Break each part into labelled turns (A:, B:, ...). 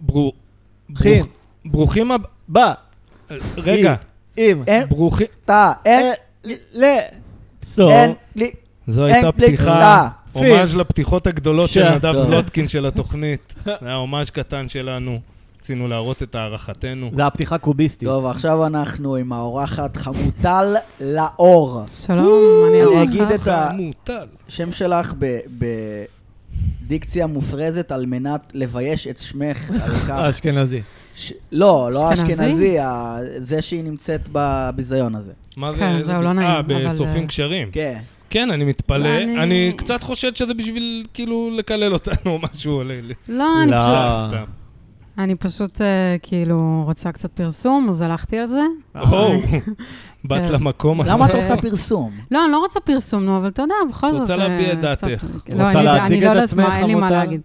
A: ברור-
B: אחי.
A: ברוך- ברוכים הב...
B: בא,
A: רגע,
B: עם,
C: אין
A: ברוכים...
C: תא, אין,
B: אה, ל, סור,
C: אין, לי,
A: זו
C: אין
A: הייתה
C: קליק.
A: פתיחה,
C: אה.
A: הומאז' לפתיחות הגדולות של
B: כן,
A: נדב
B: טוב.
A: זלוטקין של התוכנית. זה היה הומאז' קטן שלנו, רצינו להראות את הערכתנו.
B: זה הפתיחה קוביסטית.
C: טוב, עכשיו אנחנו עם האורחת חמוטל לאור.
D: שלום, אני
C: אני
D: ארוך.
C: אגיד את ה...
A: אה, מוטל.
C: שם שלך ב- בדיקציה מופרזת על מנת לבייש את שמך על כך.
B: אשכנזי.
C: ש- לא, לא
D: אשכנזי?
C: אשכנזי, ה- זה שהיא נמצאת בביזיון הזה.
A: מה זה?
D: כן,
A: איזה-
D: זהו, לא נעים,
A: אה,
D: אבל,
A: בשורפים
D: אה, לא,
A: קשרים.
C: כן.
A: כן, אני מתפלא.
D: אני-
A: אני קצת חושד שזה בשביל, כאילו, לקלל אותנו או משהו. או ל- ל-
D: לא, אני
B: לא.
D: פשוט-
B: אה.
A: סתם.
D: אני פשוט אה, כאילו רוצה קצת פרסום, אז הלכתי על זה.
A: או, באת
D: אה. כן.
A: למקום הזה.
C: למה את
D: זה-
C: רוצה פרסום?
D: לא, אני לא רוצה פרסום, נו, אבל אתה יודע, בכל זאת...
A: רוצה
D: זה
A: להביע את
D: קצת-
A: דעתך.
D: לא,
B: רוצה
D: אני-
B: להציג
D: אני לא
B: את
D: יודעת
B: עצמך,
D: מה, אין לי מה
B: עמותה?
D: להגיד.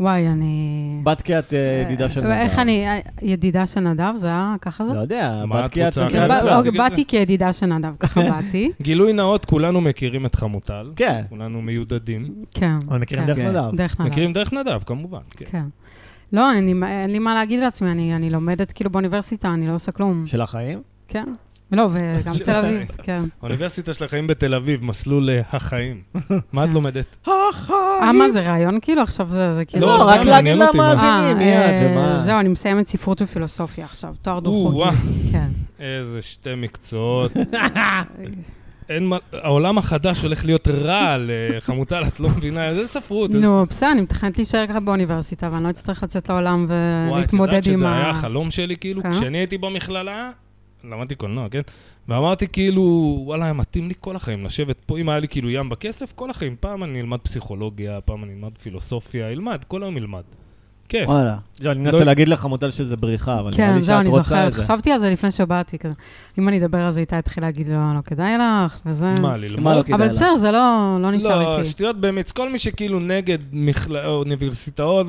D: וואי, אני...
B: בת כי את אה, ידידה של נדב.
D: איך אני... אה, ידידה של נדב, זה היה ככה זה?
B: לא יודע,
A: מה
B: בת
A: את
B: כי את
A: רוצה?
B: מכירה את
A: כן,
D: בא-
B: כולם.
A: להציג
D: אוקיי,
A: את זה?
D: באתי כידידה של נדב, ככה באתי.
A: גילוי נאות, כולנו מכירים את חמוטל.
B: כן.
A: כולנו מיודדים.
D: כן.
B: אבל מכירים
D: כן.
B: דרך
C: כן.
B: נדב.
D: דרך נדב.
A: מכירים דרך נדב, כמובן. כן.
D: כן. לא, אין לי מה- אין לי מה להגיד לעצמי, אני אני לומדת כאילו באוניברסיטה, אני לא עושה כלום.
B: של החיים?
D: כן. לא, וגם
A: של
D: תל אביב, כן.
A: האוניברסיטה של החיים בתל אביב, מסלול אה, החיים. מה את
D: כן.
A: לומדת?
D: אה, מה זה רעיון כאילו? עכשיו זה זה כאילו...
B: לא,
A: סתם
B: רק להגיד
A: מעניין אותי מה זה.
B: למאזינים מיד,
D: אה,
B: ומה...
D: זהו, אני מסיימת ספרות ופילוסופיה עכשיו, תואר דו-חוגי.
A: או-אה.
D: כן.
A: איזה שתי מקצועות. אין מה, העולם החדש הולך להיות רע לחמוטל, את לא מבינה, איזה ספרות. איזה-
D: נו, בסדר, אני מתכננת להישאר ככה באוניברסיטה, ואני לא אצטרך לצאת לעולם ולהתמודד
A: וואי, את
D: עם
A: יודעת שזה היה
D: ה...
A: החלום שלי, כאילו,
D: כן?
A: כשאני הייתי במכללה, למדתי קולנוע, כן? ואמרתי כאילו, וואלה, היה מתאים לי כל החיים לשבת פה, אם היה לי כאילו ים בכסף, כל החיים. פעם אני אלמד פסיכולוגיה, פעם אני אלמד פילוסופיה, אלמד, כל היום אלמד. כיף.
C: וואלה.
B: לא, אני מנסה
A: לא-
B: להגיד לך, מוטל, שזה בריחה, אבל נראה
D: כן,
B: לי
D: זהו,
B: שאת
D: אני
B: רוצה את
D: זוכרת.
B: זה.
D: חשבתי על זה לפני שבאתי, כזה. אם אני אדבר על זה, איתי התחיל להגיד, לא, לא כדאי לך, וזה...
A: מה, ללמוד?
C: מה לא כדאי
D: אבל
C: לך?
D: בסדר, זה לא לא נשאר
A: לא,
D: איתי.
A: שטויות במיץ. כל מי שכאילו נגד מכלה- אוניברסיטאות,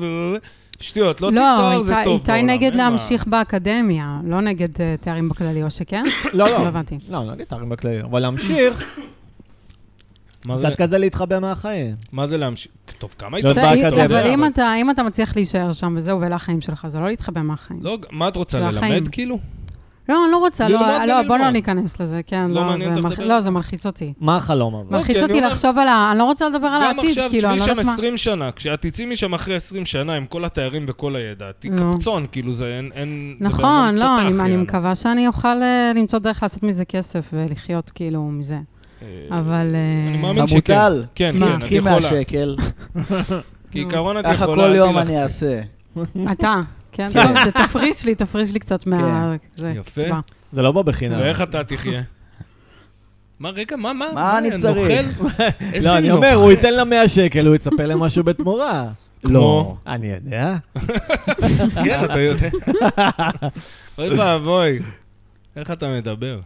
A: שטויות, לא צריך
D: לא,
A: תואר, זה
D: איתי-
A: טוב
D: איתי
A: בעולם,
D: נגד
A: אין מה.
D: להמשיך באקדמיה, לא נגד אה, תארים בכללי, או שכן?
B: לא,
D: לא
B: לא.
D: הבנתי.
B: לא, נגיד תארים בכללי. אבל להמשיך,
A: מה זה-
B: קצת כזה להתחבא מהחיים.
A: מה זה להמשיך? טוב, כמה
B: לא,
A: ישראל?
B: בא באקדמיה.
D: אבל אם אתה- אם אתה מצליח להישאר שם וזהו, ואלה החיים שלך, זה לא להתחבא מהחיים.
A: לא, מה את רוצה,
D: זה החיים.
A: ללמד כאילו?
D: לא, אני לא רוצה,
A: ללמוד
D: לא, לא, בוא
A: וללמוד.
D: לא ניכנס לזה, כן,
A: לא
D: לא,
A: מעניין
D: זה
A: אותך
D: מלחיץ-
A: לדבר?
D: לא, זה מלחיץ אותי.
B: מה החלום אבל?
A: לא, כי
D: מלחיץ
A: אני
D: אותי
A: אומר-
D: לחשוב על ה... אני לא רוצה לדבר על
A: גם
D: העתיד,
A: עכשיו,
D: כאילו, אני
A: תשבי
D: לא
A: שם
D: יודעת מה...
A: 20 שנה, כשאת תצאי משם אחרי 20 שנה עם כל התארים וכל הידע, את
D: נו.
A: קפצון, כאילו, זה אין- אין... זה
D: נכון,
A: בן אדם
D: לא,
A: תותח,
D: אני- אני
A: יאללה.
D: מקווה שאני אוכל אה, למצוא דרך לעשות מזה כסף ולחיות כאילו מזה.
A: אה,
D: אבל... אה,
A: אני מאמין שכן.
C: חמוטל,
A: כן,
D: מה?
A: כן, את
C: קחי
A: יכולה.
C: מהשקל,
A: כעיקרון את
C: ככה
A: יכולה...
C: כל
A: אל
C: יום
A: תילחצי.
C: אני אעשה.
D: אתה, כן, טוב, זה תפריש לי, תפריש לי
B: כן.
D: קצת מה... זה
A: יפה.
D: קצבה.
B: זה לא בא בחינם.
A: ואיך אתה תחיה? מה, רגע, מה, מה?
C: מה אני צריך?
A: נוכל? איזה
B: לא, אני
A: נוכל?
B: אומר, הוא ייתן לה 100 שקל, הוא יצפה למשהו בתמורה.
C: לא.
A: כמו-
B: אני יודע.
A: כן, אתה יודע. אוי ואבוי, איך אתה מדבר?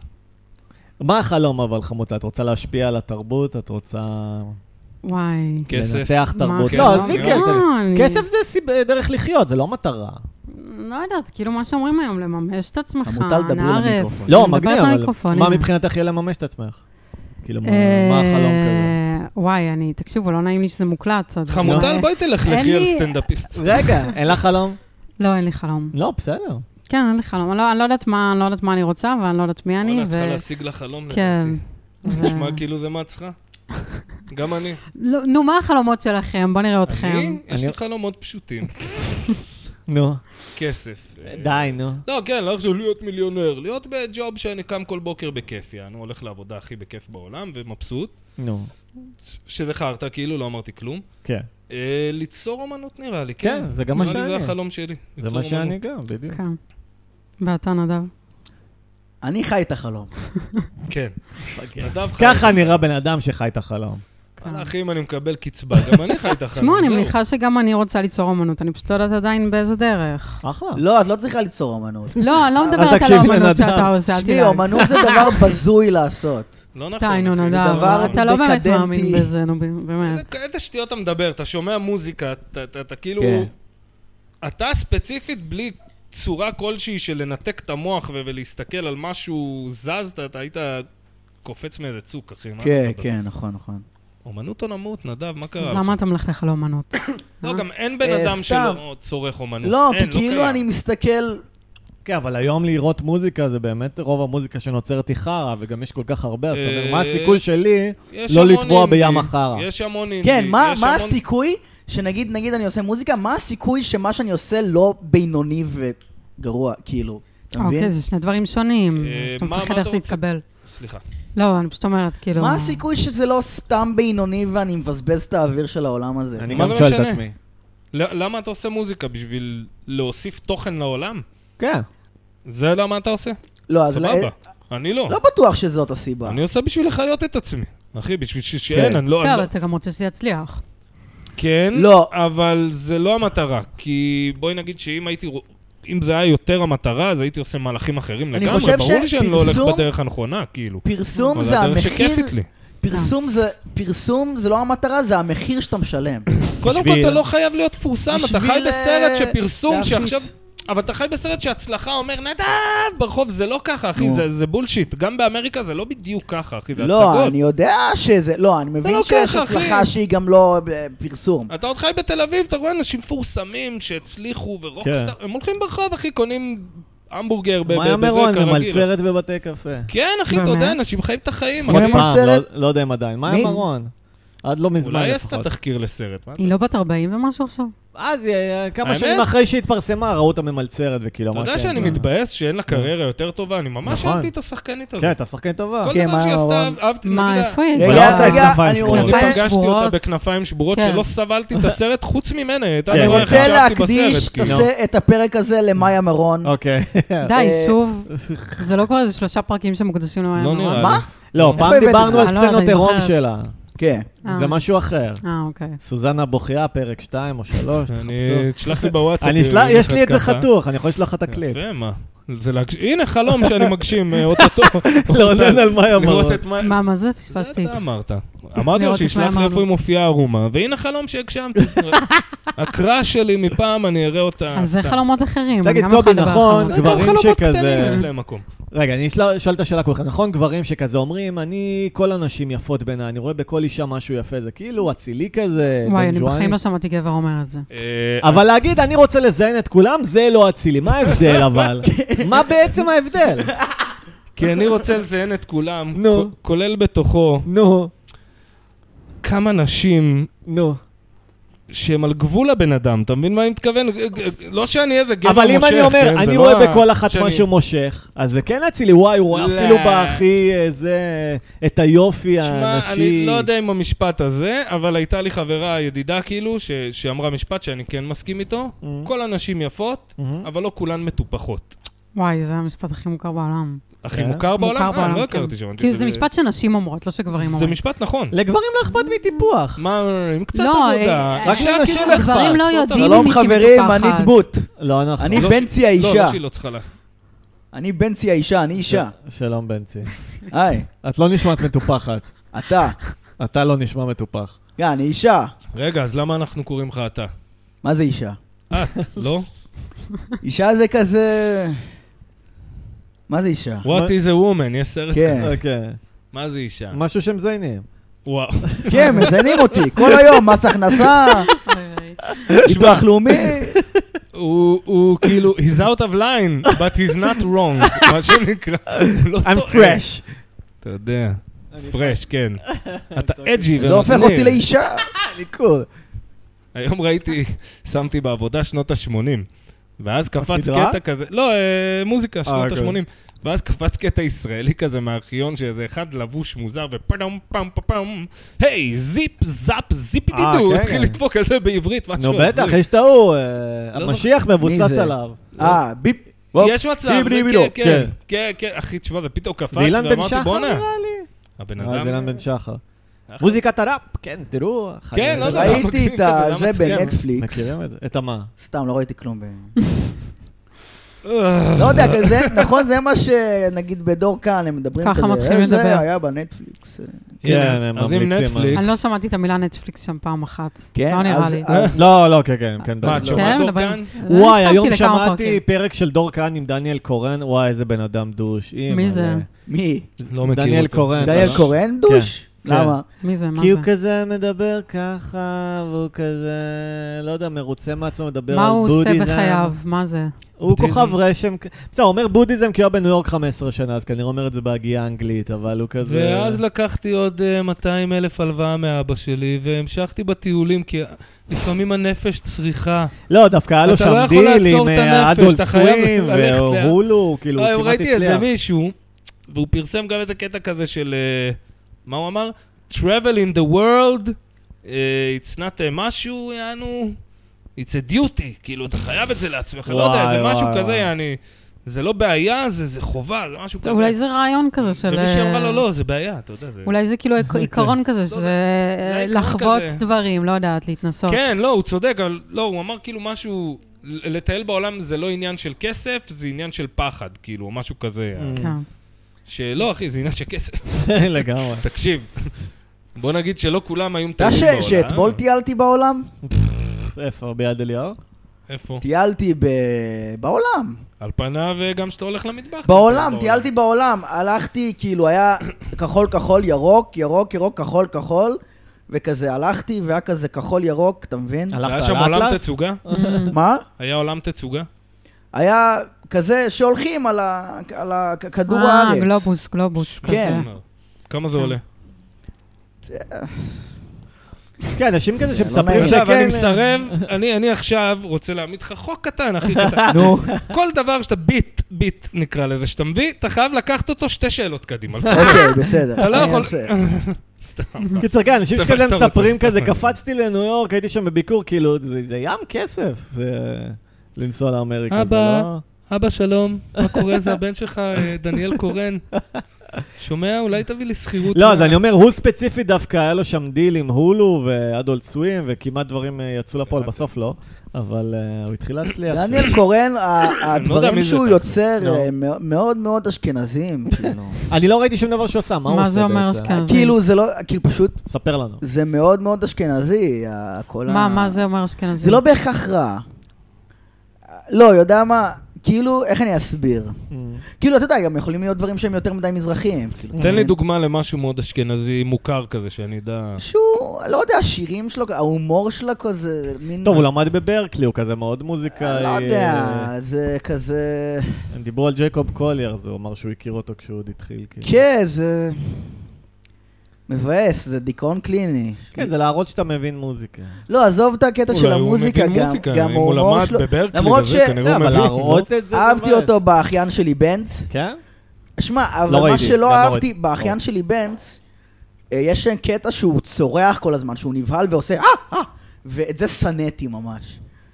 B: מה החלום אבל, חמוטה? את רוצה להשפיע על התרבות? את רוצה
D: וואי.
A: כסף.
B: לנתח
D: מה
B: תרבות?
D: החלום?
B: לא, עזבי
A: לא,
B: כסף.
D: אני-
B: כסף זה סיב- דרך לחיות, זה לא מטרה.
D: לא יודעת, כאילו מה שאומרים היום, לממש את עצמך,
C: חמוטל, דברי
D: נערף.
C: למיקרופון.
B: לא,
D: אני מדברת
B: מגניב, אבל
D: למיקרופון,
B: מה
D: הנה.
B: מבחינתך יהיה לממש את עצמך? כאילו, מה
D: אה,
B: מה החלום כזה?
D: וואי, אני, תקשיבו, לא נעים לי שזה מוקלט. אז-
A: חמוטל,
D: לא,
A: בואי תלך
D: אין
A: לחי על
D: לי-
A: סטנדאפיסט.
B: רגע, אין לך חלום?
D: לא, אין לי חלום.
B: לא, בסדר.
D: כן, אין לי חלום. אני לא- אני לא יודעת מה אני לא יודעת מה אני רוצה, ואני לא יודעת מי אני.
A: וואלה, את צריכה
D: ו-
A: להשיג לה חלום
D: כן.
A: לדעתי.
D: ו-
A: נשמע כאילו זה מה את צריכה. גם אני.
D: לא, נו, מה החלומות שלכם? בואו נראה אתכם.
A: אני, יש
B: אני-
A: לי חלומות פשוטים.
B: נו,
A: כסף.
B: די, נו.
A: לא, כן, לא חשוב להיות מיליונר. להיות בג'וב שאני קם כל בוקר בכיף, יענו, הולך לעבודה הכי בכיף בעולם ומבסוט.
B: נו,
A: שזה חרטא, כאילו, לא אמרתי כלום.
B: כן.
A: אה, ליצור אומנות נראה לי, כן.
B: כן, זה גם מה
A: נראה לי
B: שאני.
A: זה החלום שלי.
B: זה
A: ליצור
B: מה שאני
A: אומנות.
B: גם, בדיוק.
D: כן. ואתה, נדב?
C: אני חי את החלום.
A: כן. נדב חי.
B: ככה נראה בן אדם שחי את החלום.
D: כן.
A: וואלה, אחי, אם אני מקבל קצבה, גם אני חי את החיים.
D: תשמעו, אני
A: זהו.
D: מניחה שגם אני רוצה ליצור אומנות, אני פשוט לא יודעת עדיין באיזה דרך.
B: אחלה.
C: לא, את לא צריכה ליצור אמנות.
D: לא, אני לא מדברת על
B: תקשיב
D: האומנות
B: לנדב.
D: שאתה עושה, אל
C: תשמעי,
D: תדאג.
C: אמנות זה דבר בזוי לעשות.
A: לא נכון.
D: די, נו,
A: אחי, זה
D: נדב,
C: דבר
D: אתה לא באמת
C: דקדנטי.
D: מאמין בזה, נו, באמת.
A: איזה- איזה שטויות אתה מדבר, אתה שומע מוזיקה, אתה- אתה אתה כאילו...
C: כן.
A: אתה ספציפית בלי צורה כלשהי של לנתק את המוח ו- ולהסתכל על משהו זז, אתה- אתה היית קופץ מאיזה צוק, אחי. מה אתה
C: כן,
A: מדבר?
C: כן, נכון, נכון.
A: אומנות או נמות, נדב, מה קרה?
D: אז
A: לך?
D: למה אתה מלכלך על האומנות?
A: לא, גם אין בן
C: אה,
A: אדם
C: סתם.
A: שלא צורך אומנות.
C: לא,
A: אין,
C: כי כאילו
A: קיים.
C: אני מסתכל...
B: כן, אבל היום לראות מוזיקה זה באמת, רוב המוזיקה שנוצרת היא חרא, וגם יש כל כך הרבה, אז אתה אומר, מה הסיכוי שלי?
A: יש
B: לא
A: המון
B: לטבוע
A: אינדי,
B: בים החרא.
A: יש המון אינדי.
C: כן, מה
A: יש
C: מה
A: המון-
C: הסיכוי שנגיד, נגיד אני עושה מוזיקה, מה הסיכוי שמה שאני עושה לא בינוני וגרוע, כאילו? אתה מבין?
D: אוקיי, זה שני דברים שונים.
A: אה,
D: אז אתה
A: מה-
D: מפחד
A: מה
D: איך
A: אתה
D: זה
A: רוצה?
D: יתקבל.
A: סליחה.
D: לא, אני פשוט אומרת, כאילו...
C: מה הסיכוי שזה לא סתם בינוני ואני מבזבז את האוויר של העולם הזה?
B: אני
A: מה
B: גם
A: זה
B: שואל את
A: משנה?
B: עצמי.
A: ל- לא, למה אתה עושה מוזיקה? בשביל להוסיף תוכן לעולם?
B: כן.
A: זה למה אתה עושה?
C: לא, אז לא-
A: סבבה. אני לא.
C: לא בטוח שזאת הסיבה.
A: אני עושה בשביל לחיות את עצמי. אחי, בשביל
C: כן.
A: ש- שאין, אני לא... אוקיי. אני
D: בסדר,
A: לא-
D: אתה גם רוצה שזה יצליח.
A: כן,
C: לא.
A: אבל זה לא המטרה. כי בואי נגיד שאם הייתי... רוא- אם זה היה יותר המטרה, אז הייתי עושה מהלכים אחרים
C: אני
A: לגמרי.
C: חושב
A: ברור לי שאני לא הולך
C: שפרסום-
A: בדרך הנכונה, כאילו.
C: פרסום
A: אבל
C: זה
A: הדרך
C: המחיר,
A: שכיפית לי.
C: פרסום זה- פרסום זה לא המטרה, זה המחיר שאתה משלם.
A: קודם כל,
B: בשביל-
A: אתה לא חייב להיות מפורסם, אתה חי
C: בשביל,
A: בסרט
C: אה,
A: שפרסום
C: להפיץ.
A: שעכשיו... אבל אתה חי בסרט שהצלחה אומר, נדב ברחוב, זה לא ככה, אחי,
C: נו.
A: זה- זה בולשיט. גם באמריקה זה לא בדיוק ככה, אחי, זה
C: לא,
A: הצגות.
C: אני יודע שזה, לא, אני מבין
A: לא
C: שיש
A: ככה, אחי. כן.
C: הצלחה שהיא גם לא אה, פרסום.
A: אתה עוד חי בתל אביב, אתה רואה אנשים מפורסמים
B: כן.
A: שהצליחו ורוקסטאר, הם הולכים ברחוב, אחי, קונים המבורגר ב- ב- בזה
B: מאיה מירון
A: כרגיל.
B: ממלצרת בבתי קפה.
A: כן, אחי, אתה יודע,
D: באמת?
A: אנשים חיים את החיים.
B: עוד
A: אחי.
C: מאיה
B: פעם,
C: ממלצרת?
B: לא- לא יודע אם עדיין. מאיה
C: מי?
B: מירון. עד לא מזמן
A: אולי
B: לפחות.
A: עשתה תחקיר לסרט, מה אתה-
D: היא לא בת 40 ומשהו עכשיו?
B: אז אה, כמה
A: האמת?
B: שנים אחרי שהתפרסמה, ראו אותה ממלצרת, וכאילו
A: אתה
B: אמרה,
A: יודע
B: כן,
A: שאני
B: מה-
A: מתבאס שאין לה קריירה יותר טובה? אני ממש
B: נכון.
A: אהבתי את השחקנית הזאת.
B: כן, אתה שחקן טובה.
A: כל
C: כן,
A: דבר שהיא
C: מה,
A: עשתה,
C: אבל-
A: אהבתי,
D: מה,
A: נגיד,
D: איפה היא?
B: רגע,
D: לא,
B: רגע,
D: כנפיים
C: אני
B: שבורות.
A: אני
C: רוצה-
D: כנפיים
A: פגשתי אותה
D: שבורות.
A: בכנפיים שבורות
D: כן.
A: שלא סבלתי את הסרט חוץ ממנה, היא הייתה
B: כן.
C: אני
A: הדבר היחיד
C: רוצה
A: שאהבתי בסרט,
C: להקדיש את
A: כאילו.
C: הס- את הפרק הזה למאיה מירון.
B: אוקיי.
D: די,
C: אה,
D: שוב. זה לא כבר איזה שלושה פרקים שמוקדשים נכון? למאי
A: לא נראה לי.
C: מה?
B: לא,
C: איפה
B: פעם
C: הבאת את
B: דיברנו
C: זה?
B: על
D: אה, לא,
B: סצנות
D: אני
B: עירום
D: זוכרת.
B: שלה.
C: כן.
D: אה.
B: זה משהו אחר.
D: אה, אוקיי.
B: סוזנה בוכיה, פרק 2 או 3,
A: אני...
B: תחפשו.
A: תשלח לי בוואטסאפ.
B: אני אשלח,
A: אה,
B: יש לי את זה
A: ככה.
B: חתוך, אני יכול לשלוח לך את הקליפ.
A: יפה, מה? זה להגש... הנה חלום שאני מגשים אה, אוטוטו.
B: לא, לעונן על מאיה
A: לראות
B: מירון.
A: את מה...
D: מה, מה זה?
A: זה
D: פספסתי.
A: אתה אמרת. אמרתי לו
D: לראות את מאיה
A: שישלח לי
D: מירון.
A: איפה היא מופיעה ערומה, והנה חלום שהגשמתי. הקראש שלי מפעם, אני אראה אותה.
D: אז זה
A: סתם.
D: חלומות אחרים. אני
B: תגיד,
D: גם
B: קובי,
D: יכולה לדבר
B: נכון,
D: חלומות.
A: זה גם
B: גברים
A: חלומות
B: שכזה-
A: קטנים יש להם מקום.
B: רגע, אני אשאל אשאל את השאלה כולכם. נכון, גברים שכזה אומרים, אני, כל הנשים יפות בעיניי, אני רואה בכל אישה משהו יפה, זה כאילו אצילי כזה,
D: וואי,
B: בן
D: אני בחיים
B: ג'ואני.
D: לא שמעתי גבר אומר את זה.
A: אה,
B: אבל להגיד, אני רוצה לזיין את כולם, זה לא אצילי. מה ההבדל אבל? מה בעצם ההבדל?
A: כי אני רוצה לציין את כולם,
B: נו.
A: כ- כולל בתוכו
B: נו,
A: כמה נשים
B: נו.
A: שהם על גבול הבן אדם, אתה מבין מה אני מתכוון? לא שאני איזה גבר מושך,
B: אבל אם אני אומר,
A: כן, זה
B: אני
A: לא
B: רואה
A: ה-
B: בכל אחת
A: שאני-
B: משהו מושך, אז זה כן אצילי, וואי, הוא רואה
A: לא.
B: אפילו בהכי, אה, זה, את היופי
A: שמע,
B: הנשי.
A: אני לא יודע אם המשפט הזה, אבל הייתה לי חברה, ידידה כאילו, ש- שאמרה משפט שאני כן מסכים איתו.
B: Mhm.
A: כל הנשים יפות,
B: מהמם.
A: אבל לא כולן מטופחות.
D: וואי, זה המשפט הכי מוכר בעולם.
A: הכי
B: כן?
A: מוכר בעולם?
D: מוכר
A: אה,
D: בעולם,
A: אני לא
D: כן.
A: הכרתי שם.
D: כאילו, זה משפט שנשים אומרות, לא שגברים
A: זה
D: אומרים.
A: משפט נכון.
B: לגברים לא אכפת מטיפוח.
A: מה, עם קצת
D: לא,
A: עבודה.
D: אה,
B: רק
A: אישה
B: לנשים
A: כאילו-
B: אכפת.
D: גברים לא
A: לעשות,
D: יודעים
A: אבל
D: אם
A: לא-
C: שלום
D: מישהי
C: חברים,
D: מטופחת.
C: אני דמות.
B: לא נכון.
C: אני
A: לא,
C: בנצי
A: לא,
C: האישה.
A: לא שהיא לא צריכה לה.
C: אני בנצי האישה, אני אישה.
B: שלום, בנצי.
C: היי,
B: את לא נשמעת מטופחת.
C: אתה.
B: אתה לא נשמע מטופח.
C: כן, אני אישה.
A: רגע, אז למה אנחנו קוראים לך אתה?
C: מה זה אישה?
A: את, לא?
C: אישה זה כזה... מה זה אישה?
A: What is a woman? יש סרט
C: כן.
A: כזה.
B: אוקיי.
A: מה זה אישה?
B: משהו שמזיינים.
A: וואו.
C: כן, מזיינים אותי. כל היום, מס הכנסה,
D: אוי, אוי.
C: ביטוח לאומי.
A: הוא הוא כאילו, he's out of line, but he's not wrong, מה שנקרא. הוא לא
B: I'm
A: טועה.
C: אה,
B: fresh.
A: אתה יודע, פרש, כן. אתה אג'י ומגניב.
C: זה הופך אותי לאישה.
B: אני קול.
A: היום ראיתי, שמתי בעבודה שנות ה-80, ואז קפץ
B: הסדרה?
A: קטע כזה, לא, אה, מוזיקה, שנות
B: אוקיי.
A: ה-80, ואז קפץ קטע ישראלי כזה מהארכיון, שאיזה אחד לבוש מוזר, ופאדום פאם פאם פאם, היי, זיפ, זאפ, זיפי
B: אה,
A: דידו,
B: כן.
A: התחיל לדפוק כזה בעברית, משהו
B: נו בטח,
A: הזוי.
B: יש את ההוא. אה,
A: לא
B: המשיח מבוסס
C: זה?
B: עליו.
C: אה, ביפ.
A: יש מצב,
B: דיב,
A: זה
B: דיב,
A: כן,
B: דיב,
A: כן,
B: כן.
A: כן, כן, אחי, תשמע, זה פתאום קפץ,
B: זה אילן בן
A: ואמרתי,
B: שחר
A: בואנה,
B: נראה לי?
A: הבן
B: אה, זה
A: אדם,
B: אילן בן שחר.
A: אחלה.
B: מוזיקת הראפ, כן, תראו. חיים.
A: לא יודע.
C: ראיתי את
A: זה
C: זה
A: מצחיק.
C: בנטפליקס.
B: מכירים את זה? את המה?
C: סתם, לא ראיתי כלום. ב-
A: אה,
C: לא יודע, כזה, נכון, זה מה שנגיד בדור כאן, הם מדברים
D: ככה
C: כזה.
D: מתחילים
C: "אה, זה
D: לדבר."
C: היה בנטפליקס.
B: כן, הם
A: אז אם
B: ממליצים על-
A: נטפליקס,
D: אני לא שמעתי את המילה נטפליקס שם פעם אחת.
C: כן,
D: לא נראה
C: אז-
D: לי.
C: אז-
B: לא, לא, כן, כן, כן.
A: מה,
B: בטח.
A: את שומעת
D: כן,
A: דור
D: מדברים.
A: כאן?
D: אני
B: וואי,
D: הקשבתי
B: היום
D: לכמה
B: שמעתי
D: פרקים.
B: פרק של דור כהן עם דניאל קורן, וואי, איזה בן אדם דוש. אימא,
D: זה?
B: אה,
C: מי?
A: לא מכיר
B: דניאל
A: אותו.
B: קורן.
C: דניאל
A: כן,
B: אתה לא-
C: קורן דוש? למה?
D: מי זה? מה
B: כי הוא
D: זה?
B: כזה מדבר ככה, והוא כזה, לא יודע, מרוצה מעצמו, מדבר על
D: מה הוא
B: בודהיזם.
D: עושה בחייו? מה זה?
B: הוא
A: בודהיזם.
B: כוכב רשם, כ- בסדר, הוא אומר בודהיזם כי הוא היה בניו יורק 15 שנה, אז כנראה הוא אומר את זה בהגייה האנגלית, אבל הוא כזה...
A: ואז לא- לקחתי עוד 200 אלף הלוואה מאבא שלי, והמשכתי בטיולים, כי לפעמים הנפש צריכה.
B: לא, דווקא היה לו
A: אתה
B: שם
A: לא יכול
B: דיל
A: לעצור
B: עם
A: את הנפש,
B: אדולט
A: אתה חייב
B: סווים,
A: ללכת לאט.
B: והולו, כאילו,
A: לא,
B: הוא
A: היום
B: כמעט
A: ראיתי איזה
B: הצליח.
A: מישהו, והוא פרסם גם את הקטע כזה של... אה, מה הוא אמר? Travel in the world, אה, it's not a משהו, יענו, it's a duty, כאילו, אתה חייב את זה לעצמך, לא יודע,
B: וואי,
A: זה משהו
B: וואי,
A: כזה,
B: וואי.
A: יעני, זה לא בעיה, זה זה חובה, זה משהו
D: טוב,
A: כזה.
D: אולי זה רעיון כזה של... אה,
A: ומי שאמרה לו, לא, זה בעיה, אתה יודע, זה...
D: אולי זה כאילו עק- עיקרון כזה,
A: זה-
D: שזה אה,
A: העיקרון
D: לחוות
A: כזה.
D: דברים, לא יודעת, להתנסות.
A: כן, לא, הוא צודק, אבל לא, הוא אמר כאילו משהו, ל- לטייל בעולם זה לא עניין של כסף, זה עניין של פחד, כאילו, או משהו כזה.
B: Mm.
D: כן.
A: שלא, אחי, זה עניין של כסף.
B: לגמרי.
A: תקשיב, בוא נגיד שלא כולם היו
C: אתה יודע
A: מטיילים
C: ש-
A: בעולם.
C: שאתמול טיילתי בעולם?
B: איפה, ביד אליהו?
A: איפה?
C: טיילתי ב- בעולם.
A: על פניו, אה, גם כשאתה הולך למטבח. אתה
C: בעולם,
A: מטייל
C: טיילתי בעולם. הלכתי, כאילו, היה כחול כחול ירוק, ירוק ירוק כחול כחול, וכזה הלכתי, והיה כזה כחול ירוק, אתה מבין?
A: היה
B: הלכת
A: שם
B: על
A: עולם
B: אטלס?
A: תצוגה?
C: מה?
A: היה עולם תצוגה?
C: כן. היה כזה שהולכים על ה- על ה- כ- כדור
D: אה,
C: הארץ.
D: גלובוס, גלובוס כזה.
C: כן.
A: אומר. כמה זה עולה?
B: כן, אנשים כזה
C: זה לא
B: שמספרים
C: נעים.
B: שכן...
A: עכשיו, אני מסרב, אני אני עכשיו רוצה להעמיד לך חוק קטן, הכי קטן.
C: נו,
A: כל דבר שאתה ביט, ביט נקרא לזה, שאתה מביא, אתה חייב לקחת אותו שתי שאלות קדימה.
C: אוקיי, בסדר.
A: אתה לא
C: אני
A: יכול-
C: אעשה.
A: סתם.
B: קיצר, כן, אנשים
A: זה מה
B: שכזה
A: שאתה רוצה,
B: מספרים
A: סתם.
B: כזה, קפצתי לניו יורק, הייתי שם בביקור, כאילו, זה זה ים כסף, זה לנסוע לאמריקה, זה
A: אבא.
B: לא...
A: אבא, שלום, מה קורה? זה הבן שלך, אה, דניאל קורן. שומע? אולי תביא לי שכירות.
B: לא, אז אני אומר, הוא ספציפית דווקא, היה לו שם דיל עם הולו ואדולט סווים, וכמעט דברים אה, יצאו לפועל, בסוף לא, אבל אה, הוא התחיל להצליח.
C: דניאל קורן, ה-
A: לא מי
C: הדברים
A: זה
C: שהוא
A: אתה.
C: יוצר
B: לא.
C: אה, מא- מאוד מאוד אשכנזיים, כאילו.
B: אני לא ראיתי שום דבר שהוא עשה, מה הוא עושה
D: מה
B: בעצם?
D: זה אומר אשכנזי?
C: כאילו, זה לא, כאילו, פשוט,
B: ספר לנו.
C: זה מאוד מאוד אשכנזי, ה- כל ה...
D: מה, מה זה אומר אשכנזי?
C: זה לא בהכרח רע. לא, יודע מה, כאילו, איך אני אסביר?
B: Mm.
C: כאילו, אתה יודע, גם יכולים להיות דברים שהם יותר מדי מזרחיים. כאילו, אתה
A: תן לי
C: מבין?
A: דוגמה למשהו מאוד אשכנזי מוכר כזה, שאני אדע...
C: שהוא, לא יודע, השירים שלו, ההומור שלו כזה, מין...
B: טוב, הוא למד בברקלי, הוא כזה מאוד מוזיקאי.
C: לא יודע,
B: אה,
C: זה כזה...
B: הם דיברו על ג'ייקוב קוליאר, אז הוא אמר שהוא הכיר אותו כשהוא עוד התחיל. כאילו.
C: כן, זה... מבאס, זה דיכאון קליני.
B: כן, זה להראות שאתה מבין מוזיקה.
C: לא, עזוב את הקטע של המוזיקה,
A: אולי הוא מבין
C: גם-
A: מוזיקה,
C: גם
A: אם הוא
C: ההומור
A: למד
C: שלו...
A: בברקלי,
C: למרות
A: וזה,
C: ש-
A: כנראה
B: זה,
A: הוא
B: אבל
A: מבין, לא?
B: להראות את זה... זה
C: אהבתי
B: מבאס.
C: אותו באחיין שלי בנץ.
B: כן?
C: שמע,
B: לא
C: אבל מה
B: ראיתי, גם
C: שלא
B: לא
C: אהבתי
B: ראיתי.
C: באחיין
B: לא.
C: שלי בנץ, אה, יש שם קטע שהוא צורח כל הזמן, שהוא נבהל ועושה אה, אה, ואת זה שנאתי ממש,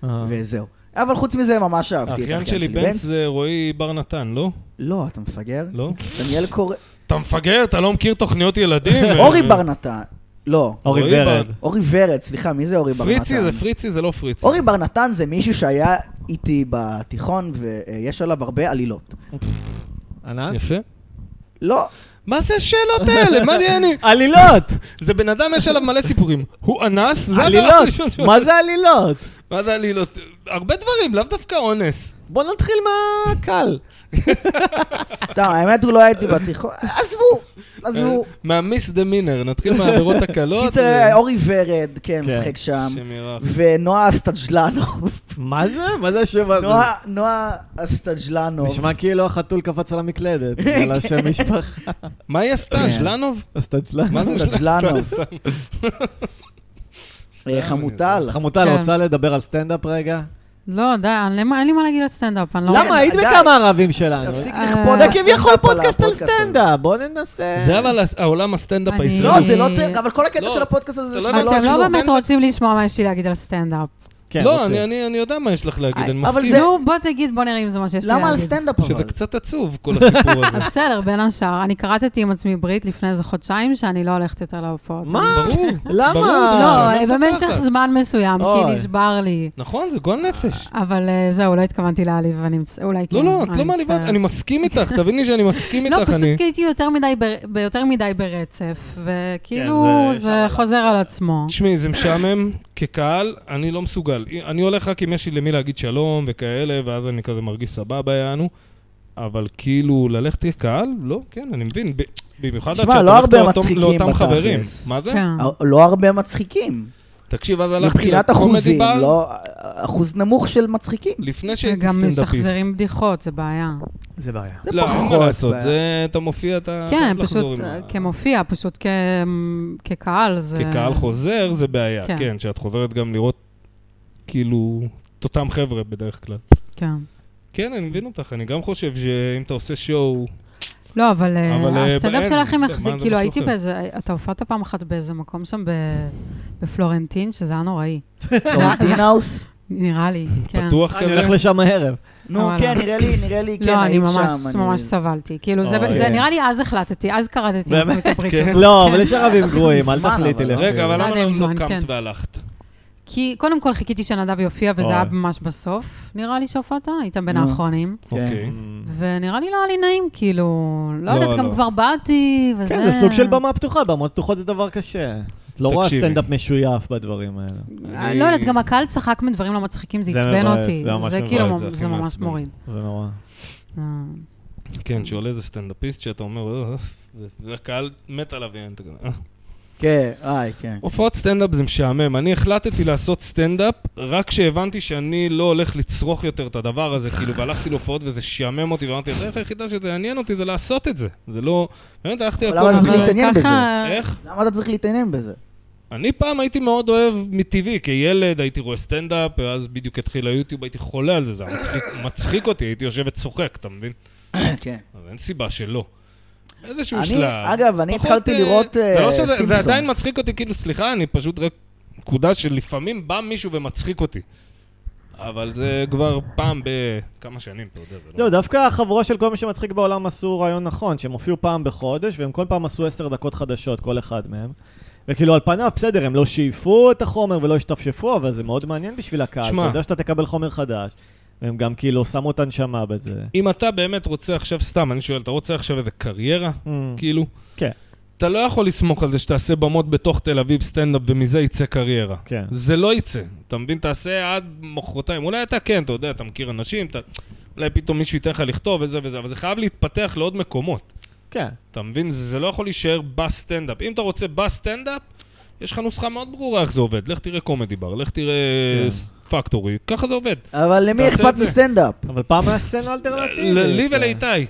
B: אה.
C: וזהו. אבל חוץ מזה, ממש אהבתי את
A: האחיין שלי בנץ זה רועי בר נתן, לא?
C: לא, אתה מפגר?
A: לא?
C: דניאל קורא...
A: אתה מפגר? אתה לא מכיר תוכניות ילדים?
C: אורי בר נתן. לא.
B: אורי
A: רועי בר-
B: ורד.
C: אורי ורד, סליחה, מי זה אורי בר נתן?
A: אה, פריצי זה פריצי, זה לא פריצי.
C: אורי בר נתן זה מישהו שהיה איתי בתיכון, ויש עליו הרבה עלילות.
B: אנס?
A: אה, יפה.
C: לא,
A: מה זה השאלות האלה? מה זה אני?
B: עלילות!
A: זה בן אדם, יש עליו מלא סיפורים. הוא אנס? זה הדבר הראשון
B: עלילות!
A: שהוא-
B: מה זה עלילות?
A: מה זה עלילות? הרבה דברים, לאו דווקא אונס.
B: בוא נתחיל מהקל.
C: סתם, האמת הוא לא היה איתי בתיכון. עזבו, עזבו.
A: אה, מהמיס דה מינר, נתחיל מהעבירות הקלות.
C: קיצר, אה,
A: ו-
C: אורי ורד, כן,
B: כן.
C: משחק שם.
A: השם ירח.
C: ונועה אסטג'לנוב.
B: מה זה? מה זה השם הזה?
C: נועה- נועה אסטג'לנוב.
B: נשמע כאילו החתול קפץ על המקלדת, בגלל השם משפחה.
A: מה היא עשתה?
C: כן.
A: ז'לנוב?
B: אז תג'לן.
A: מה זה
C: אסטג'לנוב. אה, חמוטל.
B: חמוטל,
D: כן.
B: רוצה לדבר על סטנדאפ רגע?
D: לא, די, אני- למה- אין לי מה להגיד על סטנדאפ, אני לא...
B: למה? היית
C: די.
B: בכמה ערבים שלנו.
C: תפסיק
D: אה,
C: לכפות על
B: זה
D: אה,
C: הסטנדאפ
B: כביכול
C: על
B: פודקאסט על
C: הפודקאסט הזה.
B: סטנדאפ, בוא ננסה.
A: זה אבל העולם הסטנדאפ
D: אני-
A: הישראלי.
C: לא, זה לא צריך, אבל כל הקטע
A: לא,
C: של הפודקאסט הזה זה
A: אתה לא
C: שלא
A: יודע,
D: אתם
A: יש
C: שלו.
A: לו
D: לא באמת
A: סטנדאפ.
D: רוצים לשמוע מה יש לי להגיד על סטנדאפ.
B: כן,
A: לא,
B: רוצה.
A: אני- אני אני יודע מה יש לך להגיד,
D: אבל
A: אני
C: זה-
A: מסכים.
D: נו, בוא תגיד, בוא נראה אם זה מה שיש לי
A: אה,
D: להגיד.
C: למה
A: אוקיי.
C: על סטנדאפ אבל?
A: שזה קצת עצוב, כל הסיפור הזה.
D: אה, בסדר, בין השאר. אני כרתתי עם עצמי ברית לפני איזה חודשיים, שאני לא הולכת יותר להופעות.
B: מה?
A: ברור.
B: למה?
A: ברור,
C: אה,
D: לא,
A: זה משנה את
D: במשך
A: הפחד.
D: זמן מסוים,
B: אוי.
D: כי נשבר לי.
A: נכון, זה גועל נפש.
D: אבל אה, זהו, לא התכוונתי להעליב, אני מצ... אולי כן.
A: לא, לא, את
D: אני
A: לא מעליבה,
D: מצטערת.
A: אני מסכים איתך, תביני שאני מסכים
D: לא,
A: איתך. אני-
D: פשוט כי הייתי יותר מדי בר- ביותר מדי ברצף, וכאילו
B: כן, זה-
D: זה חוזר על עצמו.
A: תשמעי, זה משעמם כקהל, אני לא מסוגל. אני הולך רק אם יש לי למי להגיד שלום וכאלה, ואז אני כזה מרגיש סבבה, יענו. אבל כאילו, ללכת כקהל? לא, כן, אני מבין. ב- במיוחד עד
C: תשמע,
A: שאתה
C: לא
A: הולך
C: הרבה
A: לאותם-
C: מצחיקים
A: לאותם
C: בתכלס.
A: חברים. מה זה?
D: כן.
C: לא הרבה מצחיקים.
A: תקשיב, אז הלכתי
C: מבחינת
A: לקומדי
C: אחוזים,
A: בר,
C: לא... אחוז נמוך של מצחיקים.
A: לפני שהייתי
D: וגם
A: סטנדאפיסט.
D: משחזרים בדיחות, זה בעיה.
B: זה בעיה.
C: זה
A: לא, אין
C: פחות.
A: מה לעשות,
C: בעיה.
A: זה, אתה מופיע, אתה
D: כן,
A: חייב לחזור עם
D: פשוט אה,
A: ה-
D: כמופיע, פשוט כ- כקהל, זה...
A: כקהל חוזר זה בעיה,
D: כן.
A: כן, שאת חוזרת גם לראות, כאילו, את אותם חבר'ה בדרך כלל.
D: כן.
A: כן, אני מבין אותך, אני גם חושב שאם אתה עושה שואו,
D: לא, אבל אה,
A: אבל, אה,
D: הסטנדאפ
A: בערב,
D: שלכם
A: מה,
D: יחזיק,
A: זה
D: כאילו
A: משהו
D: הייתי
A: אחר.
D: באיזה, אתה הופעת פעם אחת באיזה מקום שם ב- בפלורנטין, שזה היה נוראי.
C: פלורנטין האוס?
D: נראה לי, כן.
A: פתוח
B: אני
A: כזה,
B: הולך לשם הערב.
C: נו,
D: וואלה.
C: כן, נראה לי, נראה לי, כן,
D: לא, אני
C: היית שם.
D: ממש ממש סבלתי. כאילו, זה-
B: אוי.
D: זה נראה לי אז החלטתי, אז קראתי
B: באמת?
D: לעצמי את הברית
A: אה, כן.
D: הזאת.
B: לא,
D: כן.
B: אבל יש ערבים
C: זה
B: גרועים, אל
C: מזמן,
B: תחליטי
C: אבל.
B: לך.
A: רגע, אבל
D: זה
A: למה
D: היה
A: לא
D: די מזמן,
A: לא קמת
D: כן.
A: והלכת?
D: כי קודם כל חיכיתי שנדב יופיע, וזה היה
B: אוי.
D: ממש בסוף, נראה לי שהופעת, היית בין
C: נו.
D: האחרונים.
A: אוקיי.
D: ונראה לי לא היה לי נעים, כאילו, לא
A: לא,
D: יודעת, גם
A: לא.
D: כבר באתי, וזה...
B: כן, זה סוג של במה פתוחה, במות פתוחות זה דבר קשה. את לא רואה
A: תקשיבי.
B: סטנדאפ משויף בדברים האלה.
A: אני-
D: אני... לא יודעת, גם הקהל צחק מדברים לא מצחיקים, זה
B: זה
D: עצבן
B: מבאס,
D: אותי.
B: זה ממש
D: זה
B: מבאס,
D: כאילו,
A: זה הכי
D: זה, ממש
A: מעצבן.
D: מוריד.
B: זה נורא.
D: אה,
A: כן, שעולה איזה סטנדאפיסט שאתה אומר, "אה, זה- זה- הקהל מת עליו, ואין את זה.
C: כן, איי, כן.
A: הופעות סטנדאפ זה משעמם. אני החלטתי לעשות סטנדאפ רק כשהבנתי שאני לא הולך לצרוך יותר את הדבר הזה, כאילו, והלכתי להופעות וזה שעמם אותי, ואמרתי, הדרך היחידה שזה יעניין אותי זה לעשות את זה. זה לא... באמת, הלכתי
C: אבל
A: לכל...
C: למה אז זה
A: מיני-
D: אה. אבל
C: להתעניין
D: ככה-
A: איך?
C: למה אתה צריך להתעניין בזה?
A: אני פעם הייתי מאוד אוהב מטבעי, כילד הייתי רואה סטנדאפ, ואז בדיוק התחיל היוטיוב, הייתי חולה על זה, זה היה מצחיק, מצחיק אותי, הייתי יושב וצוחק, אתה מבין?
C: כן.
A: אז אין סיבה שלא. איזשהו
C: אני-
A: שלב.
C: אגב, אני
A: פחות,
C: התחלתי
A: אה,
C: לראות,
A: זה
C: אה,
A: לא שזה- זה
C: סימפסונס.
A: עדיין מצחיק אותי, כאילו, סליחה, אני פשוט רק... נקודה שלפעמים בא מישהו ומצחיק אותי. אבל זה כבר פעם בכמה שנים, אתה יודע, זה
B: לא,
A: לא...
B: דווקא החבורה של כל מי שמצחיק בעולם עשו רעיון נכון, שהם הופיעו פעם בחודש, והם כל פעם עשו עשר דקות חדשות, כל אחד מהם. וכאילו, על פניו, בסדר, הם לא שאיפו את החומר ולא השתפשפו, אבל זה מאוד מעניין בשביל הקהל.
A: שמע.
B: אתה יודע שאתה תקבל חומר חדש, והם גם כאילו שמו את הנשמה בזה.
A: אם אתה באמת רוצה עכשיו, סתם, אני שואל, אתה רוצה עכשיו איזה קריירה?
B: Mm,
A: כאילו?
B: כן.
A: אתה לא יכול לסמוך על זה שתעשה במות בתוך תל אביב סטנדאפ ומזה יצא קריירה.
B: כן.
A: זה לא יצא. אתה מבין? תעשה עד מחרתיים. אולי אתה כן, אתה יודע, אתה מכיר אנשים, אתה... אולי פתאום מישהו ייתן לך לכתוב וזה וזה, אבל זה חייב להתפתח לעוד מקומות.
B: כן.
A: אתה מבין? זה זה לא יכול להישאר בסטנדאפ. אם אתה רוצה בסטנדאפ, יש לך נוסחה מאוד ברורה איך זה עובד. לך תראה קומדי בר, לך תראה
B: כן.
A: ס- פקטורי, ככה זה עובד.
C: אבל למי
A: תעשה את
C: אכפת
A: זה.
C: מסטנדאפ?
B: אבל פעם היה סצנה אלטרנטיבית.
A: ל- לי
B: כן.
A: ולאיתי.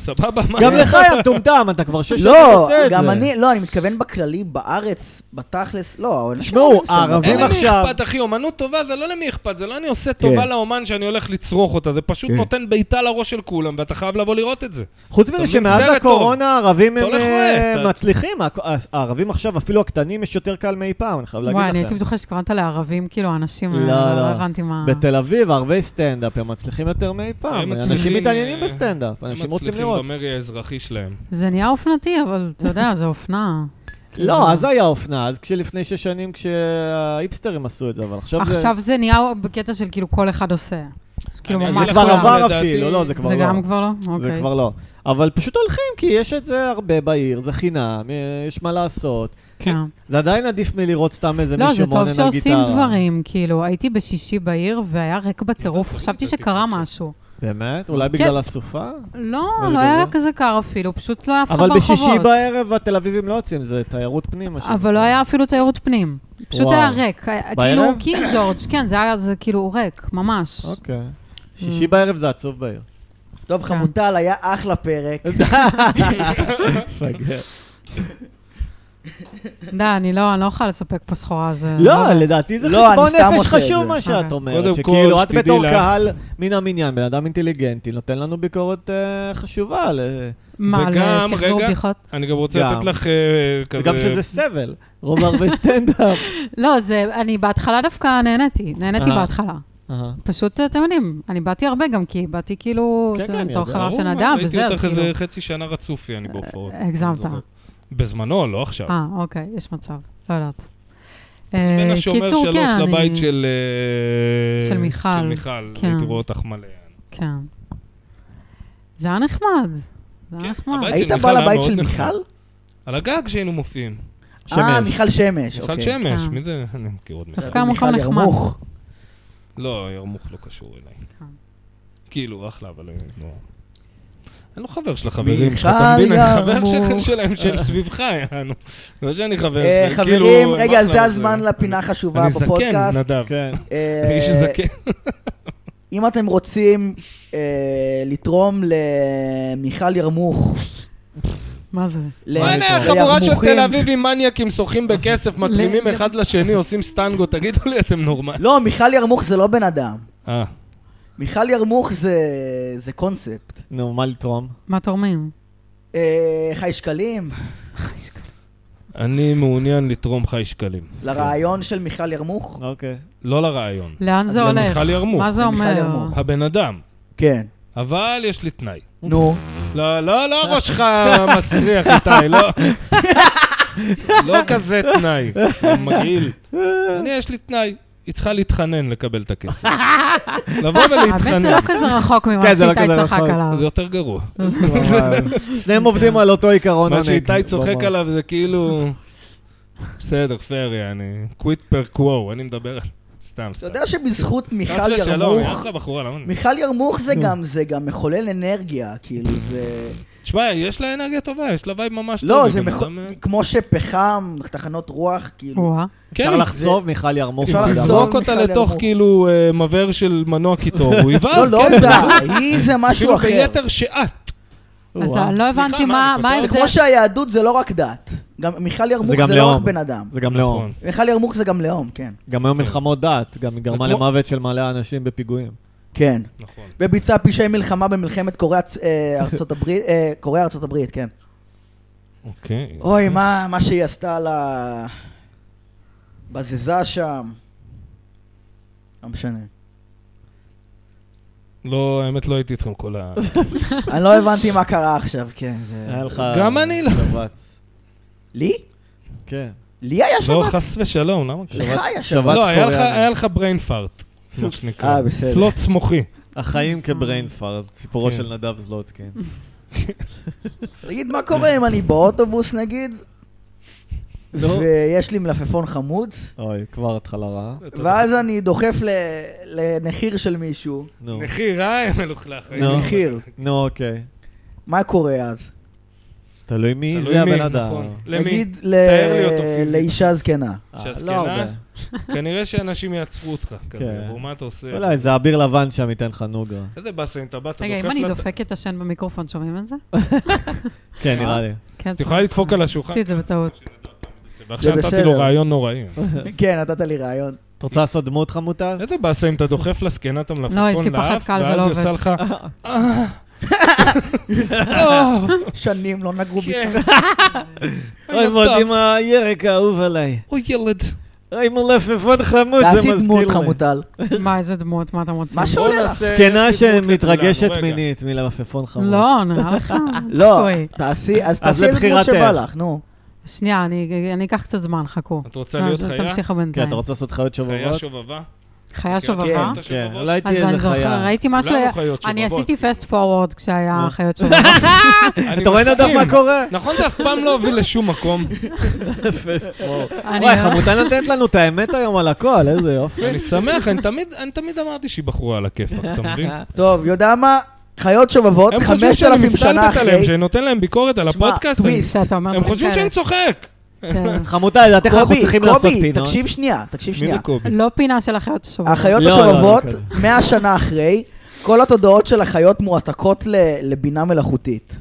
A: סבבה? מה-
B: גם לך, יא מטומטם, אתה כבר שש שנים
C: לא,
B: עושה את זה.
C: גם אני, לא, אני מתכוון בכללי, בארץ, בתכלס, לא, אנשים
B: תשמעו,
C: אוהבים סטנדאפ.
B: הערבים
A: אין
B: ואם
C: אבל-
A: למי
B: עכשיו-
A: אכפת, אחי, אומנות טובה זה לא למי אכפת, זה לא אני עושה טובה
B: כן.
A: לאומן שאני הולך לצרוך אותה, זה פשוט
C: כן.
A: נותן בעיטה לראש של כולם, ואתה חייב לבוא לראות את זה.
B: חוץ
A: אתה
B: מזה
A: מבין?
B: שמאז
A: סרט
B: הקורונה הערבים
A: אתה
B: הם
A: הולך
B: אה,
A: רואה, אתה-
B: מצליחים, הק- הס- הערבים עכשיו, אפילו הקטנים, יש יותר קל מאי פעם, אני חייב
D: וואי, אני
B: להגיד
D: הייתי
B: לכם.
D: בטוחה שקראת לערבים, כאילו, אנשים,
B: לא,
D: אה,
B: לא.
D: לא הבנתי מה...
B: בתל אביב, ערבי סטנדאפ, הם מצליחים יותר מאי פעם.
A: הם
B: אנשים
A: מצליחים,
B: מתעניינים
A: אה,
B: בסטנדאפ,
A: הם
B: אנשים רוצים
A: מצליחים
B: לראות.
A: במרי האזרחי שלהם.
D: זה נהיה אופנתי, אבל אתה יודע, זה אופנה.
B: לא, אז היה אופנה, אז כשלפני שש שנים, כשהאיפסטרים עשו את זה, אבל עכשיו זה...
D: עכשיו זה נהיה בקטע של כאילו כל אחד עושה. אז כאילו,
A: אני-
D: ממש
B: זה
A: זה
B: כבר
A: כבר
B: עבר
A: לדעתי-
B: אפילו, לא, זה כבר
D: זה
B: לא.
D: גם כבר לא?
B: זה
D: אוקיי.
B: כבר לא. אבל פשוט הולכים, כי יש את זה הרבה בעיר, זה חינם, אה, יש מה לעשות.
D: כן.
B: זה עדיין עדיף מלראות סתם איזה
D: לא,
B: מישהו
D: זה
B: מעונן על
D: טוב
B: גיטרה.
D: שעושים דברים, כאילו, הייתי בשישי בעיר והיה ריק בטירוף,
A: תוריד
D: חשבתי
A: את הטיפול
D: שקרה
A: שלך.
D: משהו.
B: באמת? אולי
D: כן.
B: בגלל הסופה?
D: לא,
B: אבל
D: לא
B: גדול.
D: היה כזה קר אפילו, פשוט לא היה אף אחד
B: אבל
D: ברחובות.
B: בשישי בערב התל אביבים לא יוצאים, זה תיירות פנים. מה
D: אבל לא
B: שנקרא.
D: היה אפילו תיירות פנים. פשוט
B: וואו.
D: היה ריק. היה-
B: בערב?
D: כאילו, קינג ג'ורג', כן, זה היה זה כאילו ריק, ממש.
B: אוקיי.
D: Mm.
B: שישי בערב זה עצוב בעיר.
C: טוב, חמוטל, היה אחלה פרק.
B: מפגר.
D: די, אני לא אני לא יכולה לספק פה סחורה, זה...
B: אוקיי. לא, לדעתי זה
C: לא,
B: חשבון
C: אני סתם
B: נפש
C: עושה את
B: חשוב
C: זה.
B: מה שאת
D: אוקיי.
B: אומרת.
A: קודם
B: שכאילו,
A: כל,
B: את
A: שתדעי
B: בתור
A: לך-
B: קהל מן המניין, בן אדם אינטליגנטי, נותן לנו ביקורת אה, חשובה. ל-
D: מה,
A: וגם,
D: לשחזור
A: רגע,
D: בדיחות?
A: אני גם רוצה
B: גם.
A: לתת לך אה, כזה...
B: וגם שזה סבל. רוב הרבה סטנדאפ.
D: לא, זה, אני בהתחלה דווקא נהניתי, נהניתי
B: אהה.
D: בהתחלה.
B: אהה.
D: פשוט, אה, אתם יודעים, אני באתי הרבה גם, כי באתי כאילו,
B: כן, כן,
D: אתה יודע,
B: אני
D: בתור
B: יודע.
D: חברה
A: ברור,
D: של
A: מה,
D: נדב, וזה,
A: ראיתי
D: אז
A: אותך
D: כאילו... אה,
A: איזה חצי שנה רצופי, אני בהופעות.
D: הגזמת.
A: אני זוכר. בזמנו, לא עכשיו.
D: אה, אוקיי, יש מצב, לא יודעת.
A: בין
D: אה,
A: השומר
D: קיצור,
A: שלוש
D: כן,
A: לבית
D: אני-
A: של... אה,
D: של מיכל.
A: של מיכל,
D: כן.
A: הייתי רואה אותך מלא.
D: כן. זה היה נחמד. זה
A: כן,
D: היה נחמד.
A: הבית-
C: היית
A: מיכל
C: בא
A: היה
C: לבית
A: מאוד
C: של
A: נחמד.
C: מיכל?
A: על הגג שהיינו מופיעים.
C: אה,
B: שמש.
C: מיכל שמש,
A: מיכל
C: אוקיי.
A: שמש,
D: כן.
A: מי זה? אני מכיר עוד מיכל.
D: דווקא המקום
C: מיכל
D: נחמד.
C: ירמוך.
A: לא, ירמוך לא קשור אליי.
D: כן.
A: כאילו, אחלה, אבל... אה, לא. אין לו חבר של החברים שלך,
C: מיכל
A: אתה מבין? אני חבר
C: ירמוך.
A: של- שלהם שהם סביבך, יענו. זה לא שאני חבר
C: אה,
A: שלהם, כאילו...
C: חברים,
A: מה
C: רגע,
A: אתה
C: זה
A: עושה?
C: הזמן לפינה החשובה
A: אני
C: בפודקאסט.
A: זקן, נדב.
B: כן.
C: אה,
A: אני איש זקן.
C: אם אתם רוצים אה, לתרום למיכל ירמוך,
D: מה זה?
C: ל-
A: מה הנה
C: לירמוכים,
A: החבורה של תל אביבים מניאקים שוחים בכסף, מתרימים
D: ל-
A: אחד לשני, עושים סטנגו, תגידו לי, אתם נורמלים.
C: לא, מיכל ירמוך זה לא בן אדם.
A: אה,
C: מיכל ירמוך זה- זה קונספט.
B: נו, מה לתרום?
D: מה תורמים?
C: אה, חי שקלים,
A: אני מעוניין לתרום חי שקלים.
C: לרעיון של מיכל ירמוך.
B: אוקיי.
A: לא לרעיון.
D: לאן זה
A: אז
D: הולך?
A: למיכל ירמוך.
D: מה זה
C: למיכל
D: אומר?
C: ירמוך.
A: הבן אדם.
C: כן.
A: אבל יש לי תנאי.
C: נו.
A: לא, לא, לא ראשך מסריח, איתי, לא. לא כזה תנאי, מגעיל. אני, יש לי תנאי. היא צריכה להתחנן לקבל את הכסף. לבוא
D: האמת זה לא
A: ולהתחנן.
D: כזה רחוק ממה
B: כן, זה לא
D: שאיתי
B: כזה
D: צחק
B: רחוק.
D: עליו.
A: זה יותר גרוע.
B: שניהם עובדים על אותו עיקרון.
A: מה
B: עונג.
A: שאיתי צוחק
B: ממש.
A: עליו זה כאילו... בסדר, פייר, יעני. קוויט פר קוו, אני מדבר על... סתם,
C: אתה
A: סתם.
C: יודע שבזכות מיכל
A: חס ושלום,
C: ירמוך,
A: יש לך בחורה, למה אני-
C: מיכל ירמוך זה גם, זה גם מחולל אנרגיה, כאילו זה...
A: תשמע, יש לה אנרגיה טובה, יש לה וייב ממש טוב.
C: לא,
A: היא
C: זה
A: בן
C: מחו-
A: אדם, אה,
C: כמו שפחם, תחנות רוח, כאילו.
D: וואה.
A: כן,
B: אפשר לחצוב מיכל ירמוך.
C: אפשר
B: אתה יודע.
C: לחצוב.
A: לזרוק אותה
C: מיכל
A: לתוך
C: ירמוך.
A: כאילו אה, מבער של מנוע קיטור, הוא יבער,
C: לא, לא
A: כן,
C: אותה, היא זה משהו
A: אפילו
C: אחר.
A: ביתר שאת.
D: אז
B: וואו.
D: לא
A: סליחה,
D: הבנתי
A: מה,
D: מה
A: אני
D: מה
A: פותח?
D: ההבדל.
C: כמו שהיהדות זה לא רק דת. גם מיכל ירמוך
B: גם
C: זה לא רק
B: לאום.
C: בן אדם.
B: זה גם
A: נכון.
B: לאום.
C: מיכל ירמוך זה גם לאום, כן.
B: גם היו מלחמות דת, גם היא גרמה
A: וכמו-
B: למוות של מלא אנשים בפיגועים.
C: כן.
A: נכון.
C: וביצע פשעי מלחמה במלחמת קוריאה צ- אה, ארצות הברית, אה, קוריאה ארצות הברית, כן.
A: אוקיי.
C: אוי, מה מה שהיא עשתה ל... בזזה שם. לא משנה.
A: לא, האמת לא הייתי איתכם כל ה...
C: אני לא הבנתי מה קרה עכשיו, כן, זה...
B: היה לך...
A: גם אני לא.
B: שבץ.
C: לי?
B: כן.
C: לי היה
A: לא,
C: שבץ?
A: חס ושלום, למה?
C: לך היה שבץ.
B: שבץ
A: לא, היה לך-
B: קוריאני.
A: היה לך בריין פארט, מה שנקרא.
C: אה, בסדר.
A: פלוץ מוחי.
B: החיים כבריינפארד, סיפורו
A: כן.
B: של נדב זלוטקין.
C: תגיד, מה קורה אם אני באוטובוס נגיד,
B: נו.
C: ויש לי מלפפון חמוץ,
B: אוי, כבר התחלה רעה.
C: ואז אני דוחף ל- לנחיר של מישהו,
B: נו.
A: נחיר, אה, מלוכלך.
B: נו.
C: נחיר,
B: נו, אוקיי.
C: מה קורה אז?
B: תלוי מי
A: תלוי
B: זה
A: מי,
B: הבן אדם.
A: נכון. למי?
C: נגיד
A: תאר לי אותו
C: ל-
A: פיזית.
C: לאישה זקנה.
B: אה,
A: שהזקנה?
B: לא הרבה.
A: כנראה שאנשים יעצרו אותך כזה,
B: כן.
A: נו, מה אתה עושה?
B: אולי זה אביר לבן שם ייתן לך נוגה.
A: איזה באסה אם אתה בא, אתה
D: רגע, אם
A: דוחף
D: אני
A: לה...
D: דופקת את השן במיקרופון, שומעים את זה?
B: כן,
A: אה?
B: נראה לי.
D: כן,
A: את יכולה לדפוק על השולחן.
D: עשי את זה בטעות.
A: ועכשיו
C: זה
A: נתתי
C: בסדר.
A: לו רעיון נוראי.
C: כן, נתת לי רעיון.
B: את רוצה לעשות דמות חמוטל?
A: איזה באסה אם אתה דוחף לזקנה את המלפפון
D: לא, יש לי פחד
A: לאף,
D: קהל, זה
A: ואז
D: לא
A: היא עושה
D: עובד.
A: לך... "אה." אה,
C: שנים לא נגעו בי.
A: כן.
B: אוי, מודי מה הירק האהוב עליי.
A: אוי, ילד.
B: אוי, מלפפון חמוד, זה
C: תעשי
B: מזכיר לי.
C: דמות חמוטל.
D: מה, איזה דמות, מה אתה מוציא?
C: משהו-
A: בוא
C: עולה לך?
A: נעשה-
B: זקנה
A: יש לי דמות
B: שמתרגשת
A: לכולנו, רגע.
B: מינית מלפפון חמוד.
D: לא, נראה לך.
C: לא,
D: צפוי.
C: תעשי, אז
B: אז
C: תעשי איזה דמות
B: לבחירתך.
C: שבא לך, נו.
B: לא.
D: שנייה, אני- אני אקח קצת זמן, חכו.
A: את רוצה להיות
D: לא, אז
A: חיה?
D: תמשיכו
B: כן,
D: בינתיים.
B: אתה רוצה לעשות חיות
A: חיה
B: שובבות?
A: שובבה?
D: חיה שובבה?
A: כן.
B: כן,
A: שובבות?
B: אולי
D: אז
B: תהיה
D: אני
B: איזה
D: זוכר,
B: חיה.
D: ראיתי משהו...
A: למה לא חיות שובבות?
D: לא אני עשיתי פסט פורוורד כשהיה
B: נו.
D: חיות שובבות.
A: אני
B: אתה רואה נדב
A: מסכים.
B: מה קורה?
A: נכון, זה אף פעם לא הוביל לשום מקום.
B: אפס פה.
D: אני- לא-
B: וואי, חמוטל נותנת לנו את האמת היום על הכל, איזה יופי.
A: אני שמח, אני תמיד- אני תמיד אמרתי שהיא בחורה על הכיפאק, אתה מבין?
C: טוב, יודע מה? חיות שובבות,
A: הם חושבים שאני
C: 5,000 שנה
A: מסתלבט
C: אחרי.
A: עליהם, שאני נותן להם ביקורת על
C: שמע,
A: הפודקאסט. אני-
C: טוויסט.
D: שאתה אומר... כן.
A: הם חושבים שאני צוחק.
D: שאני...
B: חמוטל, לדעתך אנחנו
C: קובי,
B: צריכים לעשות
C: קובי,
B: פינות.
C: תקשיב שנייה, תקשיב
A: מי
C: שנייה.
A: זה קובי?
D: לא פינה של החיות השובבות.
C: החיות
B: לא, לא, לא
C: השובבות,
B: כזה.
C: 100 שנה אחרי, כל התודעות של החיות מועתקות ל- לבינה מלאכותית.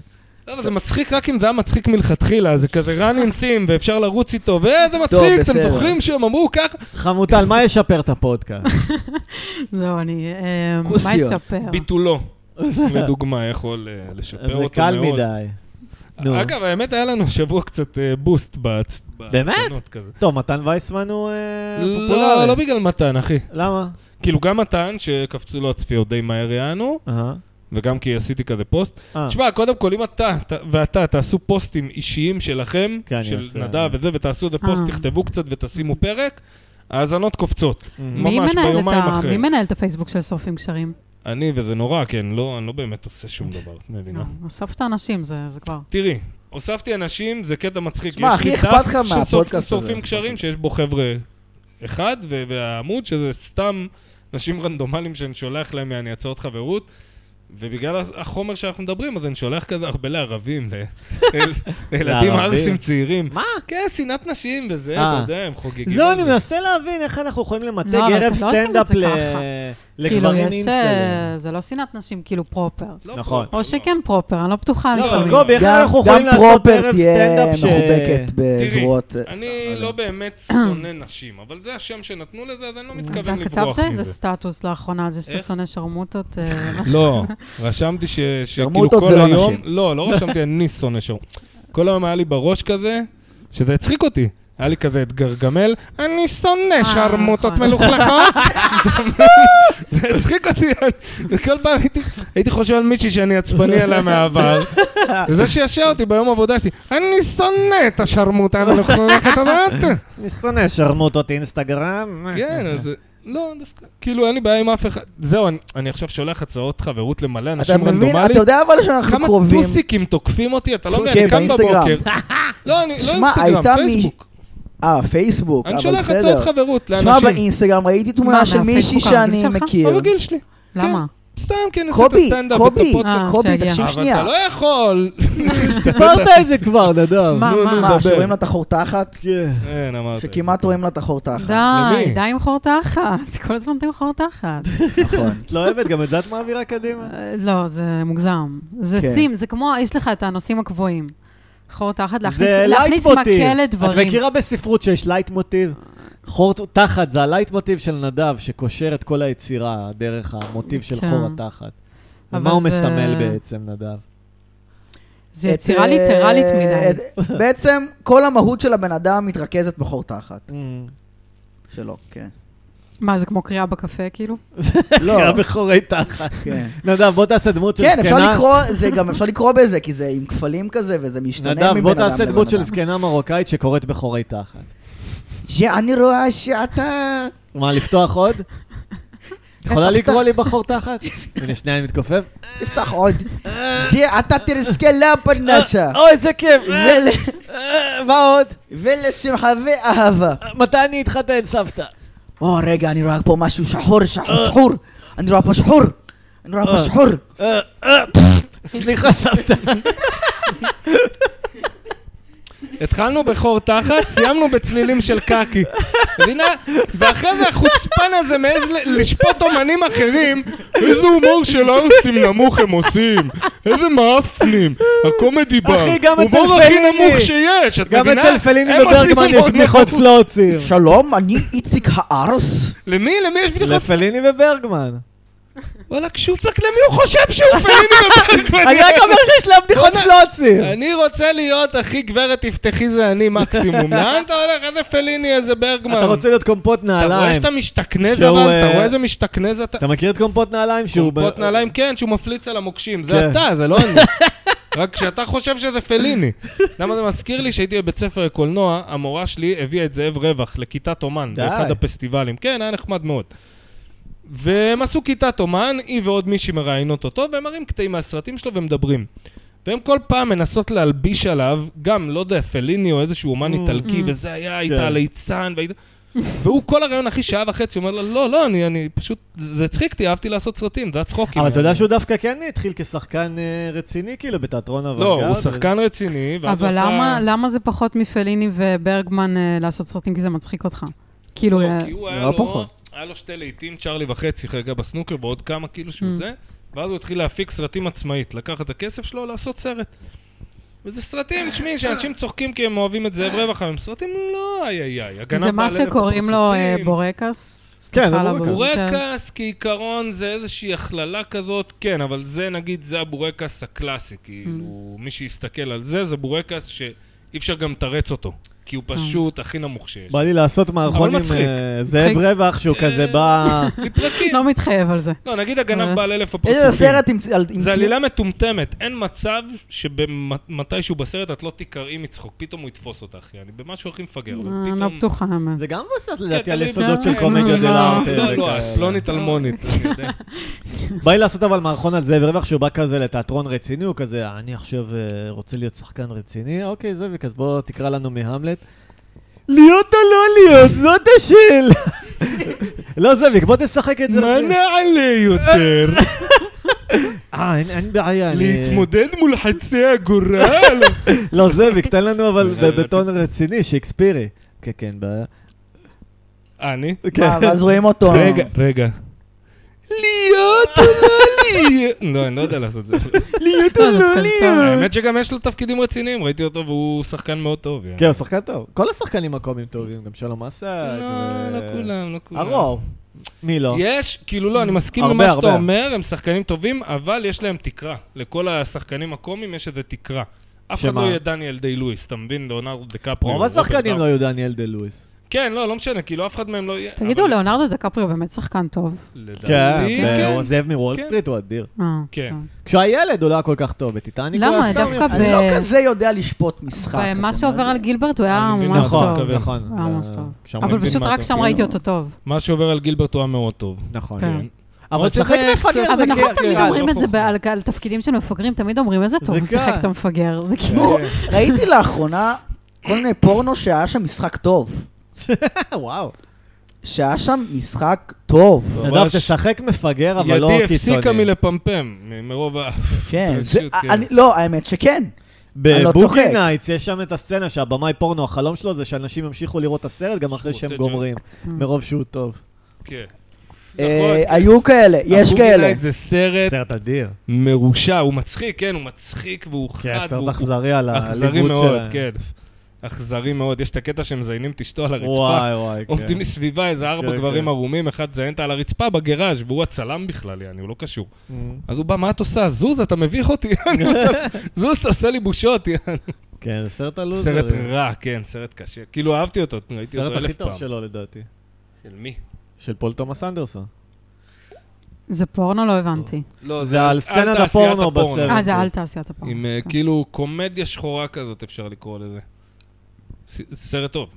A: לא, אבל זה מצחיק רק אם זה היה מצחיק מלכתחילה, זה כזה run in theme ואפשר לרוץ איתו, ואיזה
C: טוב,
A: מצחיק, אתם
C: בסדר.
A: זוכרים שהם אמרו ככה?
B: אה. חמוטל, מה ישפר את הפודקאסט?
D: זהו, אני... אה, מה
C: כוסיות.
D: יספר?
A: ביטולו, לדוגמה, יכול אה, לשפר אותו
B: זה
A: מאוד.
B: קל מדי. נו.
A: אגב, האמת, היה לנו השבוע קצת אה, בוסט בהצ-
B: באמת?
A: בהצפנות כזה.
B: טוב, מתן וייסמן הוא אה,
A: לא,
B: פופולרי.
A: לא בגלל מתן, אחי.
B: למה?
A: כאילו, גם מתן, שקפצו לו הצפיות די מהר יענו,
B: אהה.
A: וגם כי עשיתי כזה פוסט.
B: אה,
A: תשמע, קודם כל, אם אתה ת- ואתה תעשו פוסטים אישיים שלכם,
B: כן, אני
A: של
B: עושה.
A: נדב וזה, ותעשו איזה פוסט,
D: אה.
A: תכתבו קצת ותשימו פרק, ההאזנות קופצות.
B: מ-
D: מי
A: ממש
D: מנהל את
A: ביומיים
D: ה-
A: אחרי.
D: מי מנהל את הפייסבוק של שורפים קשרים?
A: אני, וזה נורא, כן, לא, אני לא באמת עושה שום דבר, את מבינה.
D: לא, אסוף את האנשים, זה זה כבר.
A: תראי, הוספתי אנשים, זה קטע מצחיק.
C: שמע,
A: יש
C: הכי
A: לי
C: אכפת
A: דף
C: לך
A: של
C: מהפודקאסט
A: שורפים-
C: הזה,
A: שורפים
C: זה
A: קשרים
C: פשוט.
A: שיש בו חבר'ה אחד, ו- והעמוד שזה סתם אנשים רנדומליים שאני שולח להם יעני הצעות חברות, ובגלל הס- החומר שאנחנו מדברים, אז אני שולח כזה הרבה לערבים, ל- אל- לילדים
B: לערבים?
A: ערסים צעירים.
B: מה?
A: כן, שנאת נשים וזה,
B: אה.
A: אתה יודע, הם חוגגים.
B: זהו,
A: על
B: אני
A: זה.
B: מנסה להבין איך אנחנו יכולים למתג
D: אבל
B: ערב
D: אתם לא עושים את
B: סטנדאפ
D: זה
B: ל-
D: ככה. כאילו,
B: לגברים
D: יש...
B: אינסטגרם.
D: אה, זה לא שנאת נשים, כאילו פרופר.
A: לא
B: נכון.
A: פה,
D: או
A: לא.
D: שכן פרופר, אני לא בטוחה
B: לא,
A: אבל
B: אבל
D: לפעמים.
B: קובי, איך
C: גם-
B: אנחנו יכולים
C: גם
B: לעשות
C: פרופר
B: ערב
C: תהיה
B: סטנדאפ ש...
C: מחובקת בזרועות.
A: אני לא באמת שונא נשים, אבל זה השם שנתנו לזה, אז אני לא מתכוון
D: אתה
A: לברוח
D: כתבת איזה
A: מזה.
D: סטטוס לאחרונה על זה שאתה
A: איך?
D: שונא שרמוטות? אה, משהו
A: לא, רשמתי ש- שכאילו
C: שרמוטות
A: כל
C: זה לא
A: היום...
C: נשים.
A: לא, לא רשמתי, אני שונא שור. כל היום היה לי בראש כזה, שזה הצחיק אותי. היה לי כזה את גרגמל, אני שונא שרמוטות
D: נכון.
A: מלוכלכות. זה הצחיק אותי, וכל פעם הייתי, הייתי חושב על מישהי שאני עצבני עליה מהעבר. וזה שישר אותי ביום העבודה שלי, אני שונא את השרמוטה המלוכלכת הזאת.
B: אני שונא שרמוטות אינסטגרם.
A: כן, אז... לא, דווקא. כאילו, אין לי בעיה עם אף אחד. זהו, אני- אני עכשיו שולח הצעות חברות למלא
C: אתה
A: אנשים
C: מבין?
A: רנדומליים.
C: אתה יודע אבל שאנחנו
A: כמה
C: קרובים.
A: טוסיקים תוקפים אותי, אתה לא מבין, אני
C: כן,
A: קם
C: באינסטגרם.
A: בבוקר. לא, אני, לא
C: שמע,
A: אינסטגרם,
C: הייתה מי-
A: פייסבוק.
C: אה, פייסבוק, אבל
A: אני
C: בסדר.
A: שולח הצעות חברות
C: שמע,
A: לאנשים.
C: באינסטגרם ראיתי תמונה
D: מה,
C: של מישהי
D: מהפייסבוק הרגיל
C: שאני
D: שלך?
C: מכיר.
A: הרגיל שלי.
B: כן.
D: למה?
A: סתם כי אני עושה את
C: קובי,
A: הסטנדאפ, את
C: קובי,
A: הפודקאסט.
D: אה,
C: קובי,
D: שיגיע.
C: תקשיב
A: אבל
C: שנייה.
A: אתה לא יכול.
B: סיפרת את זה כבר, נדב.
D: מה,
A: נו, נו,
D: מה?
C: מה,
A: מדבר.
C: שרואים לה את החור תחת?
B: כן.
A: אין, אמרת.
C: שכמעט רואים לה את החור תחת,
A: נכון. למי?
D: די, די עם חור תחת. כל הזמן אתם עם חור תחת.
C: נכון.
B: את לא אוהבת? גם את זה את מעבירה קדימה?
D: אה, לא, זה מוגזם. זה
C: כן.
D: צים, זה כמו, יש לך את הנושאים הקבועים. חור תחת, להכניס
B: זה
D: להכניס
B: לייטמוטיב.
D: מקל
B: את
D: לדברים.
B: מכירה בספרות שיש לייט מוטיב? חור תחת זה הלייט מוטיב של נדב, שקושר את כל היצירה דרך המוטיב של
D: כן.
B: חור התחת.
D: אבל
B: ומה הוא
D: זה-
B: מסמל בעצם, נדב?
D: זה
C: את,
D: יצירה
C: אה,
D: ליטרלית מדי.
C: את- בעצם כל המהות של הבן אדם מתרכזת בחור תחת שלו, כן.
D: מה, זה כמו קריאה בקפה, כאילו?
C: לא,
B: קרא בחורי תחת.
C: כן.
B: נדב, בוא תעשה דמות של
C: כן,
B: זקנה.
C: אפשר לקרוא, זה גם אפשר לקרוא בזה, כי זה עם כפלים כזה, וזה משתנה מבן אדם
B: נדב,
C: לבן
B: בוא
C: אדם.
B: תעשה דמות של זקנה מרוקאית שקוראת בחורי תחת.
C: שאני רואה שאתה...
B: מה, לפתוח עוד? את יכולה לקרוא לי בחור תחת? הנה, שנייה, אני מתכופף.
C: תפתח עוד. שאתה תרסקה לפרנסה.
B: או, אה, איזה כיף!
C: ול-
B: אה, מה עוד?
C: ולשמחה ואהבה.
B: מתי אני אתחתן, סבתא?
C: או, רגע, אני רואה פה משהו שחור, שחור, שחור. אני רואה פה שחור. אני רואה פה
B: אה.
C: שחור.
B: אה, אה, פפפ. סליחה, סבתא.
A: התחלנו בחור תחת, סיימנו בצלילים של קקי. מבינה? ואחרי זה החוצפן הזה מעז ל- לשפוט אומנים אחרים, איזה הומור של ערסים נמוך הם עושים, איזה מאפנים, הקומדי בר,
B: אחי, גם אצל
A: הומור הכי
B: פליני.
A: נמוך שיש, את
B: גם
A: מבינה?
B: אצל פליני
A: הם עושים
B: וברגמן
A: הומור
B: יש בדיחות
A: נמוך.
B: פלוצים.
C: שלום, אני איציק הארס.
A: למי? למי יש בדיחות?
B: לפליני וברגמן.
A: וואלכ, שופלק, למי הוא חושב שהוא פליני בברגמן?
B: אני רק אומר שיש להם בדיחות
A: בוא'נה.
B: פלוצים.
A: אני רוצה להיות הכי גברת תפתחי זה אני מקסימום. לאן אתה הולך? איזה פליני, איזה ברגמן.
B: אתה רוצה להיות קומפוט
A: אתה רואה
B: נעליים.
A: שאתה משתכנז
B: שהוא,
A: אבל?
B: אה,
A: אתה רואה איזה משתכנז אתה?
B: אתה מכיר את קומפוט נעליים? שהוא ב-
A: קומפות נעליים, כן, שהוא מפליץ על המוקשים. זה
B: כן.
A: אתה, זה לא אני. רק שאתה חושב שזה פליני. למה זה מזכיר לי שהייתי בבית ספר לקולנוע, המורה שלי הביאה את זאב רווח לכיתת אומן,
B: די.
A: באחד הפסטיבלים. כן, היה נחמד מאוד. והם עשו כיתת אומן, היא ועוד מישהי מראיינות אותו, והם מראים קטעים מהסרטים שלו ומדברים. והם כל פעם מנסות להלביש עליו, גם, לא יודע, פליני או איזשהו אומן
B: Mm.
A: איטלקי,
D: Mm.
A: וזה היה, היית
B: כן.
A: הליצן, והיית... והוא כל הרעיון אחי שעה וחצי אומר לה, לא, לא, אני, אני פשוט, זה הצחיק אותי, אהבתי לעשות סרטים, זה היה צחוקים.
B: אבל אתה יודע שהוא דווקא כן התחיל כשחקן אה, רציני, כאילו, בתיאטרון אוונגרד.
A: לא, הוא שחקן רציני, ואז הוא
D: אבל
A: עשה...
D: למה- לא, למה זה פחות מפליני וברגמן אה, לעשות סרטים? כי זה מצחיק אותך. כאילו,
A: לא,
D: אה,
A: כי הוא היה
C: נראה
A: לו,
C: פחות.
A: היה לו שתי לעיתים, צ'ארלי וחצי, רגע בסנוקר, ועוד כמה כאילו שהוא
D: Mm.
A: זה, ואז הוא התחיל להפיק סרטים עצמאית, לקח את הכסף שלו, לעשות סרט. וזה סרטים, תשמעי, שאנשים צוחקים כי הם אוהבים את זאב רווח, אבל הם סרטים לא איי איי איי. הגנב
D: זה מה
A: בעל אלף
D: שקוראים לו אה,
A: הפרצופים.
D: בורקס.
B: כן,
D: סליחה
B: זה
D: על
B: בורקס.
D: הבורות, כן.
A: בורקס כעיקרון זה איזושהי הכללה כזאת, כן, אבל זה נגיד, זה הבורקס הקלאסי, כאילו, מי שיסתכל על זה, זה בורקס שאי אפשר גם לתרץ אותו, כי הוא פשוט הכי נמוך שיש.
B: בא לי לעשות מערכון עם
A: מצחיק. אה.
B: אה, זאב
D: מצחיק.
B: רווח, שהוא כזה בא...
A: לפרקים.
D: לא מתחייב על זה.
A: לא, נגיד הגנב
D: אה.
A: בעל אלף הפרצופים.
C: איזה סרט עם... צ- על- עם
A: זה
C: צי-
A: עלילה מטומטמת, אין מצב שמתישהו בסרט את לא תיקרעי מצחוק, פתאום הוא יתפוס אותך, יעני, במשהו הכי מפגר, אבל
D: אני לא
A: פתאום...
D: בטוחה, האמת.
B: זה גם מבוסס לדעתי על
A: כן, תלוי
B: יסודות
D: ב-
B: של קומדיה
D: לא,
B: דל ארטה.
A: לא, לא,
B: וכאלה.
A: את פלונית אלמונית, אני יודע.
B: בא לי לעשות אבל מערכון על זאב רווח, שהוא בא כזה לתיאטרון רציני, הוא כזה, אני עכשיו אה, רוצה להיות שחקן רציני, אוקיי, זאביק, אז בוא תקרא לנו מהמלט. להיות או לא להיות, זאת השאלה. לא, זאביק, בוא תשחק את זה.
A: מה נעלה יותר?
B: אה, אין- אין בעיה. אני-
A: להתמודד מול חצי הגורל.
B: לא, זאביק, תן לנו אבל בבטון רציני, שייקספירי. כן, כן, בעיה.
A: אני? אה.
B: כן.
C: מה, ואז רואים אותו.
A: רגע, רגע. להיות או לא להיות? לא, אני לא יודע לעשות את זה.
B: להיות
D: או לא להיות.
A: האמת שגם יש לו תפקידים רציניים, ראיתי אותו והוא שחקן מאוד טוב. יעני.
B: כן, הוא שחקן טוב. כל השחקנים הקומיים טובים, גם שלום אסק.
A: לא,
B: ו-
A: לא כולם, לא כולם.
B: הרוב. מי לא?
A: יש, כאילו לא, אני מסכים
B: הרבה,
A: למה שאתה
B: הרבה.
A: אומר, הם שחקנים טובים, אבל יש להם תקרה. לכל השחקנים הקומיים יש איזה תקרה. אף אחד
B: שמה?
A: לא יהיה דניאל דיי לואיס, אתה מבין? ליאונרד דקפרי.
B: רוב השחקנים לא היו דניאל דה לואיס.
A: כן, לא, לא משנה, כאילו אף אחד מהם לא יהיה.
D: תגידו,
A: אבל
D: ליאונרדו דקפריו באמת שחקן טוב.
B: כן,
A: לדעתי,
B: והוא
A: כן.
B: עוזב מוול
A: כן.
B: סטריט, הוא אדיר.
D: אה,
A: כן.
D: טוב.
B: כשהוא היה ילד הוא לא היה כל כך טוב, בטיטניק הוא
D: למה?
B: היה סתם
D: דווקא
B: יפה.
C: אני
D: ב-
C: לא כזה יודע לשפוט משחק.
D: ומה
C: אתה
D: שעובר
C: יודע.
D: על גילברט הוא היה
A: אני מבין
D: ממש
A: מה אתה
B: נכון,
D: טוב.
A: מתכוון.
B: נכון.
D: הוא היה ממש
B: אה,
D: טוב.
B: שם הוא
D: אבל
B: הבין
D: פשוט
B: מה
D: רק
B: אתה- כאילו-
D: שם ראיתי אותו טוב.
A: מה שעובר על גilbert הוא היה מאוד טוב.
B: נכון.
D: כן.
A: כן.
B: אבל צריך
A: צריך
B: רק
A: קצת-
B: לפגר.
A: אבל
B: זה
D: אבל נכון
B: קרע,
D: תמיד
B: לא
D: אומרים את זה
A: חוכמה.
D: בעל- על תפקידים של מפגרים, תמיד אומרים איזה טוב,
B: זה
D: הוא שיחק
B: קל.
D: את המפגר. זה כאילו...
A: כן.
C: ראיתי לאחרונה כל מיני פורנו שהיה שם משחק טוב.
B: וואו.
C: שהיה שם משחק טוב.
B: נדב, תשחק מפגר, אבל לא
A: ידי הפסיקה
B: קיצוני.
A: מלפמפם, מ- מרוב ה...
C: כן, זה-
A: פשוט, כן. נכון,
C: אני- לא, האמת שכן. אני לא צוחק.
B: בבוקי נייטס יש שם את הסצנה שהבמאי פורנו, החלום שלו זה שאנשים ימשיכו לראות את הסרט גם אחרי
A: שהוא
B: שהם
A: רוצה
B: גומרים,
C: Mm.
B: מרוב שהוא טוב.
A: כן.
C: אה,
A: נכון.
C: היו כאלה, יש
A: הבוגי
C: כאלה.
A: לייט זה סרט
B: סרט אדיר.
A: מרושע, הוא מצחיק, כן, הוא מצחיק והוא
B: כן,
A: חד.
B: סרט
A: והוא-
B: אכזרי על
A: אכזרי
B: הליווד
A: מאוד,
B: שלהם.
A: כן. אכזרי מאוד. יש את הקטע שמזיינים את אשתו על הרצפה.
B: וואי וואי, כן.
A: עומדים מסביבה איזה ארבע
B: כן,
A: גברים
B: כן.
A: ערומים, אחד זיין על הרצפה בגראז' והוא הצלם בכלל, יעני, הוא לא קשור.
B: אמ,
A: אז הוא בא, מה את עושה? זוז, אתה מביך אותי. אני עושה- זוז, אתה עושה לי בושות. יעני.
B: כן, זה סרט הלוזרים.
A: סרט רע, כן, סרט קשה. כאילו, אהבתי אותו, ראיתי
B: סרט
A: אותו
B: הכי
A: אלף
B: טוב
A: פעם.
B: שלו לדעתי.
A: של מי?
B: של פול תומאס אנדרסון. כן.
D: זה פורנו? לא הבנתי.
A: לא,
B: זה על סצנת
A: תעשיית
B: הפורנו בסרט.
D: אה, זה אל תעשיית הפעם.
A: עם אה,
D: כן.
A: כאילו קומדיה שחורה כזאת, אפשר לקרוא לזה. ס- סרט טוב.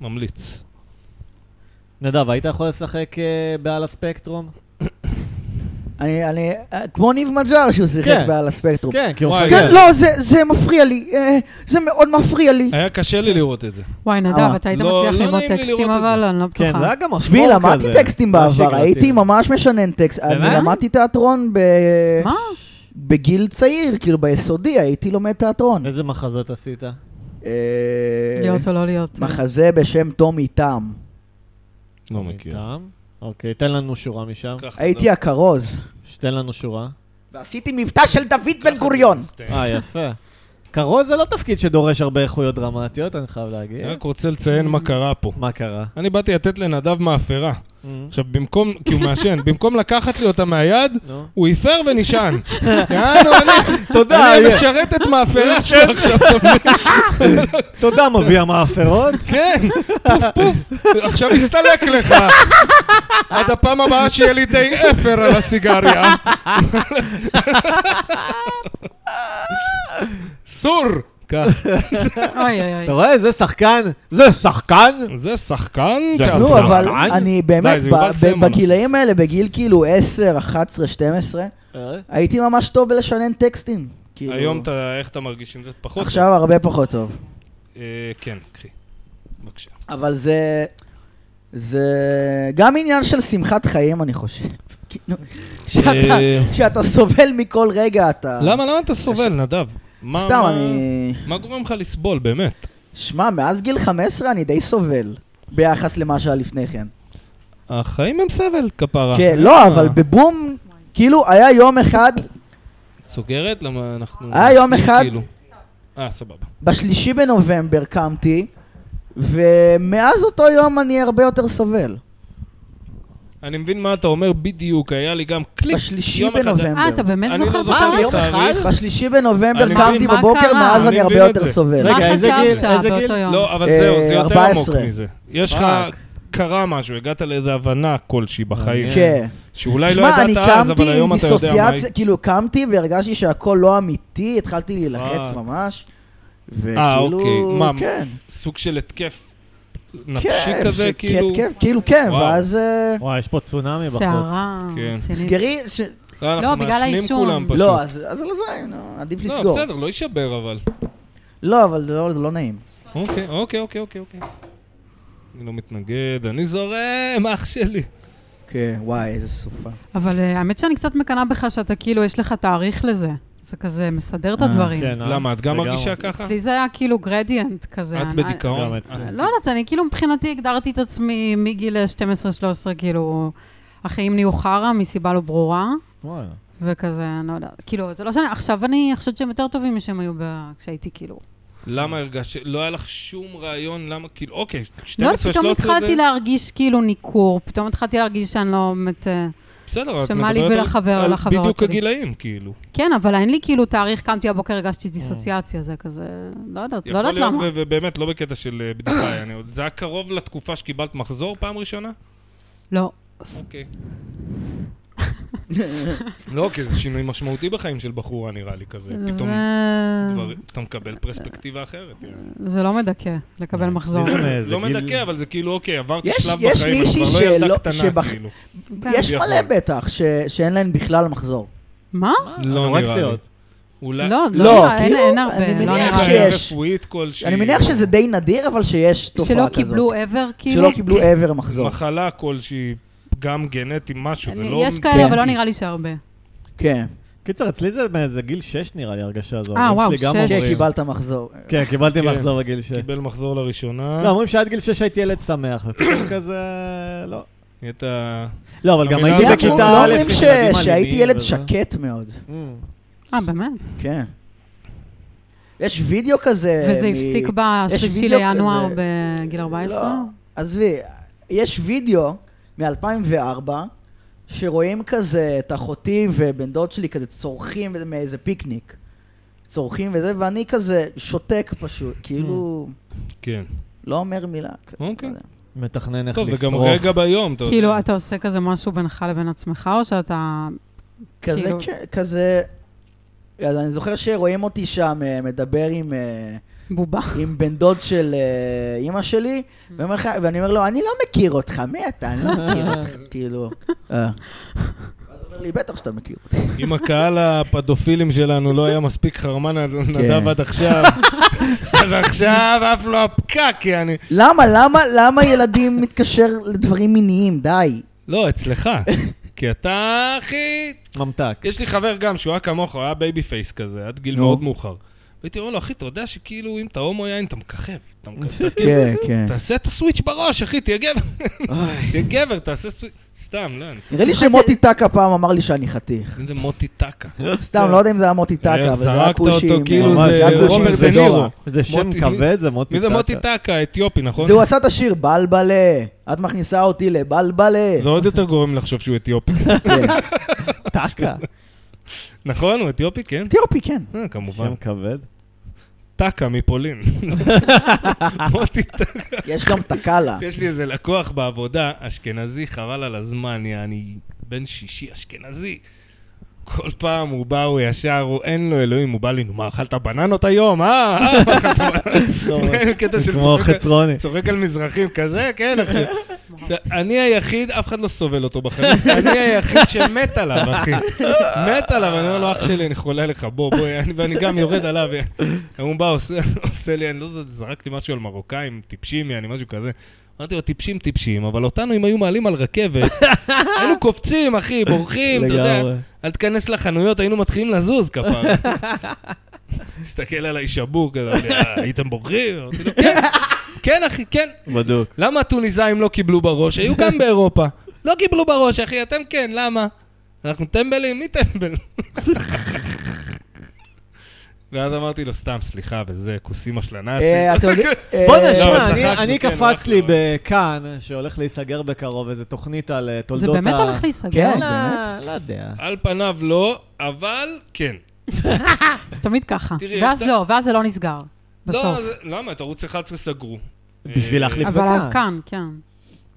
A: ממליץ.
B: נדב, היית יכול לשחק אה, בעל הספקטרום?
C: אני, אני, אה, כמו ניב מג'אר שהוא שיחק
B: כן.
C: בעל הספקטרום.
B: כן, כי הוא
A: וואי,
B: מפגר.
A: כן.
C: כן, לא, זה, זה מפריע לי, אה, זה מאוד מפריע לי.
A: היה קשה לי לראות את זה.
D: וואי, נדב,
C: אה,
D: אתה היית
A: לא-
D: מצליח
A: לא
D: ללמוד
A: נעים לי
D: טקסטים,
A: לראות את
D: אבל אני לא בטוחה.
B: כן, זה היה גם אפור כזה.
A: אוקיי,
C: תשמעי, למדתי טקסטים
B: לא
C: בעבר,
B: שגרתי.
C: הייתי ממש משנן טקסט. אני
B: באמת?
C: למדתי תיאטרון ב...
D: מה?
C: בגיל צעיר, כאילו ביסודי הייתי לומד תיאטרון.
B: איזה מחזות עשית?
A: לא
C: אה,
D: להיות או לא להיות.
C: מחזה בשם טומי טעם.
A: לא מכיר. אוקיי.
B: איתם? אוקיי, תן לנו שורה משם.
A: ככה, לא.
C: הייתי הכרוז,
B: תן לנו שורה.
C: ועשיתי מבטא של דוד בן גוריון.
A: סטנד.
B: אה, יפה. קרוז זה לא תפקיד שדורש הרבה איכויות דרמטיות, אני חייב להגיד.
A: אני רק רוצה לציין מה קרה פה.
B: מה קרה?
A: אני באתי לתת לנדב מאפרה.
B: אמ,
A: עכשיו, במקום, כי הוא מעשן, במקום לקחת לי אותה מהיד,
B: נו.
A: הוא הפר ונשען. יענו, אני-
B: תודה,
A: אני
B: איה.
A: משרת את מאפרה שלו עכשיו, אתה מבין?
B: תודה, מביא המאפרות.
A: כן, פוף פוף, עכשיו יסתלק לך. עד הפעם הבאה שיהיה לי די אפר על הסיגריה. סור! כך.
D: אוי, אוי,
B: אה, אתה
D: אוי.
B: רואה? זה שחקן. זה שחקן?
A: זה שחקן?
B: זה
A: תיאטרון.
C: נו, אבל
B: עדיין?
C: אני באמת,
A: די, לא, זה יובל
C: ב-
A: סלמון.
C: בגילאים האלה, בגיל כאילו 10, 11, 12, הייתי ממש טוב בלשנן טקסטים. כאילו-
A: היום אתה, איך אתה מרגיש עם זה? פחות?
C: עכשיו הרבה פחות טוב.
A: אה, כן, קחי. בבקשה.
C: אבל זה... זה גם עניין של שמחת חיים, אני חושב. כאילו, שאתה-
A: אה.
C: שאתה סובל מכל רגע, אתה...
A: למה, למה אתה סובל, נדב? מה-
C: אה, סתם,
A: מה-
C: אני...
A: מה גורם לך לסבול, באמת?
C: שמע, מאז גיל 15 אני די סובל. ביחס למה שהיה לפני כן.
A: החיים הם סבל, כפרה.
C: כן, לא,
A: אה.
C: אבל בבום, כאילו, היה יום אחד,
A: סוגרת? למה אנחנו...
C: היה לא- יום אחד-
A: כאילו- אה, סבבה.
C: בשלישי בנובמבר קמתי, ומאז אותו יום אני הרבה יותר סובל.
A: אני מבין מה אתה אומר בדיוק, היה לי גם קליק.
C: בשלישי
A: יום אחד-
C: בנובמבר.
D: אה, אתה באמת
A: אני לא
D: זוכר
A: זוכר
D: אותה?
A: את
B: יום
A: התאריך.
C: בשלישי
A: אני
C: בנובמבר קמתי
A: מבין,
D: מה
C: בבוקר,
D: קרה?
C: מאז
A: אני
C: אני הרבה
A: מבין את
C: יותר
A: זה.
C: סובל.
B: רגע,
D: מה
B: איזה גיל?
D: חשבת
B: איזה
D: באותו
B: גיל?
D: יום?
A: לא, אבל זהו, זה
C: אה,
A: יותר עמוק
C: 14.
A: מזה. יש לך...
B: פאק.
A: קרה משהו, הגעת לאיזו הבנה כלשהי בחיים.
B: מעניין.
C: כן.
A: שאולי לא
C: שמע, אני
A: ידעת אז, אבל
C: קמתי עם
A: היום אתה יודע מה... היא.
C: דיסוציאציה, כאילו קמתי והרגשתי שהכל לא אמיתי, התחלתי להילחץ
A: וואי.
C: ממש.
A: אה,
C: וכאילו,
A: אוקיי. מה,
C: כן,
A: סוג של התקף נפשי
C: כן,
A: כזה,
C: ש-
A: כאילו...
C: כן, כן, כאילו כן,
A: וואו.
C: ואז אה,
B: וואי, יש פה צונאמי בחוץ.
D: סערה
A: כן.
D: רצינית.
C: סגרי, ש-
A: לא, אנחנו
D: לא, בגלל
A: מעשנים
D: העישון.
A: כולם פשוט.
C: לא, אז אז על זה, נו, עדיף
A: לא,
C: לסגור.
A: בסדר, לא יישבר אבל.
C: לא, אבל זה לא- זה לא נעים.
A: אוקיי, אוקיי, אוקיי, אוקיי. אוקיי. אני לא מתנגד, אני זורם, אח שלי.
C: כן, וואי, איזה סופה.
D: אבל אה, האמת שאני קצת מקנאה בך שאתה כאילו, יש לך תאריך לזה. זה כזה מסדר את
C: אה,
D: הדברים.
B: כן, אה?
A: למה, את גם
B: לגמרי.
A: מרגישה ככה?
D: אצלי זה היה כאילו גרדיאנט כזה.
A: את
D: אני-
A: בדיכאון?
B: גם אצלי.
D: לא יודעת, אני כאילו מבחינתי הגדרתי את עצמי מגיל אה, 12-13, כאילו, החיים נהיו חרא מסיבה לא ברורה,
B: וואלה.
D: וכזה, אני לא יודעת. כאילו, זה לא שאני, עכשיו אני חושבת שהם יותר טובים משהם היו ב- כשהייתי כאילו.
A: למה הרגשת? לא היה לך שום רעיון למה, כאילו, אוקיי, 12-13
D: לא, יודעת, פתאום
A: זה-
D: התחלתי להרגיש כאילו ניכור, פתאום התחלתי להרגיש שאני לא באמת... אה,
A: בסדר, את
D: שמה לי
A: מדברת על-
D: ולחבר-
A: על
D: לחברות
A: בדיוק
D: שלי.
A: הגילאים, כאילו.
D: כן, אבל אין לי כאילו תאריך, קמתי הבוקר, הרגשתי דיסוציאציה, זה כזה, לא יודעת, לא יודעת
A: יכול
D: למה.
A: להיות, ו- ובאמת, לא בקטע של אה, בדיחה, יעני, עוד- זה היה קרוב לתקופה שקיבלת מחזור פעם ראשונה?
D: לא,
A: אוקיי. לא, כי זה שינוי משמעותי בחיים של בחורה, נראה לי, כזה.
D: זה...
A: פתאום דבר- אתה מקבל פרספקטיבה אחרת. יעני.
D: זה לא מדכא לקבל מחזור.
B: אצלי זה אה, מאיזה
A: לא
B: גיל-
A: מדכא, אבל אה, זה כאילו, אוקיי, עברתי
C: יש-
A: שלב
C: יש
A: בחיים, אני
C: מישהי
A: כבר לא ילדה
C: שלא-
A: קטנה,
C: שבח-
A: כאילו.
D: כן.
C: יש
A: יכול.
C: מלא בטח ש- שאין להן בכלל מחזור.
D: מה?
A: לא נראה לי.
B: אנורקסיות.
A: אולי...
D: לא,
C: לא,
D: לא, נראה- אין
C: כאילו,
D: אין הרבה,
C: אני
D: לא
C: מניח
D: נראה.
C: ש-
A: בעיה
C: שיש.
A: רפואית כלשהי.
C: אני מניח שזה די נדיר, אבל שיש תופעה
D: שלא
C: כזאת.
D: קיבלו ever, כאילו?
C: שלא קיבלו ever מחזור.
A: מחלה כלשהי, פגם גנטי, משהו, זה
D: אני-
A: לא...
D: יש כאלה, אבל
C: כן.
D: לא נראה לי שהרבה.
C: כן,
B: קיצר, אצלי זה מאיזה גיל 6 נראה לי, הרגשה הזו.
D: אה,
B: ההורים
D: וואו,
B: שלי גם
D: שש.
C: כן,
B: אומרים-
C: קיבלת מחזור.
B: כן, קיבלתי
A: כן.
B: מחזור בגיל 6.
A: קיבל מחזור לראשונה,
B: לא, אומרים שעד גיל 6 הייתי ילד שמח, ופתאום כזה... לא.
A: נהיית...
B: לא, אבל גם
A: המילה
B: הייתי
A: הזאת-
B: בכיתה א',
A: אנחנו
C: לא
B: עם
C: אומרים ש-
B: ילדים אה.
C: שהייתי
B: אלימים
C: ילד
B: וזה.
C: שקט מאוד.
B: Mm.
D: אה, באמת?
C: כן. יש וידאו כזה...
D: וזה
C: מ-
D: הפסיק
C: כן, יש
D: בשלישי
C: וידאו
D: לינואר
C: כזה.
D: בגיל 14?
C: לא. עזבי, יש וידאו מ-2004, שרואים כזה את אחותי ובן דוד שלי כזה צורכים וזה מאיזה פיקניק. צורכים וזה, ואני כזה שותק פשוט, כאילו,
A: כן.
C: לא אומר מילה. כזה,
A: אוקיי.
C: לא יודע.
B: מתכנן איך
A: טוב, זה גם
B: לשרוף.
A: רגע ביום, אתה יודע.
D: כאילו, אתה עושה כזה משהו בינך לבין עצמך, או שאתה...
C: כזה,
D: כאילו-
C: כן, כזה... אז אני זוכר שרואים אותי שם אה, מדבר עם, אה,
D: בובה.
C: עם בן דוד של אה, אימא שלי,
A: Mm-hmm.
C: ואומר לך- ואני אומר לו, אני לא מכיר אותך, מי אתה? אני לא מכיר אותך, כאילו. אה. ואז הוא אומר לי, בטח שאתה מכיר אותי.
A: אם הקהל הפדופילים שלנו לא היה מספיק חרמן
B: כן.
A: עד- נדב עד עכשיו, אז עכשיו עף לו הפקק, כי אני...
C: למה, למה, למה ילדים מתקשר לדברים מיניים? די.
A: לא, אצלך. כי אתה, אחי...
B: ממתק.
A: יש לי חבר גם שהוא היה כמוך, הוא היה בייבי פייס כזה, עד גיל
C: נו.
A: מאוד מאוחר. הייתי אומר לו, אחי, אתה יודע שכאילו, אם אתה הומו יין, אתה מככב. אתה מככב.
C: כן, כן.
A: תעשה את הסוויץ' בראש, אחי, תהיה גבר. תהיה גבר, תעשה סוויץ'. סתם, לא, אני צוחק.
C: נראה לי שמוטי טקה פעם אמר לי שאני חתיך.
A: זה מוטי טקה.
C: סתם, לא יודע אם זה היה מוטי טקה, אבל זה היה
A: אה, זרקת אותו
C: כושים.
A: כאילו
C: ממש,
B: ממש,
A: זה
C: היה כושים
A: רוברט
B: זה לא,
A: דה נירו.
C: ודורה.
B: זה שם
A: מוטי-
B: כבד, זה מוטי
A: מי זה מוטי טקה? אתיופי, נכון?
C: זה הוא עשה את השיר בלבלה, את מכניסה אותי לבלבלה.
A: זה עוד יותר גורם לחשוב שהוא אתיופי.
C: כן.
B: טקה.
A: נכון, הוא אתיופי, כן?
C: אתיופי, כן.
A: אה, כמובן.
B: שם כבד.
A: טקה מפולין. מוטי טקה.
C: יש גם תקלה.
A: יש לי איזה לקוח בעבודה, אשכנזי, חבל על הזמן, אני בן שישי אשכנזי. כל פעם הוא בא, הוא ישר, הוא אין לו אלוהים, הוא בא לי, נו, מה, אכלת בננות היום, אה? אה, מה אכלת בננות? כן, קטע
B: לא, זה
A: של
B: כמו
A: צוחק-
B: חצרוני.
A: צוחק על מזרחים כזה, כן, אחי. עכשיו, אני היחיד, אף אחד לא סובל אותו בחיים, אני היחיד שמת עליו, אחי. מת עליו, אני אומר לו, אח שלי, אני חולה לך, בוא, בוא, אני- ואני גם יורד עליו. הוא בא, עושה- עושה לי, אני לא זוכר, זרק לי משהו על מרוקאים, טיפשים, אני משהו כזה. אמרתי לו, טיפשים, טיפשים, אבל אותנו, אם היו מעלים על רכבת, היינו קופצים, אחי, בורחים, אתה יודע.
B: לגמרי.
A: אל תיכנס לחנויות, היינו מתחילים לזוז כפר. הסתכל עליי שבור כזה, אמר לי, "אה, הייתם בורחים? אמרתי לו, כן, כן, אחי, כן.
B: בדוק.
A: למה הטוניסאים לא קיבלו בראש? היו גם באירופה. לא קיבלו בראש, אחי, אתם כן, למה? אנחנו טמבלים, מי טמבל? ואז אמרתי לו, סתם, סליחה, וזה, כוס אימא של הנאצים.
C: אה, אתה יודע... אה,
B: בוא'נה,
A: לא,
B: שמע, אני-
A: צחקנו,
B: אני
A: כן,
B: קפץ לי
A: הלכנו.
B: בכאן, שהולך להיסגר בקרוב, איזו תוכנית על אה,
D: זה
B: תולדות ה...
D: באמת הולך להיסגר?
C: כן.
B: לא,
C: באמת?
B: לא יודע.
A: על פניו לא, אבל כן.
D: זה תמיד ככה.
A: תראי,
D: ואז
A: יש-
D: לא, ואז זה לא נסגר. בסוף.
A: לא, זה- למה? את ערוץ 11 סגרו.
B: בשביל
A: אה,
B: להחליף
D: אבל אז
B: בכאן.
D: כאן, כן.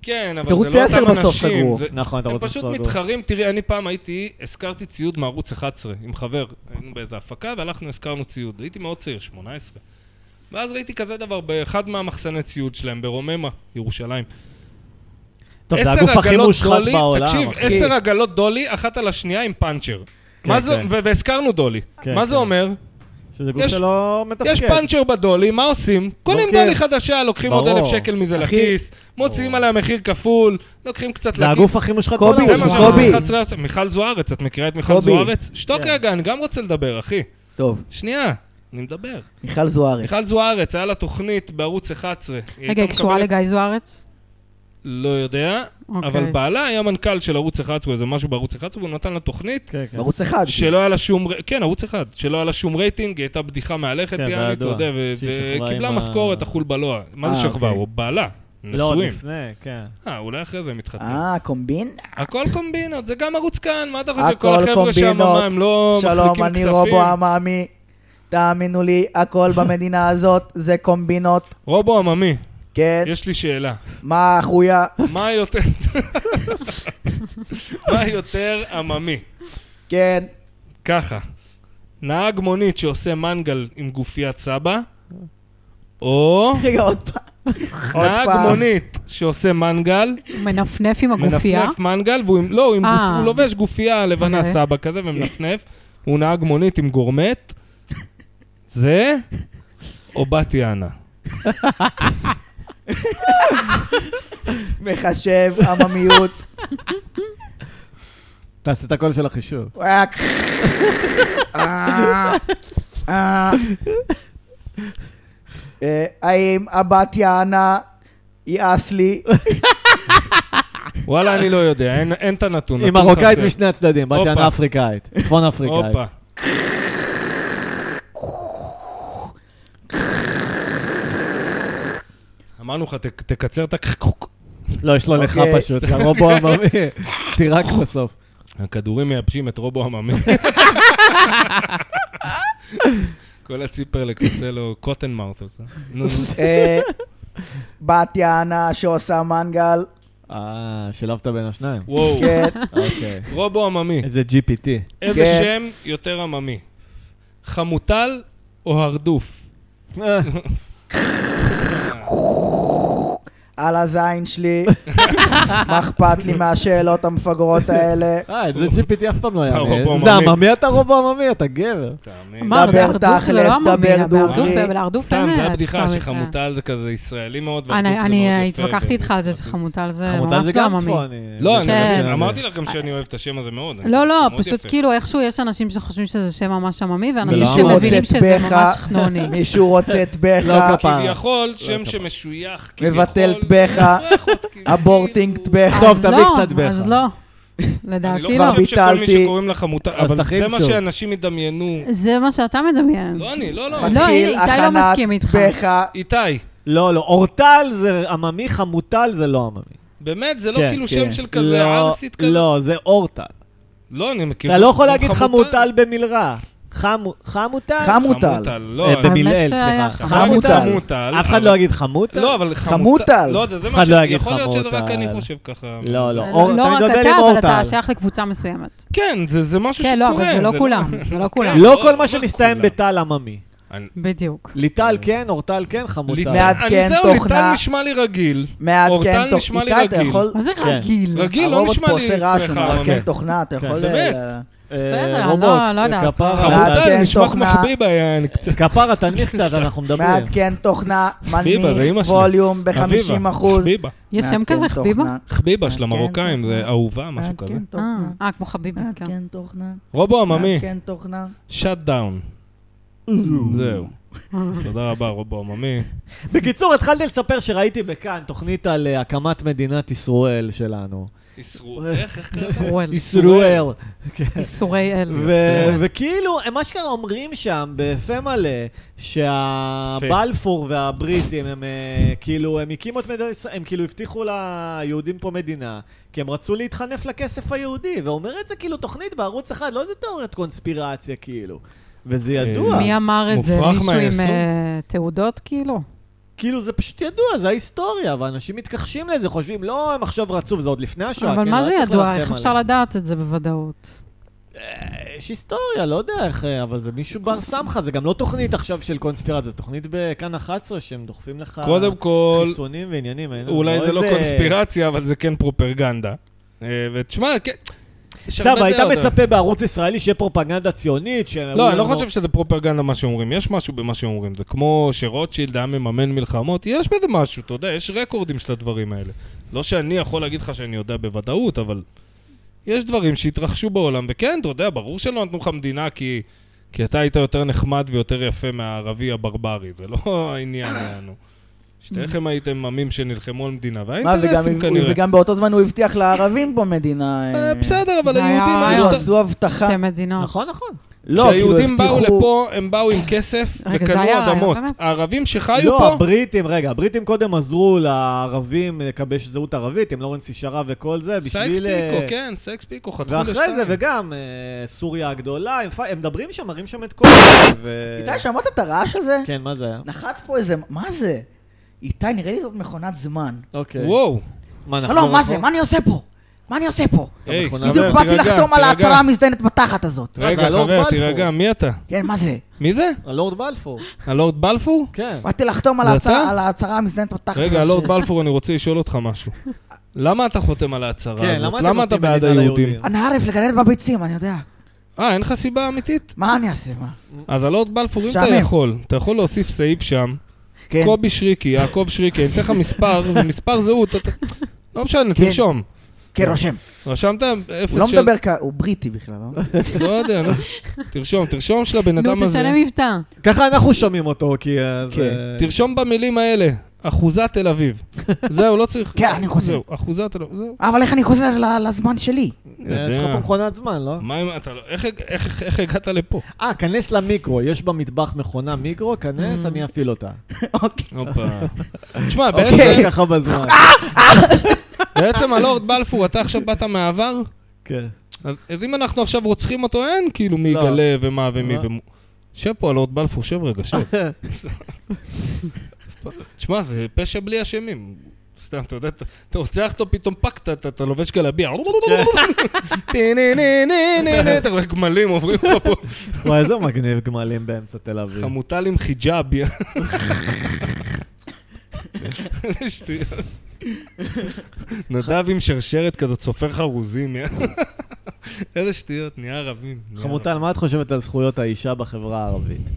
A: כן, אבל זה לא אותם
C: ערוץ
A: אנשים.
C: 10 בסוף סגרו.
A: זה-
B: נכון, אתה
A: הם
B: רוצה
A: פשוט
B: לנסוע גור.
A: מתחרים, תראי, אני פעם הייתי, הזכרתי ציוד מערוץ 11 עם חבר, היינו באיזה הפקה והלכנו, הזכרנו ציוד, הייתי מאוד צעיר, 18. ואז ראיתי כזה דבר באחד מהמחסני ציוד שלהם, ברוממה, ירושלים.
B: טוב, זה
A: עשר
B: הגוף הכי
A: עגלות
B: מושחת
A: דולי,
B: בעולם.
A: תקשיב,
B: אחי.
A: עשר עגלות דולי, אחת על השנייה עם פאנצ'ר.
B: כן,
A: מה זה-
B: כן.
A: ו- והזכרנו דולי.
B: כן,
A: מה זה
B: כן.
A: אומר?
B: שזה גוף
A: יש-
B: שלא מתפקד.
A: יש פאנצ'ר בדולי, מה עושים? קונים
B: אוקיי.
A: דולי חדשה, לוקחים עוד
B: ברור.
A: אלף שקל מזה
C: אחי,
A: לכיס, מוציאים עליה מחיר כפול, לוקחים קצת
B: זה הגוף הכי מושחת
C: קובי,
B: בעולם.
A: זה מה
C: קובי.
A: שאמרתי לך, צריך לעשות. מיכל זוארץ, את מכירה את מיכל
C: קובי.
A: זוארץ? שתוק
B: כן.
A: רגע, אני גם רוצה לדבר, אחי.
C: טוב,
A: שנייה, אני מדבר.
C: מיכל זוארץ.
A: מיכל זוארץ, היה לה תוכנית בערוץ 11. היא
D: רגע, היא
A: הייתה
D: קשורה
A: מקבלת-
D: לגיא זוארץ?
A: לא יודע,
D: אוקיי.
A: אבל בעלה היה מנכ"ל של ערוץ 11, איזה משהו בערוץ 11, והוא נתן לה תוכנית
B: כן, כן.
C: בערוץ אחד.
A: שלא היה לה שום, ר- כן, ערוץ 1, שלא היה לה שום רייטינג, היא הייתה בדיחה מהלכת,
B: כן, זה
A: יעני, אתה
B: ידוע.
A: יודע, ו-
B: שהיא שכבה
A: וקיבלה
B: עם ה-
A: משכורת, החול בלוע. מה
C: אה,
A: זה שכבה?
C: אוקיי.
A: הוא בעלה,
B: לא,
A: נשואים.
B: לפני, כן.
A: אה, אולי אחרי זה הם התחתנו.
C: אה, קומבין?
A: הכל קומבינות, זה גם ערוץ כאן, מה אתה חושב?
C: הכל
A: כל החבר'ה שם,
C: קומבינות.
A: מה, הם לא
C: שלום,
A: מחליקים
C: אני
A: כספים?
C: רובו אמ- עממי. תאמינו לי, הכל במדינה הזאת זה קומבינות.
A: רובו עממי,
C: כן,
A: יש לי שאלה.
C: מה החויה?
A: מה יותר... מה יותר עממי?
C: כן.
A: ככה, נהג מונית שעושה מנגל עם גופיית סבא, או
C: רגע, עוד פעם. עוד
A: נהג
C: פעם.
A: מונית שעושה מנגל,
D: הוא מנפנף עם הגופייה?
A: מנפנף מנגל, והוא עם- לא, הוא עם
D: אה.
A: גופ- הוא לובש גופייה לבנה
D: אוקיי.
A: סבא כזה ומנפנף, הוא נהג מונית עם גורמט, זה או בת יענה.
C: מחשב, עממיות.
B: תעשה את הכל של החישוב.
C: הוא היה כ- אה, אה. אה, האם הבת יענה יעס לי?
A: וואלה, אני לא יודע, אין- אין את הנתון.
B: היא
A: נתון
B: מרוקאית
A: חסר.
B: משני הצדדים, בת
A: הופה.
B: יענה אפריקאית, צפון אפריקאית.
A: הופה. אמרנו לך, ת- תקצר את הקחקוק.
B: לא, יש לו לך
C: אוקיי.
B: פשוט, הרובו עממי. תירק בסוף.
A: הכדורים מייבשים את רובו עממי. כל הציפרלקס עושה לו קוטן מאוט עושה. נו,
C: אה, בת יענה שעושה מנגל.
B: אה, שילבת בין השניים.
A: וואו,
C: כן.
B: אוקיי.
A: רובו עממי.
B: איזה GPT.
A: איזה
C: כן.
A: שם יותר עממי? חמוטל או הרדוף?
B: אה,
C: על הזין שלי, מה אכפת לי מהשאלות המפגרות האלה?
B: אה, את זה GPT אף פעם לא היה.
A: הרובו
B: מעניין.
A: עממי.
B: זה עממי אתה רובו עממי, אתה גבר.
A: תאמין.
D: אמרנו,
C: דבר
D: בהרדוף זה
C: תכלס,
D: לא עממי,
C: דבר
D: בהרדוף-
C: דוגרי.
D: בהרדוף
A: סתם,
D: באמת,
A: זה הבדיחה
D: עכשיו,
A: שחמוטל זה כזה ישראלי מאוד.
D: אה.
A: והרדוף
D: אני-
A: זה
D: אני
A: מאוד
D: אה,
A: יפה,
D: התווכחתי איתך על זה
A: והרדוף זה-
D: שחמוטל זה
B: חמוטל
D: ממש
B: זה
D: לא
B: גם
D: עממי.
B: צפוני. אוקיי.
A: לא, אני
D: כן.
A: גם- אמרתי לך גם שאני אוהב את השם הזה מאוד. אני
D: לא,
A: חושב
D: לא,
A: שזה מאוד
D: פשוט
A: יפה.
D: כאילו איכשהו יש אנשים שחושבים שזה שם ממש עממי, ואנשים
B: ולא עממי.
D: שמבינים שזה
C: רוצץ בך.
D: ממש חנוני.
C: מישהו רוצה את
B: לא
C: בך,
B: כפרה.
A: כביכול,
B: כפרה.
A: שם שמשוייך,
B: לא.
A: כביכול...
C: מבטל את בך,
A: משוייך עוד כאילו.
C: אבורטינג את בך.
B: טוב,
D: אז
B: תביא
D: לא,
B: קצת בך.
D: אז לא,
A: אני
D: לדעתי לא.
A: לא חושב שכל מי
C: ביטלתי.
A: שקוראים לך מותר,
B: אז
A: אבל
B: תכין
A: זה מה
B: שוב.
A: שאנשים ידמיינו.
D: זה מה שאתה מדמיין.
A: לא אני, לא, לא.
D: לא, הנה, איתי לא מסכים איתך.
C: בך.
A: איתי,
B: לא, לא, אורטל זה עממי, חמוטל זה לא עממי.
A: באמת, זה לא
B: כן,
A: כאילו
B: כן.
A: שם של כזה
B: לא,
A: ערסית כזה.
B: לא, זה אורטל.
A: לא, אני מכיר.
B: אתה לא יכול
A: גם
B: להגיד חמוטל במיל רע. חמו- חמוטל?
C: חמוטל.
A: לא.
B: אה,
A: אני-
B: במיל
D: האמת
B: אל,
D: שהיה
B: סליחה.
A: אפשר להגיד
C: חמוטל.
A: חמוטל.
B: אף אחד
A: אבל-
B: לא יגיד חמוטל?
A: לא, אבל חמוטל.
C: חמוטל.
A: לא יודע, זה
B: אף
A: מה
B: אחד
A: ש...
B: לא יגיד
A: יכול להיות שזה רק
B: חמוטל.
A: אני חושב ככה.
B: לא, לא.
D: זה
B: אור-
D: לא
B: אתה
D: רק
B: מתבלבל עם
D: אתה, אבל אתה
B: אורטל.
D: שייך לקבוצה מסוימת.
A: כן, זה זה משהו שקורה.
D: כן, לא, אבל זה לא כולם, זה לא כולם.
B: לא כל מה שמסתיים בטל עממי.
A: אני-
D: בדיוק.
B: ליטל כן, אורטל כן, חמוטל.
A: ליטל-
C: מעט-
A: אני
C: מעדכן
A: זהו, ליטל
C: תוכנה.
A: נשמע לי רגיל.
C: מעדכן
A: אורטל
C: תוך...
A: נשמע לי
C: איתי, אתה
A: רגיל.
C: יכול...
D: מה זה
B: כן.
D: רגיל?
A: רגיל, לא
C: הרובוט
A: נשמע
C: פה
A: לי
C: עושה רעש, הוא
A: לפניך, אבל-
C: מעדכן תוכנה, אתה
B: כן,
C: יכול...
A: באמת.
C: אה,
B: אה,
D: בסדר, לא-
B: רובוט,
D: לא יודעת.
B: כפרה,
A: חמוטל, זה
C: מעדכן
A: נשמע כמו
C: תוכנה. אה,
A: חביבה, יעני, אה, קצת.
B: כפרה, תנמיך קצת, אנחנו מדברים.
C: מעדכן תוכנה,
A: חביבה, זה אמא
C: מנמיך
A: שלי.
C: ווליום
A: חביבה,
C: ב-50 אחוז.
A: חביבה.
D: יש שם כזה חביבה?
A: חביבה של
C: מעדכן
A: המרוקאים, זה
C: תוכנה.
A: אהובה, משהו כזה.
D: אה, אה, כמו חביבה, כן.
C: מעדכן תוכנה.
A: רובו עממי,
C: מעדכן תוכנה.
A: שאט דאון. זהו. תודה רבה, רובו עממי.
B: בקיצור, התחלתי לספר שראיתי בכאן תוכנית על אה, הקמת מדינת ישראל שלנו.
A: ישרו, איך, איך קראת?
D: ישראל.
B: ישראל. כן.
D: איסורי אל.
B: ו- וכאילו, הם אשכרה אומרים שם, בפה מלא, שהבלפור והבריטים, הם אה, כאילו, הם הקימו את מדינת ישראל, הם כאילו הבטיחו ליהודים פה מדינה, כי הם רצו להתחנף לכסף היהודי, ואומר את זה כאילו תוכנית בערוץ אחד, לא איזה תיאוריית קונספירציה, כאילו. וזה ידוע.
D: מי אמר את זה?
A: מופרך
D: מישהו עם
A: מהיישום?
D: אה, תעודות כאילו?
B: כאילו, זה פשוט ידוע, זה ההיסטוריה, ואנשים מתכחשים לזה, חושבים, לא, הם עכשיו רצו, וזה עוד לפני השואה.
D: אבל
B: כן,
D: מה
B: לא
D: זה
B: היה צריך
D: ידוע?
B: לרחם
D: איך אפשר
B: עליהם.
D: לדעת את זה בוודאות?
B: יש היסטוריה, לא יודע איך, אה, אבל זה מישהו בר סמכה, זה גם לא תוכנית עכשיו של קונספירציה, זה תוכנית בכאן 11 שהם דוחפים לך
A: קודם כל,
B: חיסונים ועניינים. אה,
A: אולי זה לא
B: איזה-
A: קונספירציה, אבל זה כן פרופרגנדה. אה, ותשמע, כן, יש הרבה
B: סבא, היית
A: דעות, אבל-
B: מצפה בערוץ ישראלי שיהיה פרופגנדה ציונית?
A: לא, אני לא חושב שזה פרופגנדה מה שאומרים, יש משהו במה שאומרים, זה כמו שרוטשילד היה מממן מלחמות, יש בזה משהו, אתה יודע, יש רקורדים של הדברים האלה. לא שאני יכול להגיד לך שאני יודע בוודאות, אבל יש דברים שהתרחשו בעולם, וכן, אתה יודע, ברור שלא נתנו לך מדינה כי... כי אתה היית יותר נחמד ויותר יפה מהערבי הברברי, זה לא העניין שלנו. שתיכם הייתם עמים שנלחמו על מדינה,
C: מה,
A: והאינטרסים
C: וגם-
A: כנראה.
C: וגם באותו זמן הוא הבטיח לערבים פה מדינה. אה,
A: אה, בסדר, אבל
D: זה היה לא
A: היהודים... היו
C: כאילו,
D: הרעיון.
A: שת-
C: עשו הבטחה.
D: שתי מדינות.
B: נכון, נכון.
C: לא, כאילו
A: כשהיהודים באו
C: הבטיחו...
A: לפה, הם באו עם כסף
D: רגע, זה
A: וקנו
D: היה הרעיון,
A: אדמות.
D: באמת?
A: הערבים שחיו
B: לא,
A: פה,
B: הבריטים, רגע, הבריטים קודם עזרו לערבים לכבש זהות ערבית, עם לורנס ישרה וכל זה,
A: סייקס
B: בשביל... אה,
A: פיקו, כן, סייקס פיקו, חתכו לשתיים.
B: ואחרי זה, וגם אה, סוריה הגדולה, הם פ- הם מדברים שם, מראים שם את כל זה. ו-
C: איתי, שמעת את הרעש הזה?
B: כן, מה זה היה?
C: נחת פה איזה... מה זה? איתי, נראה לי זאת מכונת זמן.
B: אוקיי.
A: וואו,
B: מה, נחזור
A: לא
C: שלום, מה
B: אחורה?
C: זה? מה אני עושה פה? מה אני עושה פה?
B: אתה
A: היי,
B: מכונה-
A: חבר,
C: בדיוק באתי
A: תירגע,
C: לחתום על
A: תירגע.
C: ההצהרה המזדיינת בתחת הזאת.
A: רגע,
B: אה, זה הלורד
A: חבר,
B: בלפור.
A: תירגע, מי אתה?
C: כן, מה זה?
A: מי זה?
B: הלורד בלפור.
A: הלורד בלפור?
B: כן.
C: באתי לחתום על
A: זה
C: ההצהרה-
A: אתה?
C: על ההצהרה המזדיינת בתחת.
A: רגע, לא,
C: הזאת.
A: הלורד בלפור, אני רוצה לשאול אותך משהו. למה אתה חותם על ההצהרה
B: כן,
A: הזאת?
B: למה אתם
A: למה אתה
B: נותנים
A: בעד
B: מדינה
A: היהודים?
B: ליהודים?
C: אני ערף לגרד בביצים, אני יודע.
A: אה, אין לך סיבה אמיתית?
C: מה אני אעשה? מה?
A: אז הלורד בלפור, אם אתה
C: משעמם.
A: יכול, אתה יכול להוסיף סעיף שם,
C: כן.
A: קובי שריקי, יעקב שריקי, אני אתן לך מספר, זה מספר זהות, אתה- לא משנה,
C: כן.
A: תרשום.
C: כן, רושם.
A: רשמת אפס
C: הוא לא
A: של...
C: מדבר כ... הוא בריטי בכלל, לא?
A: לא יודע, נו. תרשום, תרשום של הבן
D: נו,
A: אדם הזה.
D: תשנה מבטא.
B: ככה אנחנו שומעים אותו, כי... אה, זה-
C: כן.
A: תרשום במילים האלה, אחוזת תל אביב. זהו, לא צריך...
C: כן, אני חוזר.
A: זהו, אחוזת תל אביב, זהו.
C: אבל איך אני חוזר ל- לזמן שלי?
B: אה, יש לך פה מכונת זמן, לא?
A: מה אם אתה לא... איך- איך איך הגעת לפה?
B: אה, כנס למיקרו, יש במטבח מכונה מיקרו, כנס, אני אפעיל אותה.
C: אוקיי.
A: הופה. תשמע, בעצם-
B: אוקיי, ככה בזמן.
A: אה! בעצם הלורד בלפור, אתה עכשיו באת מהעבר?
B: כן.
A: אז אז אם אנחנו עכשיו רוצחים אותו, אין כאילו מי
B: לא.
A: יגלה ומה ומי
B: לא.
A: ומו... שב פה, הלורד בלפור, שב רגע, שב. תשמע, זה פשע בלי אשמים. סתם, אתה יודע, אתה- אתה רוצח אותו פתאום פק, אתה- אתה אתה לובש גלביע.
B: כן.
A: טה-נה-נה-נה-נה-נה, אתה רואה גמלים עוברים לך פה.
B: וואי, איזה מגניב גמלים באמצע תל אביב.
A: חמוטל עם חיג'אבי. שטויות. נדב עם שרשרת כזאת, סופר חרוזים. יא. איזה שטויות, נהיה ערבים. נהיה
B: חמוטל, מה את חושבת על זכויות האישה בחברה הערבית?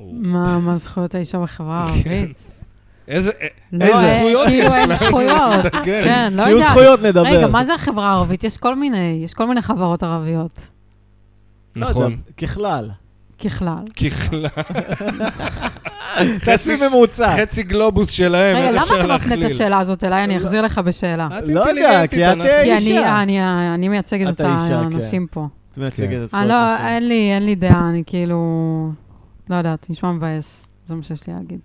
A: ערבים.
D: מה, מה זכויות האישה בחברה הערבית?
A: איזה...
D: לא,
B: איזה
D: אה,
A: זכויות יש
D: כאילו אין
A: לה?
D: זכויות.
A: כן.
D: כן, לא
B: שיהיו
D: יודעת.
B: זכויות נדבר.
D: רגע, מה זה החברה הערבית? יש כל מיני, יש כל מיני חברות ערביות,
B: לא יודע,
A: נכון.
B: ככלל.
D: ככלל.
A: ככלל,
D: אה.
B: תעשי ממוצע.
A: חצי גלובוס שלהם,
D: רגע,
A: איך
D: למה
A: אה, אפשר
D: אתה מפנה את
A: להכליל?
D: השאלה הזאת אליי? אני
B: לא.
D: אחזיר לך בשאלה.
A: את
B: לא יודע,
A: אינטליגנטית,
B: כי את,
A: אנחנו-
B: אה,
D: כי אני-
B: אישה.
D: אני- אני מייצגת
B: את
D: את
B: האישה,
D: האנשים פה.
B: את מייצגת
A: כן.
B: את זכויות
D: אני לא,
B: נשים.
D: אין לי, אין לי דעה, אני כאילו... לא יודעת, נשמע מבאס. זה מה שיש לי להגיד.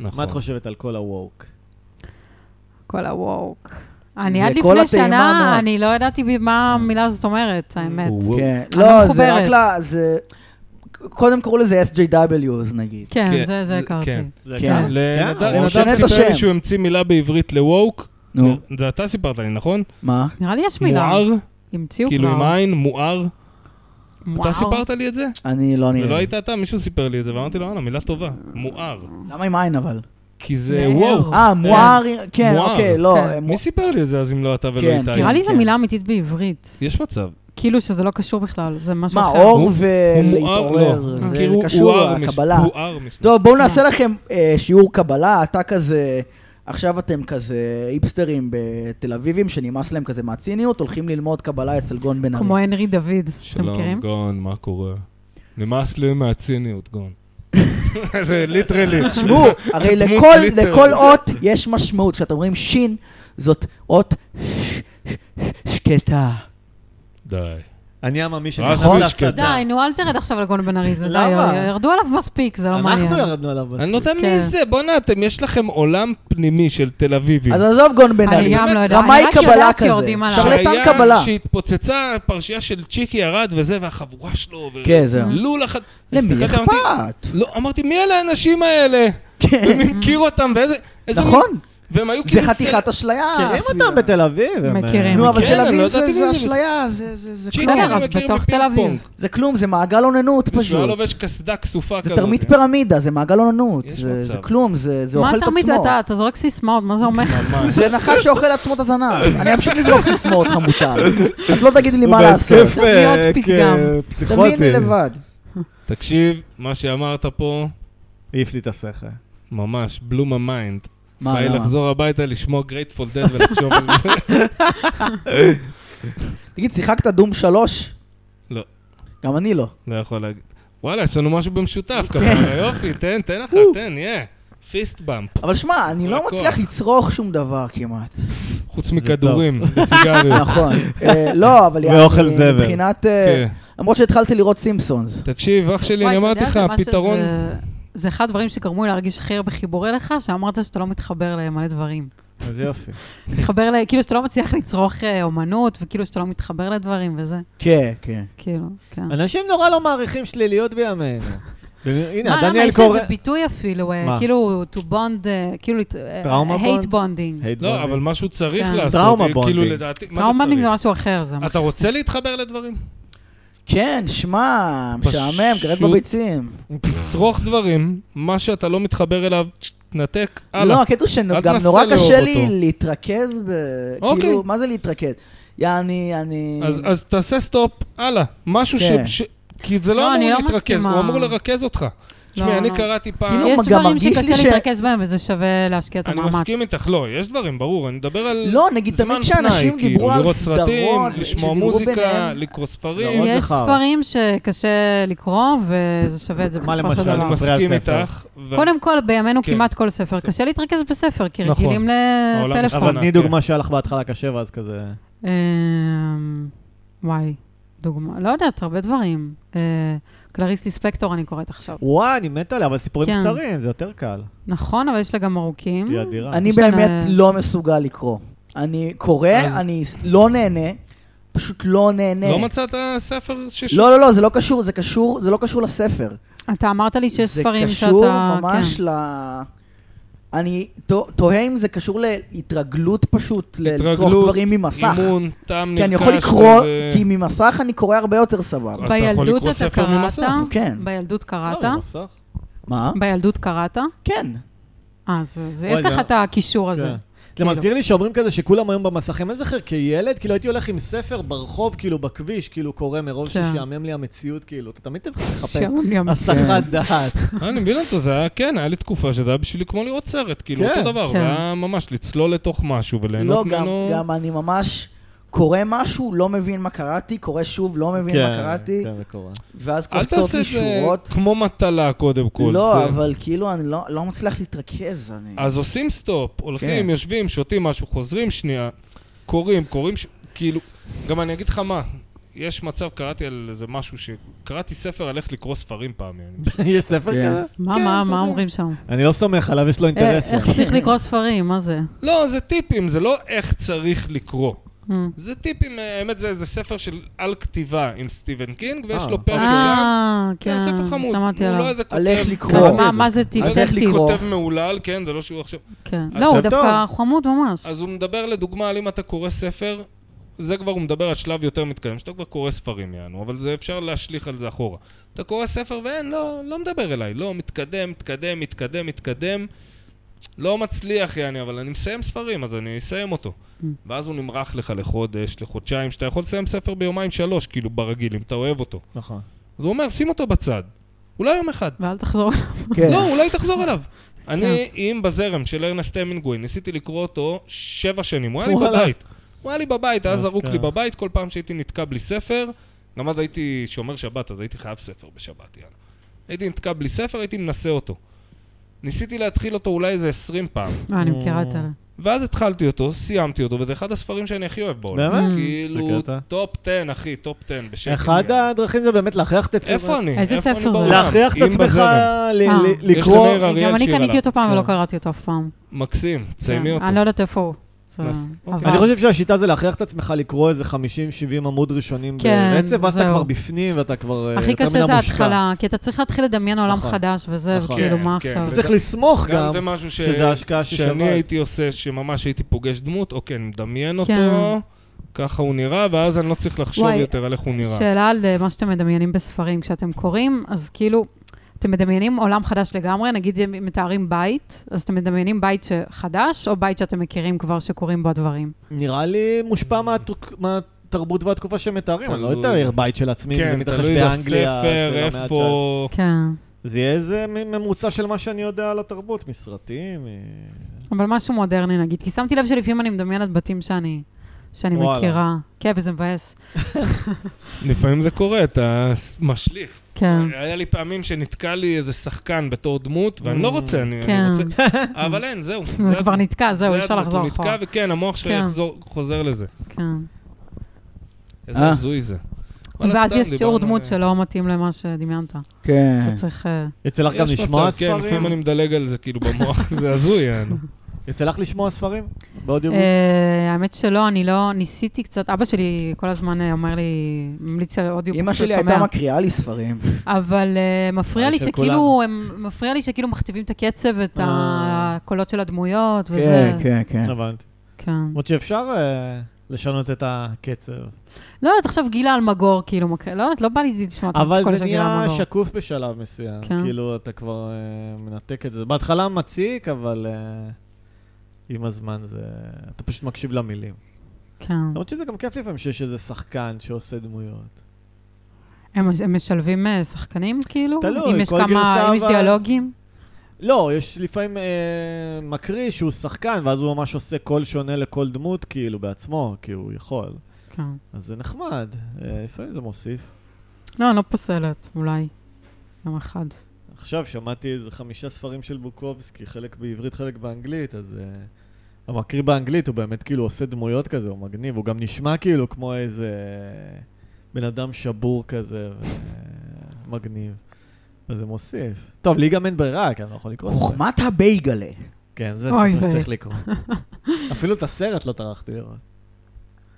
A: נכון.
B: מה את חושבת על כל הווק?
D: כל הווק. אני
C: זה
D: עד
C: כל
D: לפני
C: הטעימה
D: שנה,
C: המאוד.
D: אני לא ידעתי ב- מה המילה הזאת אומרת, האמת.
A: הוא- הוא-
C: כן.
D: אני
C: לא, זה
D: מחוברת.
C: רק ל... זה... קודם קראו לזה SJWs נגיד.
D: כן,
A: כן,
D: זה- זה
A: זה-
D: הכרתי.
A: כן.
B: זה
C: כן.
B: גם-
A: לנדב
B: כן,
C: הוא
A: נדב
C: משנה את
A: סיפר לי
C: השם.
A: שהוא המציא מילה בעברית לווק.
C: נו,
A: זה אתה סיפרת לי, נכון?
C: מה?
D: נראה לי יש מילה.
A: מואר,
D: המציאו כבר.
A: כאילו עם עין, מואר.
D: מואר.
A: אתה סיפרת לי את זה?
C: אני לא
A: זה לא
C: נראה.
A: היית אתה, מישהו סיפר לי את זה, ואמרתי לו, וואלה, מילה טובה, מואר.
C: למה עם עין אבל?
A: כי זה
D: מואר.
A: וואו.
C: אה, מואר, כן,
A: מואר.
C: אוקיי, לא.
D: כן.
C: אה, מואר.
A: מי סיפר לי את זה אז אם לא אתה ולא
C: כן,
A: איתי?
D: נראה לי זו
C: כן.
D: מילה אמיתית בעברית.
A: יש מצב.
D: כאילו שזה לא קשור בכלל, זה משהו
C: מה,
D: אחר.
C: אור
A: הוא מואר,
C: ולהתעורר,
A: לא.
C: אה, זה
A: כאילו,
C: קשור,
A: הואר מש-
C: הקבלה.
A: הואר מש-
C: טוב, בואו
D: כן.
C: נעשה לכם אה, שיעור קבלה, אתה כזה... עכשיו אתם כזה היפסטרים בתל אביבים, שנמאס להם כזה מהציניות, הולכים ללמוד קבלה אצל גון בן ארי.
D: כמו הנרי דוד, אתם
A: שלום,
D: מכירים?
A: גון, מה קורה? נמאס לי מהציניות, גון. זה ליטרלי.
C: תשמעו, הרי
A: דמות
C: לכל,
A: ליטרלי.
C: לכל אות יש משמעות. כשאתם אומרים שין, זאת אות ש- ש- שקטה.
A: די.
B: אני המאמי של
A: נכון, שקט.
D: די, נו, אל תרד עכשיו לגון בן ארי, זה די,
B: לא. למה?
D: ירדו עליו מספיק, זה לא מעניין.
B: אנחנו ירדנו עליו
A: אני
B: בסוף.
A: לא יודע מי
D: כן.
A: זה, בואנה, אתם, יש לכם עולם פנימי של תל אביבים.
D: אה.
C: אז עזוב גון בן
D: אני
C: ארי,
D: גם לא יודעת,
C: רמאי
D: אני רק
C: קבלה
D: יודעת
C: כזה,
D: שיורדים עליו.
C: שרלטן
A: שהיה-
C: קבלה.
A: שהתפוצצה פרשייה של צ'יקי ירד וזה, והחבורה שלו, ו-
C: כן, זהו.
D: אה.
A: לול אחת.
C: למי
A: הסתכלתי, אמרתי,
C: אכפת?
A: לא, אמרתי, מי אלה האנשים האלה?
C: כן,
A: ומי מכיר אותם ואיזה... איזה
C: נכון.
A: מין- והם היו
C: זה
A: כאילו...
C: חתיכת אשליה.
B: מכירים
C: הסביבה.
B: אותם בתל אביב. הם,
D: מכירים.
B: אה,
C: נו, אבל
A: כן,
C: תל
A: אני לא
C: אביב
A: ידעתי
C: זה-
A: מזה.
C: זה אשליה, זה- זה זה
A: צ'יק,
C: כלום.
D: בסדר,
A: אני
D: אז
A: מכיר
D: בתוך תל
A: מפינג
D: אביב.
A: פונג.
C: זה כלום, זה מעגל אוננות
A: מישהו היה
C: פשוט.
A: לובש קסדה כסופה
C: זה
A: כזאת. כן. אה?
C: תרמית פירמידה, זה מעגל אוננות.
A: יש
C: זה זה
A: מצב.
C: כלום, זה זה
D: מה
C: אוכל את
D: אתה
C: עצמו.
D: מתעתה? אתה זורק סיסמאות, מה זה אומר?
A: ממש.
C: זה נחש שאוכל לעצמו את הזנב. אני אמשיך לזרוק סיסמאות חמוטל. את לא תגידי לי מה לעשות.
D: צריך להיות
B: אה,
D: פתגם.
B: כ- פסיכוטי.
C: תביני לבד.
A: תקשיב, מה שאמרת פה,
B: העיף לי את השכל.
A: ממש, בלום המיינד.
C: מה,
A: בא לי
C: למה?
A: לחזור הביתה, לשמוע גרייטפול דד ולחשוב על זה.
C: תגיד, שיחקת דום שלוש?
A: לא.
C: גם אני לא.
A: לא יכול להגיד. וואלה, יש לנו משהו במשותף
C: כן.
A: ככה, יופי, תן, תן לך, תן, יא. פיסט באמפ,
C: אבל שמע, אני לא
A: הכל.
C: מצליח לצרוך שום דבר כמעט.
A: חוץ מכדורים וסיגריות.
C: נכון. אה, לא, אבל... יעני,
B: ואוכל זבל.
C: מבחינת... אה,
A: כן.
C: למרות שהתחלתי לראות סימפסונס.
A: תקשיב, אח שלי,
D: וואי,
A: אני
D: אתה
A: אמרתי
D: יודע,
A: לך,
D: זה משהו-
A: הפתרון...
D: זה- זה אחד הדברים שגרמו לי להרגיש הכי הרבה חיבור אליך, שאמרת שאתה לא מתחבר למלא דברים.
B: אז יופי.
D: אה. מתחבר ל... כאילו שאתה לא מצליח לצרוך אה, אומנות, וכאילו שאתה לא מתחבר לדברים וזה.
C: כן, כן.
D: כאילו, כן.
B: אנשים נורא לא מעריכים שליליות בימינו. הנה,
D: מה, למה?
B: דניאל
D: יש לזה
B: קורן...
D: ביטוי אפילו, אה,
B: מה?
D: כאילו, to bond, אה, כאילו,
B: טראומה
D: hate
B: bond?
D: bonding.
B: Hate
A: לא,
B: bonding.
A: אבל משהו צריך
D: כן.
A: לעשות.
B: טראומה
A: אה, כאילו,
B: בונדינג.
A: לדעתי, מה אתה
D: טראומה bonding
A: צריך?
D: זה משהו אחר, זה
A: אתה רוצה להתחבר לדברים?
C: כן, שמע, משעמם,
A: פשוט-
C: גרד בביצים.
A: צרוך דברים, מה שאתה לא מתחבר אליו, תנתק, הלאה.
C: לא, הקטע
A: אל
C: שגם
A: תנסה
C: נורא
A: לאהוב
C: קשה לי
A: אותו.
C: להתרכז ב...
A: אוקיי.
C: כאילו, מה זה להתרכז? יעני, אני...
A: אז, אז תעשה סטופ, הלאה. משהו
C: כן.
A: ש... ש... כי זה לא,
D: לא,
A: אמור
D: אני לא
A: להתרכז,
D: מסכימה.
A: הוא אמור לרכז אותך. תשמעי, אני
D: לא.
A: קראתי פעם...
C: כאילו,
D: יש
C: גם
D: דברים
C: מרגיש לי ש-
D: שקשה להתרכז בהם וזה שווה להשקיע את
A: אני
D: המאמץ.
A: מסכים איתך, לא, יש דברים, ברור, אני מדבר על...
C: לא, נגיד,
A: זמן
C: תמיד כשאנשים
A: פנאי,
C: דיברו
A: כאילו,
C: על
A: לראות סרטים,
C: סדרות,
A: לשמוע
C: שדיברו
A: מוזיקה,
C: ביניהם- לא,
A: לקרוא ספרים.
B: מאוד
D: יש
B: זכר.
D: ספרים שקשה לקרוא, וזה שווה את זה
B: מה
D: בסופו
B: למשל?
D: של
A: אני
D: דבר.
B: ספרי על
A: מסכים
B: ספר.
A: איתך. ו-
D: קודם כל, בימינו
A: כן.
D: כמעט כל ספר. קשה להתרכז בספר, כי
A: נכון.
D: רגילים
A: העולם
B: אבל
D: לפלאפון.
A: נכונה,
B: תני
A: כן.
B: דוגמה שהיה לך בהתחלה קשה, ואז כזה...
D: אמ, וואי, דוגמה, לא יודעת, הרבה דברים. אה, קלריס ליספקטור אני קוראת עכשיו.
B: וואי, אני מת עליה, אבל סיפורים
D: כן.
B: קצרים, זה יותר קל.
D: נכון, אבל יש לה גם ארוכים.
B: היא אדירה.
C: אני
D: יש לנו-
C: באמת לא מסוגל לקרוא. אני קורא,
A: אז-
C: אני לא נהנה, פשוט לא נהנה.
A: לא מצאת ספר שש...
C: לא, לא, לא, זה לא קשור, זה קשור, זה לא קשור לספר.
D: אתה אמרת לי שיש ספרים שאתה...
C: זה קשור
D: כן.
C: ממש ל... אני ת- תוהה אם זה קשור להתרגלות פשוט, לצרוך
A: התרגלות,
C: דברים ממסך.
A: אימון, טעם נרכש.
C: כי אני יכול לקרוא,
A: ו- אה?
C: כי ממסך אני קורא הרבה יותר סבבה.
A: אז אתה יכול
D: בילדות
A: לקרוא
D: אתה
A: ספר
D: קראת?
A: ממסך.
C: כן. לא.
D: בילדות קראת?
B: אה, במסך?
C: מה?
D: בילדות קראת? אה,
C: כן.
D: אז אז
B: וואי,
D: יש לך
B: זה-
D: את הקישור הזה.
B: כן. זה
D: כאילו-
B: מזכיר לי שאומרים כזה שכולם היום במסכים. אין זכר, כילד, כאילו הייתי הולך עם ספר ברחוב, כאילו בכביש, כאילו קורא מרוב
D: כן.
B: ששעמם לי המציאות, כאילו. אתה תמיד תחפש
D: שם לי המס-
B: הסחת דעת.
A: אה, אני מבין אותו, זה היה, כן, היה לי תקופה שזה היה בשבילי כמו לראות סרט, כאילו
B: כן.
A: אותו דבר,
D: כן.
A: והיה ממש לצלול לתוך משהו
C: לא,
A: וליהנות
C: גם,
A: ממנו.
C: גם אני ממש קורא משהו, לא מבין מה קראתי, קורא שוב, לא מבין מה
B: כן,
C: קראתי,
B: כן, זה קורה.
C: ואז
A: אל
C: קופצות
A: תעשה
C: לי
A: את זה
C: שורות.
A: כמו מטלה קודם כל.
C: לא,
A: זה-
C: אבל כאילו אני לא לא מצליח להתרכז. אני-
A: אז עושים סטופ, הולכים,
C: כן.
A: יושבים, שותים משהו, חוזרים שנייה, קוראים, קוראים, ש- כאילו, גם אני אגיד לך מה, יש מצב, קראתי על איזה משהו ש... קראתי ספר על איך לקרוא ספרים פעם. אני-
B: יש ספר
C: כן.
B: כזה?
D: מה,
A: כן,
D: מה,
A: אתה
D: מה
A: יודע.
D: אומרים שם?
B: אני לא סומך עליו, יש לו אינטרס.
D: אה, איך
B: שם.
D: צריך לקרוא ספרים? מה זה?
A: לא, זה טיפים, זה לא איך צריך לקרוא.
D: אה.
A: זה טיפים, אה, האמת, זה זה ספר של על כתיבה עם סטיבן קינג, ויש
B: אה.
A: לו פרק שם.
D: אה,
A: כן,
D: כן,
A: ספר חמוד.
D: שמעתי
A: הוא לא
D: עליו.
A: איזה כותב...
C: אוקיי. על איך לקרוא.
D: אז מה- מה זה טיפ?
A: לא
C: אז
A: יודע
C: איך
A: איך
C: לקרוא?
A: כותב מהולל, כן, זה לא שהוא עכשיו...
D: כן.
A: אז
D: לא, הוא
B: כותב
D: דווקא חמוד ממש.
A: אז הוא מדבר לדוגמה על אם אתה קורא ספר, זה כבר הוא מדבר על שלב יותר מתקדם, שאתה כבר קורא ספרים יענו, אבל זה אפשר להשליך על זה אחורה. אתה קורא ספר ואין, לא, לא מדבר אליי, לא, מתקדם, מתקדם, מתקדם, מתקדם. לא מצליח יעני, אבל אני מסיים ספרים, אז אני אסיים אותו.
D: Mm.
A: ואז הוא נמרח לך לחודש, לחודשיים, שאתה יכול לסיים ספר ביומיים שלוש, כאילו ברגיל, אם אתה אוהב אותו.
B: נכון.
A: אז הוא אומר, שים אותו בצד. אולי יום אחד.
D: ואל תחזור.
C: כן.
A: לא, אולי תחזור אליו.
B: כן.
A: אני עם בזרם של ארנסט המינגווי, ניסיתי לקרוא אותו שבע שנים, הוא היה לי
B: וואלה.
A: בבית. הוא היה לי בבית, היה
B: אז
A: זרוק
B: כן.
A: לי בבית, כל פעם שהייתי נתקע בלי ספר, גם אז הייתי שומר שבת, אז הייתי חייב ספר בשבת, יאללה. הייתי נתקע בלי ספר, הייתי מנסה אותו. ניסיתי להתחיל אותו אולי איזה 20 פעם,
D: אה, אני מכירה את אלה.
A: ואז התחלתי אותו, סיימתי אותו, וזה אחד הספרים שאני הכי אוהב בעולם.
B: באמת? זה
A: כאילו,
B: קטע.
A: טופ 10, אחי, טופ 10, בשקט.
B: אחד
A: יאללה.
B: הדרכים זה באמת להכריח את עצמך. לא,
A: איפה אני?
D: איזה
A: איפה אני
D: ספר זה?
A: בעולם?
B: להכריח את
A: עם
B: עצמך
A: בזרם.
B: ל-
D: אה.
B: ל-
D: יש
A: לנו
B: לקרוא...
A: ערער. אריאל
D: גם אני
A: שיר
D: קניתי
A: עליו.
D: אותו פעם
B: כן.
D: ולא קראתי אותו אף פעם.
A: מקסים,
D: כן.
A: תסיימי אותו.
D: אני לא יודעת איפה הוא. זה אתה...
A: נס- אוקיי.
D: אבל-
B: אני חושב שהשיטה זה להכריח את עצמך לקרוא איזה 50-70 עמוד ראשונים
D: כן,
B: ברצף, ואז אתה
D: זהו.
B: כבר בפנים ואתה כבר אה,
D: הכי
B: יותר
D: קשה
B: מן
D: זה
B: המושקע.
D: ההתחלה, כי אתה צריך להתחיל לדמיין עולם
B: נכון.
D: חדש וזה,
B: נכון.
D: וכאילו,
A: כן,
D: מה
A: כן.
D: עכשיו?
A: אתה
B: אתה צריך לסמוך
A: גם
B: גם,
A: זה משהו ש...
B: שזה ההשקעה ששווה
A: שאני
B: את זה.
A: הייתי עושה, שממש הייתי פוגש דמות, אוקיי, אני מדמיין
D: כן.
A: אותו, ככה הוא נראה, ואז אני לא צריך לחשוב
D: וואי,
A: יותר על איך הוא נראה.
D: שאלה על אה, מה שאתם מדמיינים בספרים כשאתם קוראים, אז כאילו, אתם מדמיינים עולם חדש לגמרי, נגיד אם מתארים בית, אז אתם מדמיינים בית ש- חדש, או בית שאתם מכירים כבר שקורים בו הדברים.
B: נראה לי מושפע מהתוק- מהתרבות והתקופה שמתארים, אני לא
A: תלוי.
B: אתאר בית של עצמי, אם זה
A: כן,
B: מתרחש
A: תלוי
B: באנגליה
A: בספר,
B: של המאה ה-19.
A: איפה...
D: כן.
B: זה יהיה איזה מ- ממוצע של מה שאני יודע על התרבות, מסרטים. אה,
D: אבל משהו מודרני נגיד, כי שמתי לב שלפעמים אני מדמיינת בתים שאני... שאני
B: וואלה.
D: מכירה. כן, וזה מבאס.
A: לפעמים זה קורה, אתה ס- משליך.
D: כן.
A: היה לי פעמים שנתקע לי איזה שחקן בתור דמות,
B: Mm.
A: ואני לא רוצה, אני אני
D: כן.
A: רוצה... אבל אין, זהו.
D: זה כבר נתקע, זהו, אי אפשר
A: הדמות,
D: לחזור
A: הוא
D: אחורה.
A: לא נתקע, וכן, המוח שלי
D: כן.
A: יחזור- חוזר לזה.
D: כן.
A: איזה
C: אה.
A: הזוי זה. וואלה,
D: ואז
A: סתם,
D: יש תיאור
A: דיברנו
D: דמות
A: על-
D: שלא מתאים למה שדמיינת.
C: כן.
D: אז צריך... אה,
B: יצא לך גם
A: יש
B: לשמוע
A: מצב, כן, לפעמים אני
B: ספרים?
A: מדלג על זה כאילו במוח, זה הזוי, יענו.
B: יצא לך לשמוע ספרים? באודיו?
D: אה, האמת שלא, אני לא ניסיתי קצת, אבא שלי כל הזמן אה, אומר לי, ממליץ על אודיו
C: אימא שלי הייתה מקריאה לי ספרים.
D: אבל אה, מפריע
B: אבל
D: לי
B: של
D: שכאילו,
B: כולנו.
D: הם, מפריע לי שכאילו מכתיבים את הקצב ואת
B: אה.
D: הקולות של הדמויות וזה.
C: כן, כן, כן.
B: הבנתי.
D: כן.
B: למרות שאפשר אה, לשנות את הקצב.
D: לא יודעת, עכשיו גילה אלמגור, כאילו, מק- לא יודעת, לא בא לי לשמוע את
B: אבל
D: הקול
B: זה
D: של גילה
B: נהיה
D: אלמגור.
B: שקוף בשלב מסוים.
D: כן.
B: כאילו, אתה כבר אה, מנתק את זה. בהתחלה מציק, אבל אה, עם הזמן זה... אתה פשוט מקשיב למילים.
D: כן.
B: למרות שזה גם כיף לפעמים שיש איזה שחקן שעושה דמויות.
D: הם הם משלבים אה, שחקנים, כאילו?
B: תלוי,
D: אם יש
B: כל
D: כמה-
B: גרסה,
D: אם יש
B: אבל-
D: דיאלוגים?
B: לא, יש לפעמים אה, מקריא שהוא שחקן, ואז הוא ממש עושה קול שונה לכל דמות, כאילו, בעצמו, כי הוא יכול.
D: כן.
B: אז זה נחמד. אה, לפעמים זה מוסיף.
D: לא, אני לא פוסלת, אולי. יום אחד.
B: עכשיו שמעתי איזה חמישה ספרים של בוקובסקי, חלק בעברית, חלק באנגלית, אז... Uh, המקריא באנגלית הוא באמת כאילו עושה דמויות כזה, הוא מגניב, הוא גם נשמע כאילו כמו איזה אה, בן אדם שבור כזה, ו- מגניב. אז זה מוסיף. טוב, לי גם אין ברירה, כי אני לא יכול לקרוא את זה.
C: חוכמת הבייגלה.
B: כן, זה
D: אוי
B: ספר
D: ווי.
B: שצריך לקרוא. אפילו את הסרט לא טרחתי לראות.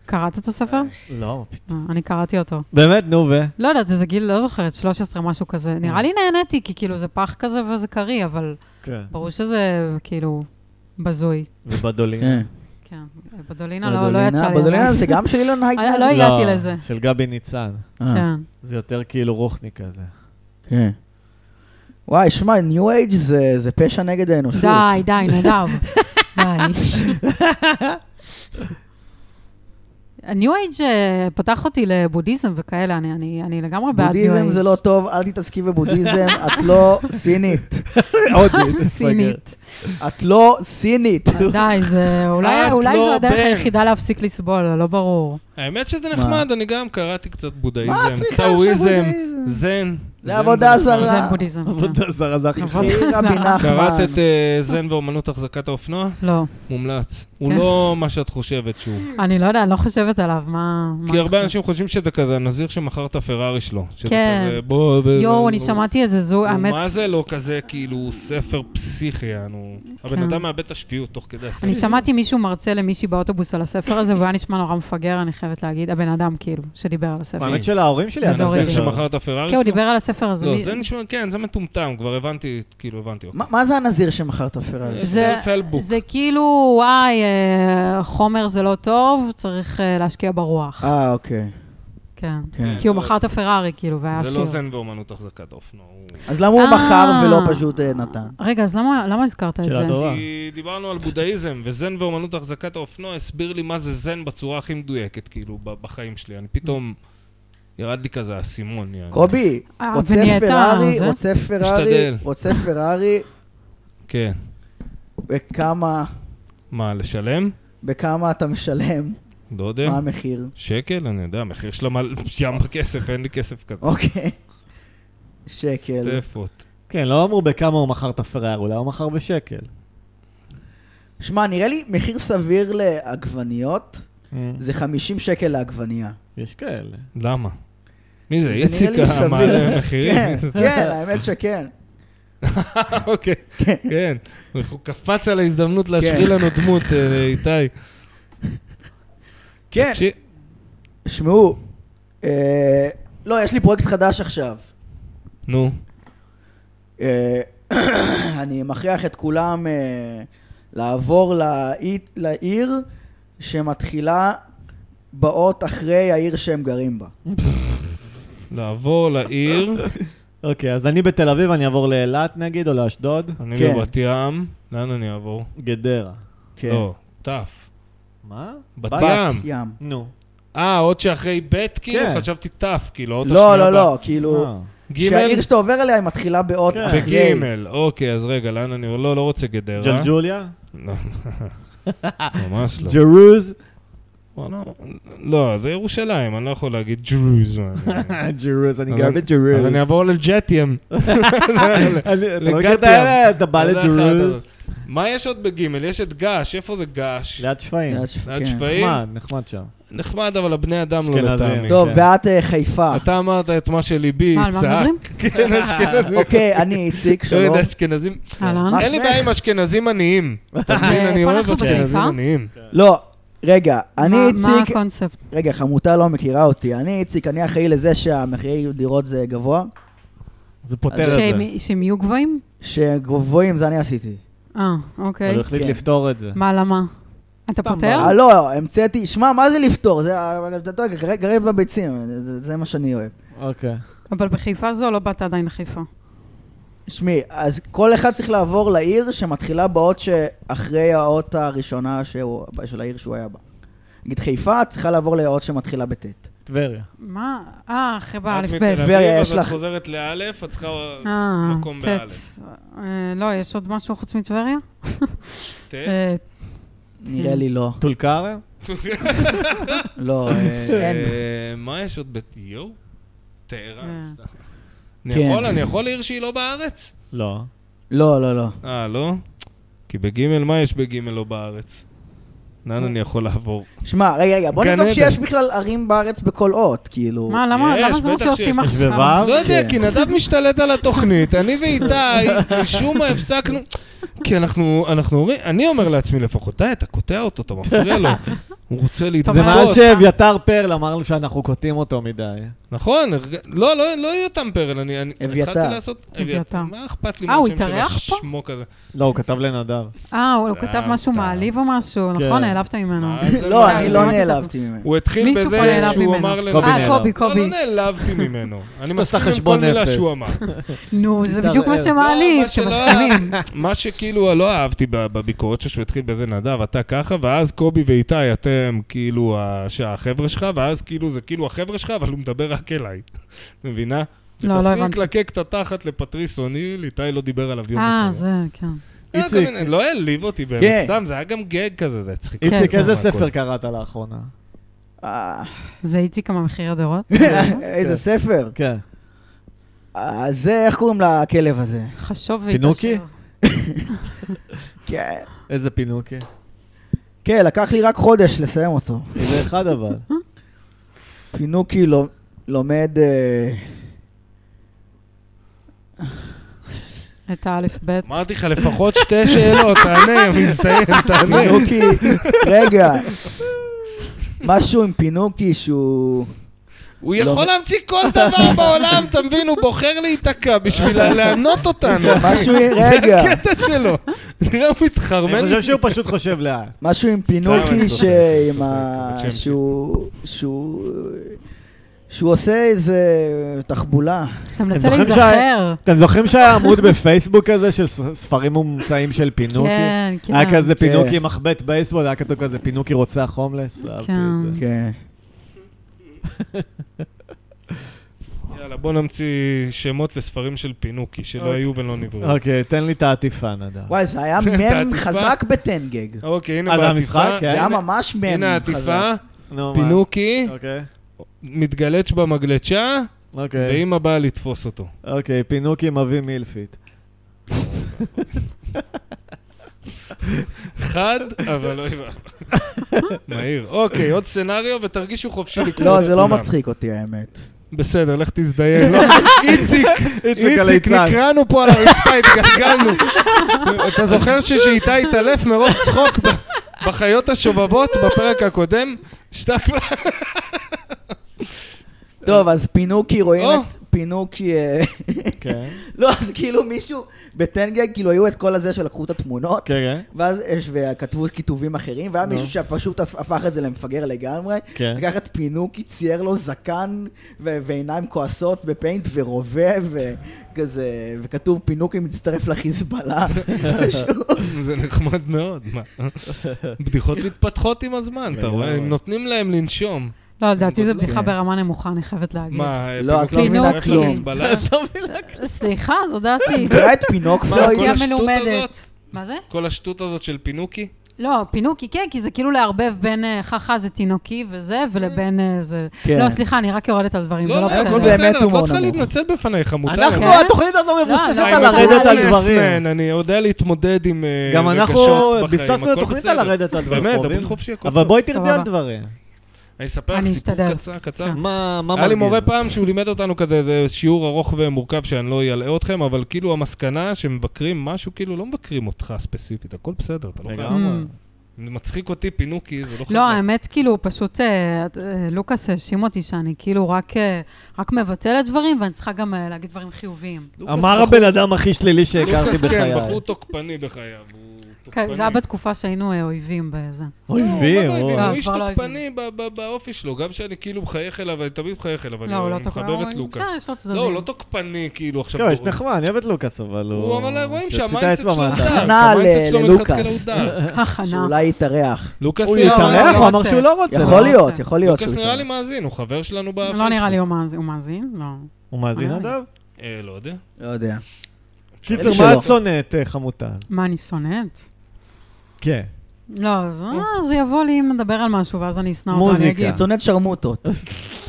D: קראת את הספר?
B: לא, מה פתאום.
D: אה, אני קראתי אותו.
B: באמת, נו, ו...
D: לא יודעת, איזה גיל, לא זוכרת, 13, משהו כזה. נראה
B: Mm.
D: לי נהניתי, כי כאילו זה פח כזה וזה קריא, אבל
B: כן.
D: ברור שזה כאילו בזוי.
B: ובדולין.
C: כן.
D: כן, בדולינה לא- לא יצא לי.
C: בדולינה
D: עדיין.
C: זה גם שלי לא נהייתה.
D: לא הגעתי לזה.
B: של גבי ניצן.
D: כן,
B: זה יותר כאילו רוחני כזה.
C: כן. וואי, שמע, ניו אייג' זה זה פשע נגד האנושות.
D: די, די, נדב. די. הניו אייג' אה, פתח אותי לבודהיזם וכאלה, אני- אני אני לגמרי בעד ניו אייג'.
C: בודהיזם זה לא טוב, אל תתעסקי בבודהיזם, את לא סינית.
B: עוד
D: סינית.
C: את לא סינית.
D: די, זה אולי
A: את
D: אולי
A: לא
D: זו הדרך
A: בן.
D: היחידה להפסיק לסבול, לא ברור.
A: האמת שזה
C: מה?
A: נחמד, אני גם קראתי קצת בודהיזם,
C: מה את צריכה עכשיו
A: טאואיזם,
C: בודהיזם?
A: זן. זן
C: עבודה
A: זה-
C: זרה.
D: זה בודהיזם. כן.
B: עבודה זרה זה הכי
D: עבודה-
B: חשוב.
C: אחי רבי
D: זרה.
A: קראת את
C: נחמן.
A: אה, זן ואומנות החזקת האופנוע?
D: לא.
A: מומלץ. הוא
D: כן.
A: לא מה שאת חושבת שהוא.
D: אני לא יודעת, אני לא חושבת עליו, מה... מה
A: כי הרבה
D: אני
A: אנשים חושבים שזה כזה הנזיר שמכר את הפרארי שלו. שזה
D: כן.
A: כזה, בוא...
D: חושבת?
A: בוא-
D: יואו,
A: בוא-
D: אני שמעתי איזה זו,
A: הוא
D: האמת,
A: אה, מה זה לא כזה, כאילו, ספר פסיכי, אנו... הבן אדם מאבד את השפיות תוך כדי הספר.
D: כן. אני שמעתי מישהו מרצה למישהי באוטובוס על הספר הזה, והוא היה נשמע נורא מפגר, אני חייבת להגיד, הבן אדם כאילו, שדיבר על הספר.
A: מה?
B: האמת שלהורים
C: כן,
B: שלי לא- היה
D: אז אורי.
A: הנזיר
B: נזיר
A: שמכר
B: שמחר.
A: את הפרארי
D: כן,
A: שלו?
D: הוא דיבר על הספר הזה.
A: לא,
D: מי-
A: זה נשמע, כן, זה מטומטם, כבר הבנתי, כאילו, הבנתי.
C: מה- מה זה הנזיר שמכר את הפרארי?
D: זה-
A: self-help book.
D: זה כאילו, וואי, אה, חומר זה לא טוב, צריך אה, להשקיע ברוח.
C: אה, אוקיי.
D: כן.
C: כן.
D: כי הוא מכר את הפרארי, כאילו, והיה
A: זה לא
D: עשיר.
A: זן ואומנות החזקת האופנוע. הוא-
C: אז למה הוא מכר
D: אה.
C: ולא פשוט אה, נתן?
D: רגע, אז למה למה הזכרת את
B: שאלה
D: זה?
B: טובה.
A: כי דיברנו על בודהיזם, וזן ואומנות החזקת האופנוע הסביר לי מה זה זן בצורה הכי מדויקת, כאילו, ב- בחיים שלי. אני פתאום... ירד לי כזה האסימון, יעני.
C: קובי,
D: אה,
C: רוצה
D: ונהייתה
C: פרארי,
D: זה?
C: רוצה פרארי,
A: משתדל.
C: רוצה פרארי,
A: כן.
C: וכמה,
A: מה, לשלם?
C: בכמה אתה משלם?
A: לא יודע.
C: מה המחיר?
A: שקל? אני יודע, המחיר שלה מעל ים בכסף, אין לי כסף כזה.
C: אוקיי. שקל.
A: טפות.
B: כן, לא אמרו בכמה הוא מכר את הפראייר, אולי הוא מכר בשקל.
C: שמע, נראה לי מחיר סביר לעגבניות
B: Mm.
C: זה 50 שקל לעגבנייה.
B: יש כאלה.
A: למה? מי זה,
C: זה נראה
A: איציק
C: לי סביר.
A: המעלה מחירים?
C: כן, כן, האמת שכן.
A: כן.
C: כן.
A: אוקיי, כן. הוא קפץ על ההזדמנות להשחיל לנו דמות, אה, איתי.
C: כן,
A: תקשיב-
C: שמעו, אה, לא, יש לי פרויקט חדש עכשיו.
A: נו,
C: אה, אני מכריח את כולם אה, לעבור לעי- לעיר שמתחילה באות אחרי העיר שהם גרים בה.
A: לא. לעבור לעיר,
B: אוקיי, אז אני בתל אביב, אני אעבור לאילת נגיד, או לאשדוד.
A: אני
C: כן.
A: בבת ים, לאן אני אעבור?
B: גדרה.
C: כן.
A: לא, תף.
B: מה?
A: בת
B: בת-
A: ים.
C: ים.
B: נו.
A: אה, עוד שאחרי ב' כאילו?
B: כן.
A: חשבתי תף, כאילו, האות
C: לא,
A: השנייה
C: לא,
A: הבאה.
C: לא, כאילו,
B: אה.
C: שהעיר
A: ג'
C: שאתה עובר אליה היא מתחילה באות
B: כן.
C: אחרי.
A: בגימל, אוקיי, אז רגע, לאן אני... לא, לא רוצה גדרה.
B: ג'לג'וליה?
A: לא. ממש לא.
B: ג'רוז?
A: וואלה, לא, זה ירושלים, אני לא יכול להגיד ג'רוזון.
B: ג'רוז, אני
A: אז
B: גר
A: אני-
B: בג'רוז.
A: אז אני אעבור לג'טיאם.
B: אני- אתה לא
A: לגת
B: מכיר את
A: ים.
B: האלה? אתה בא
A: לא יודע איך
B: לג'רוז?
A: אתה- מה יש עוד בגימל? יש את געש, איפה זה געש?
B: ליד שפיים.
C: אז-
A: ליד
C: כן.
A: שפיים?
B: נחמד, נחמד שם.
A: נחמד, אבל הבני אדם לא
B: אשכנזים.
A: לטעמי.
C: טוב,
B: כן.
C: ואת אה, חיפה.
A: אתה אמרת את מה שליבי
D: מה, על מה
A: צעק.
D: מדברים?
A: כן, אשכנזים.
C: אוקיי, אני איציק,
A: לא
C: שלום.
A: יודע, אשכנזים.
D: אהלן.
C: מה?
A: אין לי
C: שמך?
A: בעיה עם אשכנזים עניים.
C: אה,
A: תבין, אני
D: אה, איפה
A: אוהב
D: אנחנו,
A: אשכנזים
D: בחיפה? אה,
A: עניים.
C: לא, רגע, אני
D: מה- מה
C: איציק,
D: הקונספט?
C: רגע, חמותה לא מכירה אותי. אני איציק, אני אחראי לזה שהמחירי דירות זה גבוה.
B: זה פותר את זה.
D: שהם- שהם יהיו גבוהים?
C: שגבוהים זה אני עשיתי.
D: אה,
B: אבל
D: אוקיי.
B: הוא החליט
C: כן.
B: לפתור את זה.
D: מה, למה? אתה
B: סתם
D: פותר?
C: אה, לא, המצאתי, שמע, מה זה לפתור? זה, אבל אתה יודע, גר- גרים בביצים, זה- זה מה שאני אוהב.
B: אוקיי.
D: אבל בחיפה זו לא באת עדיין לחיפה.
C: שמי, אז כל אחד צריך לעבור לעיר שמתחילה באות שאחרי האות הראשונה שהוא, של העיר שהוא היה בה. נגיד חיפה, את צריכה לעבור לאות שמתחילה בטית.
B: טבריה.
D: מה? אה, אחרי
A: את
D: באלף
A: מתל
D: בית.
A: אביב,
C: טבריה,
A: אז
C: יש
A: את
C: לך.
A: חוזרת לאלף, את צריכה
D: אה,
A: מקום
D: טט.
A: באלף.
D: אה, לא, יש עוד משהו חוץ מטבריה?
A: ט.
D: אה,
C: נראה לי לא.
B: טול כרם?
C: לא, אה, אין.
A: אה, מה יש עוד בטיור? טהרן.
D: אה.
A: סתם. אני
C: כן.
A: יכול, אני יכול לעיר שהיא לא בארץ?
B: לא.
C: לא, לא, לא.
A: אה, לא? כי בגימל, מה יש בגימל לא בארץ?
D: אה.
A: לאן אני יכול לעבור?
C: שמע, רגע, רגע, בוא
A: גן
C: נבדוק
A: עדן.
C: שיש בכלל ערים בארץ בכל אות, כאילו.
D: מה, למה
A: יש,
D: למה זה מה
A: בטח שיש.
D: שעושים
A: יש
D: עכשיו?
B: ווו?
A: לא יודע,
C: כן.
A: כי נדב משתלט על התוכנית, אני ואיתי, משום מה הפסקנו. כי אנחנו, אנחנו אומרים, אני אומר לעצמי לפחות, די, אתה קוטע אותו, אתה מפריע לו. הוא רוצה
D: טוב,
B: זה
D: אבל-
B: מה
A: להתבטא.
D: מאוד.
B: שאביתר פרל אמר לו שאנחנו קוטעים אותו מדי.
A: נכון, הרג- לא, לא, לא יותם פרל, אני אני
C: אביתר.
A: התחלתי לעשות...
D: אביתר.
A: מה אכפת לי
D: אה, הוא
A: מהשם של
D: התארח פה?
A: השמוק הזה?
B: לא, הוא כתב לנדב.
D: אה, הוא כתב
A: סתם,
D: משהו
A: סתם.
D: מעליב או משהו,
B: כן.
D: נכון? העלבת ממנו.
A: מה זה
C: לא,
A: מה
C: אני
A: זה?
C: לא
D: שמעתי את
C: נעלבתי ממנו.
A: הוא התחיל
D: מישהו פה
A: בזה
D: נעלב
A: שהוא
D: ממנו.
A: אמר לנו...
B: קובי
D: אה,
B: נעלב.
D: קובי,
A: לא, לא
D: קובי.
A: נעלבתי ממנו. אני
B: עשה
A: מסכים עם כל
B: חשבון
A: מילה
B: נפש.
A: שהוא אמר.
D: נו, זה בדיוק מה
B: מתערער.
A: לא,
D: שמעליב,
A: מה שלא-
D: שמסכימים.
A: מה שכאילו לא אהבתי ב- בביקורת שלו, שהוא התחיל בזה נדב, אתה ככה, ואז קובי ואיתי, אתם כאילו הש- החבר'ה שלך, ואז כאילו זה כאילו החבר'ה שלך, אבל הוא מדבר רק אליי. מבינה?
D: לא, לא
A: תפסיק
D: הבנתי.
A: לקק את התחת לפטריס אוניל, איתי לא דיבר עליו יום
D: אה,
A: אחד.
D: זה, כן.
A: אה, כל
B: איציק.
A: מיני- לא העליב אותי
C: כן.
A: באמת, סתם, זה היה גם גג כזה, זה הצחיק. אותי.
B: איציק,
D: כן.
B: איזה
A: אה, הכל.
B: ספר קראת לאחרונה?
C: אה,
D: זה איציק המחיר הדורות?
C: איזה ספר.
B: כן.
C: אה, זה, איך קוראים לכלב הזה?
D: חשוב
B: פינוקי?
D: והתעשר.
C: כן,
B: איזה פינוקי.
C: כן, לקח לי רק חודש לסיים אותו.
B: איזה אחד אבל.
C: פינוקי לו- לומד... אה,
D: את האלף בית.
A: אמרתי לך, לפחות שתי שאלות, תענה, מזדיין, תענה.
B: אוקיי.
C: פינוקי, רגע, משהו עם פינוקי שהוא...
A: הוא
C: לא.
A: יכול להמציא כל דבר בעולם, אתה מבין? הוא בוחר להיתקע בשביל לה- לענות אותנו.
C: משהו,
A: זה
C: רגע,
A: הקטע שלו. נראה, הוא
B: אני
A: מתחרמן.
B: חושב שהוא פשוט חושב לאט.
C: משהו עם
A: אני
C: פינוקי
A: צוחק,
C: שעם
A: צוחק, אבל
C: ה...
A: שם
C: שהוא... שהוא... שהוא עושה איזה תחבולה.
D: אתה מנסה
B: זוכרים
D: להיזכר.
B: אתם זוכרים שהיה עמוד בפייסבוק כזה של ס- ספרים מומצאים של פינוקי?
D: כן, כן.
B: היה כזה
C: כן.
B: פינוקי מחבט בייסבול, היה כתוב כזה פינוקי רוצח הומלס, אהבתי את זה.
C: כן.
A: יאללה, בוא נמציא שמות לספרים של פינוקי, שלא
B: אוקיי.
A: היו ולא נבראו.
B: אוקיי, תן לי את העטיפה, נדב.
C: וואי, זה היה
A: אתה
C: מם
A: עטיפה?
C: חזק בטנגג. זה
A: אוקיי, הנה
B: אה, זה
A: בעטיפה.
B: המשחק? כן.
C: היה
A: הנה-
C: ממש מם
A: הנה
C: חזק.
A: העטיפה,
B: נו, מה?
A: פינוקי,
B: אוקיי,
A: מתגלץ' במגלצ'ה,
B: אוקיי,
A: ואימא באה לתפוס אותו.
B: אוקיי, פינוקי מביא מילפית.
A: חד, אבל לא הבנתי. מהיר. אוקיי, עוד סצנריו, ותרגישו חופשי לקרוא
C: לא,
A: את
C: זה לא
A: כולם.
C: מצחיק אותי האמת.
A: בסדר, לך תזדיין. לא, איציק, איציק,
B: הליצן.
A: נקרענו פה על הרצפה, התגלגלנו. אתה זוכר ששאיתי התעלף מרוב צחוק ב- בחיות השובבות בפרק הקודם, שתק לה.
C: טוב, אז פינוקי רואים
A: או.
C: את... פינוקי... אה,
B: כן,
C: לא, אז כאילו מישהו בטנגג, כאילו היו את כל הזה שלקחו את התמונות.
B: כן,
C: ואז יש- וכתבו כיתובים אחרים, והיה
B: נו.
C: מישהו שפשוט הפ- הפך את זה למפגר לגמרי.
B: כן.
C: לקח את פינוקי, צייר לו זקן ו- ועיניים כועסות בפיינט ורובה וכזה, וכתוב פינוקי מצטרף לחיזבאללה. משהו.
A: זה נחמד מאוד, מה? בדיחות מתפתחות עם הזמן, אתה רואה? הם נותנים להם לנשום.
D: לא, לדעתי זו
A: גדלו.
D: בדיחה ברמה נמוכה, אני חייבת להגיד.
A: מה,
C: לא, את לא
A: פינוקיו
D: מבינה
A: הולך
D: כלום.
A: לחיזבאללה?
D: סליחה, זו דעתי.
C: קרא את פינוק
A: מה,
C: פלויד.
A: כל
D: יציאה
A: השטות
D: מלומדת.
A: הזאת?
D: מה זה?
A: כל השטות הזאת של פינוקי?
D: לא, פינוקי, כן, כי זה כאילו לערבב בין אה, חכה זה תינוקי וזה, ולבין אה, זה...
C: כן.
D: לא, סליחה, אני רק יורדת על דברים, זה לא
A: לא,
C: הכל
A: הכל
D: בסדר.
C: באמת
A: בסדר, את
C: הומור
A: לא צריכה
C: נמוך.
A: להתנצל בפניך, מותר.
B: אנחנו,
D: כן?
B: התוכנית הזו מבוססת
D: לא,
B: על
D: לא,
B: לרדת על
D: אני
B: דברים.
A: אני יודע להתמודד עם אה,
B: גם
A: רגשות
B: אנחנו
A: בחיים,
B: ביססנו את
A: הכל
B: התוכנית
A: בסדר.
B: על לרדת על דברים
A: באמת,
B: קרובים.
A: דברי חופשי, הכל
B: אבל
A: טוב.
B: בואי תרדי על
D: סבבה.
B: דברים.
A: אני אספר לך
D: אני
A: סיפור
D: אשתדל.
A: קצר, קצר.
D: כן.
B: מה מה מרגיז?
A: אה. היה לי מורה פעם שהוא לימד אותנו כזה, זה שיעור ארוך ומורכב שאני לא אלאה אתכם, אבל כאילו המסקנה שמבקרים משהו, כאילו לא מבקרים אותך ספציפית, הכל בסדר, אתה לא חייב.
D: לגמרי.
B: לגמרי.
A: מצחיק אותי פינוקי, זה לא חייב.
D: לא, האמת, כאילו, פשוט אה, את- אה, לוקאס האשים אותי שאני כאילו רק, אה, רק מבטלת דברים, ואני צריכה גם אה, להגיד דברים חיוביים.
A: לוקאס
B: אמר
A: בחור-
B: הבן אדם הכי שלילי שהכרתי
A: לוקאס, כן,
B: בחיי.
A: בחור תוקפני בחייו. הוא
D: כן,
A: תוקפני.
D: זה היה בתקופה שהיינו אה, אויבים בזה.
A: לא, הוא
B: אויבים,
A: לא
B: או.
A: אויבים, הוא
D: לא,
A: איש
D: כבר לא
A: תוקפני ב- ב- באופי שלו, גם שאני כאילו מחייך אליו, אני תמיד מחייך אליו, אני
D: לא, הוא לא
A: אני
D: תוקפן.
A: מחבב את לוקאס.
D: כן, יש לו צדדים.
A: לא, הוא לא תוקפני, כאילו, עכשיו...
B: כן, יש
A: הוא-
B: נחמד, אני אוהב את לוקאס, אבל הוא...
A: הוא אבל רואים
B: שהוציא את
A: שהמיינדסט
B: האצבע
A: שלו דק,
B: מהדף.
C: הכנה
A: המיינדסט שלו
C: ל-
A: מלכתחילה
C: ללוקאס.
A: הוא דק.
D: ככה נע.
C: שאולי יתארח.
A: לוקאס
B: אה, הוא
A: נראה-
B: יתארח, הוא אמר
D: רוצה.
B: שהוא לא רוצה.
C: יכול
B: לא?
C: להיות, יכול להיות
A: לוקאס
C: שהוא
A: נראה לי
C: יתארח.
A: מאזין, הוא חבר שלנו בפייסבוק.
D: לא נראה לי הוא מאזין- הוא מאזין, לא.
B: הוא מאזין
D: אה.
B: אדם?
A: אה, לא יודע.
C: לא יודע.
B: קיצור,
C: שלא.
B: מה את שונאת, אה, חמותה?
D: מה, אני שונאת?
B: כן.
D: לא, אז אה, זה יבוא לי אם נדבר על משהו, ואז אני אשנא אותו,
B: מוזיקה.
D: אני אגיד.
C: צונאת שרמוטות.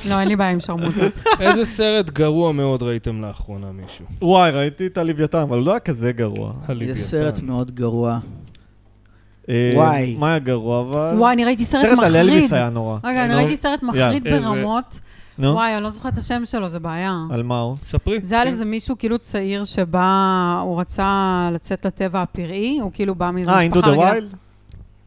D: לא, אין לי בעיה עם שרמוטה.
A: איזה סרט גרוע מאוד ראיתם לאחרונה, מישהו?
B: וואי, ראיתי את הלוויתן, אבל הוא לא היה כזה גרוע.
A: הלוויתן.
C: יש סרט מאוד גרוע.
B: אה,
C: וואי.
B: מה היה גרוע, אבל...
D: וואי, אני ראיתי סרט
B: אה, סרט על אלוויס
D: מחריד.
B: היה נורא.
D: רגע, אני
A: נו.
D: ראיתי סרט מחריד
A: איזה-
D: ברמות.
B: נו,
D: וואי, אני לא זוכרת את השם שלו, זה בעיה.
B: על מה הוא?
A: ספרי. כן.
D: זה היה לאיזה מישהו כאילו צעיר שבא, הוא רצה לצאת לטבע הפראי, הוא כאילו בא מאיזו
B: אה,
D: משפחה
B: אינדו דה ויילד?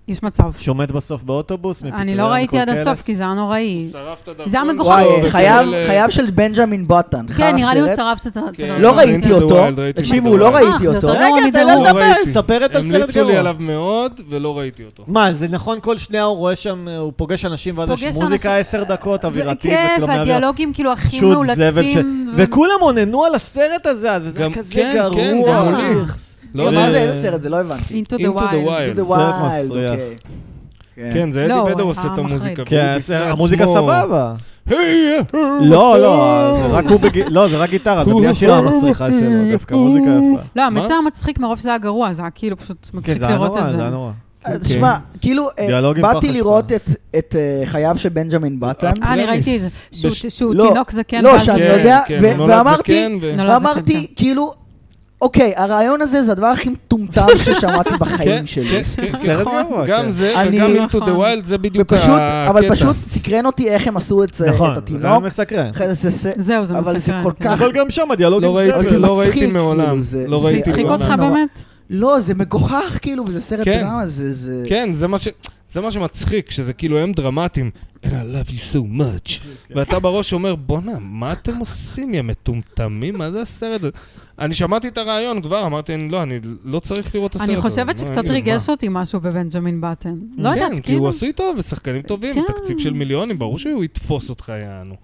D: יש מצב.
B: שעומד בסוף באוטובוס?
D: אני
B: מפטריה
D: לא ראיתי עד
B: מקולקלת?
D: הסוף, כי זה היה נוראי.
A: שרף את הדרכון.
D: זה היה מגוחך.
C: וואי,
A: בסדר,
C: חייו-
A: אלה-
C: חייו של בנג'מין בוטן.
D: כן, נראה לי הוא
C: חרא
D: שרף את ה... את
A: כן.
D: ה-
C: סרט. לא ראיתי
A: Into the
C: אותו.
A: Wild, ראיתי
C: תקשיבו,
A: Into the
C: לא
A: Wiד.
C: ראיתי
D: אה, זה
C: אותו.
D: אותו
B: רגע,
D: נורא
B: תן לה
D: מדרום.
B: לדבר, ספר את הסרט
A: המליצו לי
B: גרוע.
A: עליו מאוד, ולא ראיתי
C: כן.
A: אותו.
B: מה, זה נכון כל שנייה הוא רואה שם, אה, הוא פוגש אנשים ואז
D: פוגש
B: יש מוזיקה
D: אנשים-
B: עשר דקות אווירתית
D: כן,
B: וצילומי אוויר.
D: והדיאלוגים כאילו הכי
B: פשוט זבל ש...
D: מאולצים. ו-
B: וכולם אוננו על הסרט הזה, אז וזה היה
A: גם-
B: כזה
A: כן,
B: גרוע.
A: כן,
D: גם
B: אה,
D: לי.
A: לא,
B: אה,
C: מה זה,
A: זה? כן,
C: איזה סרט? זה לא הבנתי.
D: Into the
A: Into the
D: אה, Wild.
A: Wild.
C: Into the
B: סרט
C: Wild,
B: מסריח.
C: אוקיי. כן.
A: כן, זה
D: לא,
A: אדי בדר
D: הוא
A: עושה את
D: היה
A: המוזיקה.
D: מחריד.
A: והוא
B: כן,
A: בפני
B: הסרט- המוזיקה
A: עצמו. כן,
B: סבבה.
A: היי,
B: לא, לא, זה רק הוא בג... לא, זה רק גיטרה, זה בלי השירה המסריחה שלו, דווקא מוזיקה יפה.
D: לא, האמת
A: מה?
D: זה היה מצחיק מרוב שזה היה גרוע, זה היה כאילו פשוט
B: כן,
D: מצחיק
B: זה היה
D: לראות
B: נורא,
D: את
B: זה
D: זה.
B: היה נורא.
A: אוקיי.
C: אה, תשמע, כאילו, אה,
B: דיאלוג עם פח
C: באתי
B: אשפה.
C: לראות את- את אה, חייו של בנג'מין בטן,
A: אה,
D: אה, אני ראיתי את זה.
A: בש-
D: שהוא-
A: בש-
D: שהוא
C: לא,
D: תינוק זקן.
C: לא,
D: ואז-
C: שאני
A: כן,
C: יודע,
A: כן,
C: ו-
A: הוא נולד
C: ואמרתי-
A: זקן ו-
D: לא, לא זוכרת.
C: ואמרתי, כאילו, אוקיי, הרעיון הזה זה הדבר הכי מטומטם ששמעתי בחיים
A: כן,
C: שלי.
A: כן, כן,
B: סרט גרוע,
A: גם
B: כן.
A: זה,
C: אני-
A: וגם into the
D: נכון.
A: wild, זה בדיוק
C: ופשוט,
A: אה, הקטע. לא
C: אבל פשוט סקרן אותי איך הם עשו את זה- את
B: נכון, זה היה
C: התינוק.
B: מסקרן.
C: אחרי זה- זה-
D: זהו, זה
C: אבל זה
D: מסקרן.
C: כל
D: כן.
C: כך-
B: אבל גם שם הדיאלוגים
A: לא ראיתי,
C: אבל זה
A: לא ראיתי
C: מצחיק,
A: מעולם.
C: כאילו, זה-
A: לא
C: זה
A: ראיתי
D: זה הצחיק
A: מעולם.
D: אותך
C: נורא.
D: באמת?
C: לא, זה מגוחך, כאילו, וזה סרט
A: כן.
C: דרמה, זה... זה-
A: כן, זה מה ש... זה מה שמצחיק, שזה כאילו הם דרמטיים, And I love you so much, ואתה בראש אומר, בואנה, מה אתם עושים, יא מטומטמים? מה זה הסרט הזה? אני שמעתי את הרעיון כבר, אמרתי, "אני- לא, אני לא צריך לראות את הסרט
D: אני
A: הזה.
D: חושבת
A: מה,
D: שקצת
A: אני-
D: ריגש אותי משהו בבנג'מין באטן. לא
A: כן,
D: יודעת,
A: כי הוא
D: כאילו,
A: עשוי טוב, ושחקנים טובים,
D: כן.
A: ותקציב של מיליונים, ברור שהוא יתפוס אותך, יענו.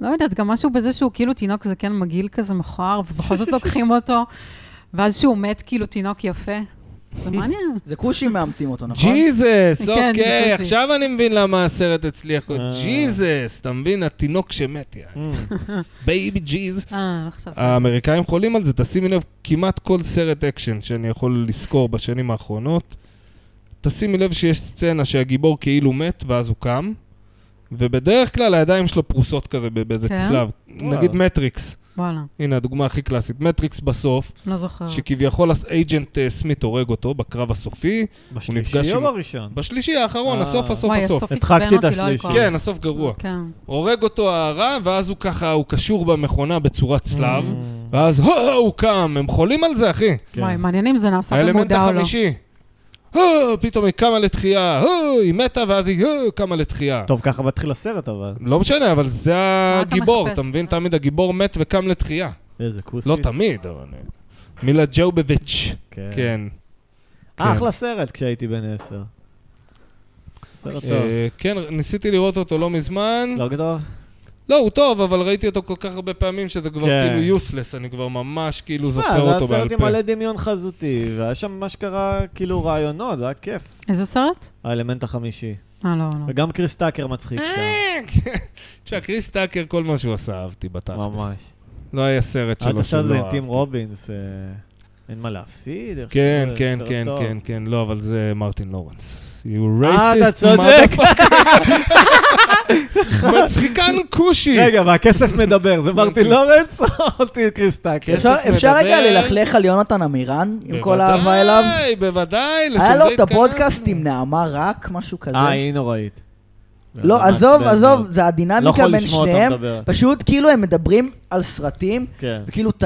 D: לא יודעת, גם משהו בזה שהוא כאילו תינוק זקן מגעיל כזה מכוער, ובכל זאת לוקחים אותו, ואז שהוא מת כאילו תינוק יפה. זה מעניין.
C: זה כושים מאמצים אותו, נכון?
A: ג'יזס,
D: כן, זה
A: אוקיי,
D: קושי.
A: עכשיו אני מבין למה הסרט הצליח.
B: אה.
A: ג'יזס, אתה מבין? התינוק שמת, יענו.
B: Mm.
A: בייבי ג'יז.
D: אה, עכשיו.
A: האמריקאים חולים על זה, תשימי לב, כמעט כל סרט אקשן שאני יכול לזכור בשנים האחרונות, תשימי לב שיש סצנה שהגיבור כאילו מת ואז הוא קם, ובדרך כלל הידיים שלו פרוסות כזה ב- באיזה
D: כן?
A: צלב.
B: וואו.
A: נגיד מטריקס,
D: וואלה,
A: הנה הדוגמה הכי קלאסית, מטריקס בסוף,
D: לא זוכרת.
A: שכביכול אייג'נט סמית הורג אותו בקרב הסופי,
B: בשלישי
A: עם-
B: או בראשון?
A: בשלישי האחרון,
B: אה.
A: הסוף, הסוף,
D: וואי,
A: הסוף.
D: הסוף
B: הדחקתי
D: עצבן
B: את
D: אותי, לא על
B: השלישי.
D: כל.
A: כן, הסוף גרוע.
D: כן.
A: הורג אותו הרע, ואז הוא ככה, הוא קשור במכונה בצורת צלב,
B: Mm.
A: ואז הו, הוא קם, הם חולים על זה, אחי.
B: כן.
D: וואי, מעניין אם זה נעשה
A: האלמנט
D: במודע או לא.
A: החמישי. "אה, פתאום היא קמה לתחייה, "אה, היא מתה ואז היא "אה, קמה לתחייה.
B: טוב, ככה מתחיל הסרט, אבל.
A: לא משנה, אבל זה
D: אתה
A: הגיבור,
D: מחפש?
A: אתה מבין? תמיד הגיבור מת וקם לתחייה.
B: איזה כוסית.
A: לא תמיד, אבל... מילה ג'ובביץ', כן. כן.
B: אה, אחלה סרט כשהייתי בן עשר. סרט טוב.
A: אה, כן, ניסיתי לראות אותו לא מזמן.
B: לא גדול?
A: לא, הוא טוב, אבל ראיתי אותו כל כך הרבה פעמים שזה כבר
B: כן.
A: כאילו יוסלס, אני כבר ממש כאילו
B: שמע,
A: זוכר אותו
B: אה, זה היה
A: בעל
B: סרט עם
A: פה.
B: מלא דמיון חזותי, והיה שם מה שקרה, כאילו רעיונות, זה היה כיף.
D: איזה סרט?
B: האלמנט החמישי.
D: אה, לא, לא.
B: וגם קריס טאקר מצחיק שם.
A: אה, כן. תשמע, קריס טאקר, כל מה שהוא עשה אהבתי בתכלס.
B: ממש.
A: לא היה סרט
B: אל
A: שלו
B: תעשה
A: שהוא
B: את
A: לא
B: זה עם
A: אהבתי.
B: טים רובינס, אה, אין מה להפסיד. איך
A: כן,
B: שזה,
A: כן,
B: סרט
A: כן,
B: טוב.
A: כן, כן, לא, אבל זה מרטין לורנס. You
B: אה, אתה
A: racist,
B: צודק.
A: motherfucker. מצחיקן כושי.
B: רגע, והכסף מדבר, זה מרטין לורנס או אותי קריס טאקר?
A: כסף
C: אפשר- אפשר רגע
A: מדבר.
C: ללכלך על יונתן עמירן, עם כל
A: בוודאי,
C: האהבה אליו?
A: בוודאי, לשם
C: היה
A: זה
C: לו את
A: התכנסנו.
C: הפודקאסט עם נעמה רק, משהו כזה.
B: אה, היא נוראית.
C: לא, עזוב, עזוב, זה
B: לא
C: הדינמיקה
B: יכול
C: בין
B: לשמוע אותה
C: שניהם.
B: מדבר.
C: פשוט כאילו הם מדברים על סרטים,
B: כן.
C: וכאילו, ת-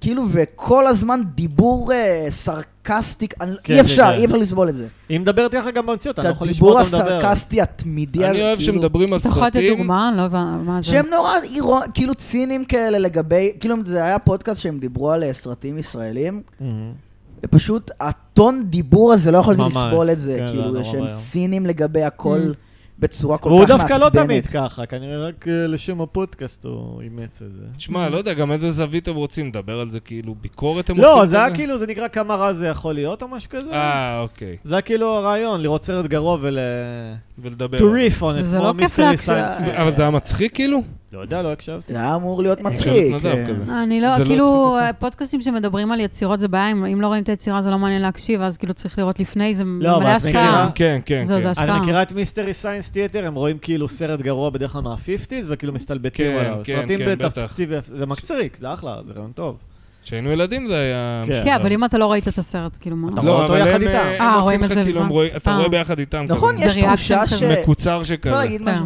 C: כאילו, וכל הזמן דיבור אה, סרקסטי, אני-
B: כן,
C: אי אפשר,
B: כן, כן.
C: אי אפשר לסבול את זה.
B: היא מדברת ככה גם במציאות,
C: את
B: אני לא יכול לשמוע
C: הדיבור
B: אותה מדבר.
C: הסרקסטי התמידי הזה,
A: אני אוהב
C: כאילו,
A: שמדברים על
D: אתה יכול לתת
A: סרטים.
D: דוגמה? לא הבנתי, מה זה?
C: שהם נורא אירו- כאילו ציניים כאלה לגבי, כאילו אם זה היה פודקאסט שהם דיברו על אה, סרטים ישראלים,
B: מהמם.
C: ופשוט הטון דיבור הזה, לא יכולתי
B: ממש,
C: לסבול את זה,
B: כן, זה היה
C: כאילו
B: נורא
C: שהם
B: ואיום.
C: ציניים לגבי הכל
D: Mm.
C: בצורה כל
B: והוא
C: כך
B: דווקא לא תמיד
C: מעצבנת.
B: ככה, כנראה רק אה, לשם הפודקאסט הוא אימץ את זה.
A: תשמע, לא יודע, גם איזה זווית הם רוצים לדבר על זה, כאילו ביקורת הם עושים?
B: לא, זה היה
A: כזה?
B: כאילו, זה נקרא כמה רע זה יכול להיות או משהו כזה.
A: אה, אוקיי.
B: זה היה כאילו הרעיון, לראות סרט גרוע ול...
A: ולדבר.
B: to
A: על זה.
B: riff on it,
D: זה
B: כמו
D: לא כיף
B: מיסטרי
D: להקשיב.
B: סיינס.
A: אבל זה היה מצחיק כאילו?
B: לא יודע, לא הקשבתי.
C: זה היה אמור להיות מצחיק.
B: כן,
A: מתנדב
C: אה,
A: כזה.
D: אני לא,
A: זה לא
D: כאילו,
A: הצחיק
D: פודקאסטים שמדברים על יצירות זה בעיה, אם- אם לא רואים את היצירה זה לא מעניין להקשיב, אז כאילו צריך לראות לפני, זה
B: לא, אבל
D: מלא
B: את
D: השקעה.
B: מכירה?
A: כן, כן,
D: זהו, זה
A: כן.
D: הש-
B: אני
D: השקעה.
B: מכירה את מיסטרי סיינס תיאטר, הם רואים כאילו סרט גרוע בדרך כלל מה-50's, וכאילו מסתלבטים
A: כן,
B: עליו.
A: כן,
B: סרטים
A: כן, בטח.
B: בתקציב, יפ- זה מקצריק, זה אחלה, זה רעיון טוב.
A: כשהיינו ילדים זה היה...
B: כן.
D: כן, אבל אם אתה לא ראית את הסרט, כאילו מה?
B: אתה רואה אותו
A: אבל הם,
B: יחד איתם.
A: אה, הם
D: אה,
A: עושים
D: רואים
A: לך
D: את זה
A: כאילו,
D: בזמן.
A: הם רואים- אתה
D: אה.
A: רואה ביחד איתם.
C: נכון,
A: כזה.
D: זה
C: יש תחושה
D: ריאקשן
C: ש...
D: כזה.
A: מקוצר
C: לא
A: שכזה.
C: להגיד משהו.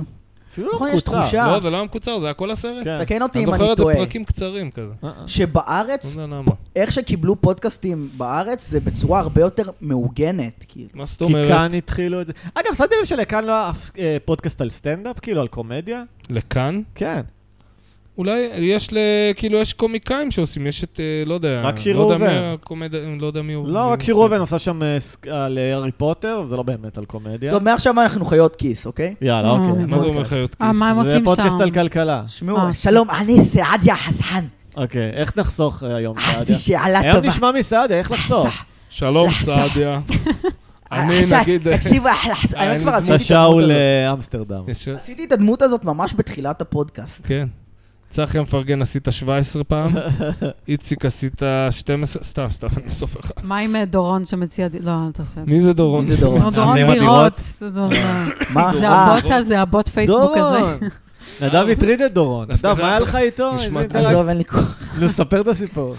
B: אפילו
C: נכון, יש
B: מקוצר.
C: תחושה.
A: לא, זה לא היה מקוצר, זה היה כל הסרט.
B: כן.
C: תקן אותי
A: אני
C: אם
A: זוכר
C: אני
A: את זה
C: טועה.
A: פרקים קצרים כזה.
B: אה, אה.
C: שבארץ,
A: לא יודע למה.
C: איך שקיבלו פודקאסטים בארץ, זה בצורה הרבה יותר מעוגנת, כאילו.
A: מה זאת
B: כי
A: אומרת?
B: כאן התחילו את זה. אגב, שמתי לב שלכאן לא היה אף אה, פודקאסט על סטנדאפ, כאילו, על קומדיה?
A: לכאן?
B: כן.
A: אולי יש ל... כאילו, יש קומיקאים שעושים, יש את, אה, לא יודע...
B: רק שיר
A: לא יודע מי
B: ראובן.
A: הקומד- לא יודע מי הוא.
B: לא,
A: מי
B: רק שיר
A: עושה.
B: ראובן עשה שם אה, סק- על אה, הארי פוטר, זה לא באמת על קומדיה.
C: טוב, מעכשיו אנחנו חיות כיס, אוקיי?
B: יאללה,
D: אה,
B: אוקיי.
A: מה זה אומר
C: פודקאסט.
A: חיות
D: אה, מה הם
B: זה
D: עושים
B: פודקאסט על
D: שם?
B: כלכלה.
C: שמעו,
D: אה,
C: שלום, אני סעדיה חסן.
B: אוקיי, איך נחסוך אה, היום,
C: אה,
B: סעדיה?
C: זו שאלה
B: היום
C: טובה. אה,
B: נשמע מסעדיה, איך לחסוך?
A: שלום,
C: לחסוך.
A: סעדיה. אני
C: אה, עכשיו,
A: נגיד...
C: תקשיבו, אחלה חסן.
A: אה,
C: האמת
A: אני
C: כבר
A: דמות
C: עשיתי
B: עשה
C: את הדמות
B: שאול אה,
C: הזאת.
B: אמסטרדם.
A: יש-
C: עשיתי את הדמות הזאת ממש בתחילת הפודקאסט.
A: כן. צחי המפרגן עשית 17 פעם, איציק עשית 12, סתם, סתם, אני סופר לך.
D: מה עם אה, דורון שמציע... ד- לא, אל תעשה את זה.
A: מי זה דורון?
C: מי זה דורון?
D: נו, דורון
B: זה עם
D: בירות.
B: הדירות?
D: זה דורון.
C: מה?
D: זה
C: אה,
D: הבוט הזה, הבוט פייסבוק הזה.
B: דורון! נדב הטריד את דורון.
A: דווקא
B: נדב,
A: זה
B: מה היה
A: היה-
B: לך איתו?
A: נשמע
B: איזה
A: טוב.
B: אינטראקציה?
C: עזוב, אין לי כוח.
B: נו, ספר את הסיפור.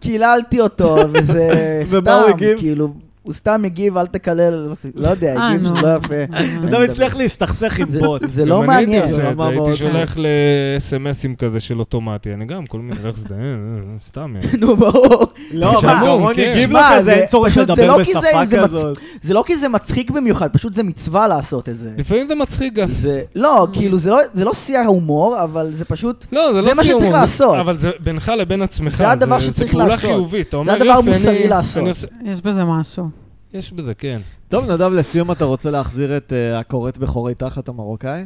C: קיללתי אותו, וזה
B: ומה הוא
C: סתם,
B: הגיב?
C: כאילו, הוא סתם הגיב, אל תקלל, לא יודע,
D: אה,
C: הגיב
D: נו.
C: שזה לא יפה.
B: נדב הצליח להסתכסך עם
C: זה-
B: בוט.
C: זה לא
A: גם אני הייתי
C: מעניין.
A: עושה את זה,
B: רמה
A: הייתי
B: מאוד.
A: שולח ל-SMSים כזה של אוטומטי, אני גם, כל מיני, לך זה, אה, סתם, יאללה.
C: נו, ברור.
B: לא, אבל
A: שמעון,
B: דורון
A: כן.
B: הגיב לו
C: שמע,
B: כזה,
C: זה-
B: אין צורך
C: פשוט זה
B: לדבר
C: לא כי זה-
B: בשפה
C: זה מצ-
B: כזאת.
C: זה לא כי זה מצחיק במיוחד, פשוט זה מצווה לעשות את זה.
A: לפעמים זה מצחיק גם.
C: זה, לא, כאילו, זה לא- זה לא שיא ההומור, אבל זה פשוט,
A: לא, זה לא
C: זה מה
A: סיום,
C: שצריך לעשות.
A: אבל זה בינך לבין עצמך.
C: זה הדבר שצריך לעשות.
A: זה פעולה חיובית. אתה אומר,
C: הדבר
A: "יופי,
C: המוסרי
A: אני-
C: לעשות."
A: אני עושה-
D: יש בזה משהו.
A: יש בזה, כן.
B: טוב, נדב, לסיום אתה רוצה להחזיר את אה, הכורת בחורי תחת המרוקאי?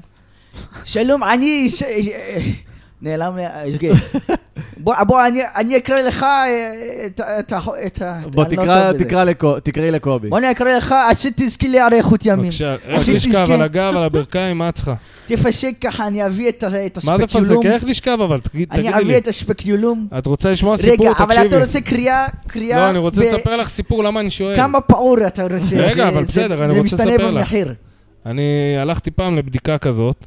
C: שלום, אני... ש- נעלם לי... אוקיי. בוא, בוא, אני- אני אקרא לך אה, את ה- את ה... את ה-
B: בוא,
C: אני לא
B: תקרא-
C: טוב בזה.
B: תקרא לקו- תקראי לקובי.
C: בוא, אני אקרא לך, עד שתזכה לאריכות ימים.
A: אוקיי. בבקשה, איך
C: עשיתי
A: לשכב
C: הסכם.
A: על הגב, על הברכיים, מה את צריכה?
C: תפשק ככה, אני אביא את ה- את
A: מה זה
C: הספקיולום.
A: פזק? איך לשכב, אבל תגיד-
C: אני
A: תגידי לי.
C: אביא את הספקיולום.
A: את רוצה לשמוע סיפור?
C: רגע, אבל אתה
A: תקשיבי.
C: רוצה קריאה... קריאה...
A: לא, אני רוצה
C: ב-
A: לספר לך סיפור, למה אני שואל.
C: כמה פעור אתה רוצה.
A: רגע,
C: זה-
A: אבל
C: זה-
A: בסדר, אני רוצה
C: זה
A: לספר
C: משתנה
A: לך.
C: במחיר.
A: אני הלכתי פעם לבדיקה כזאת,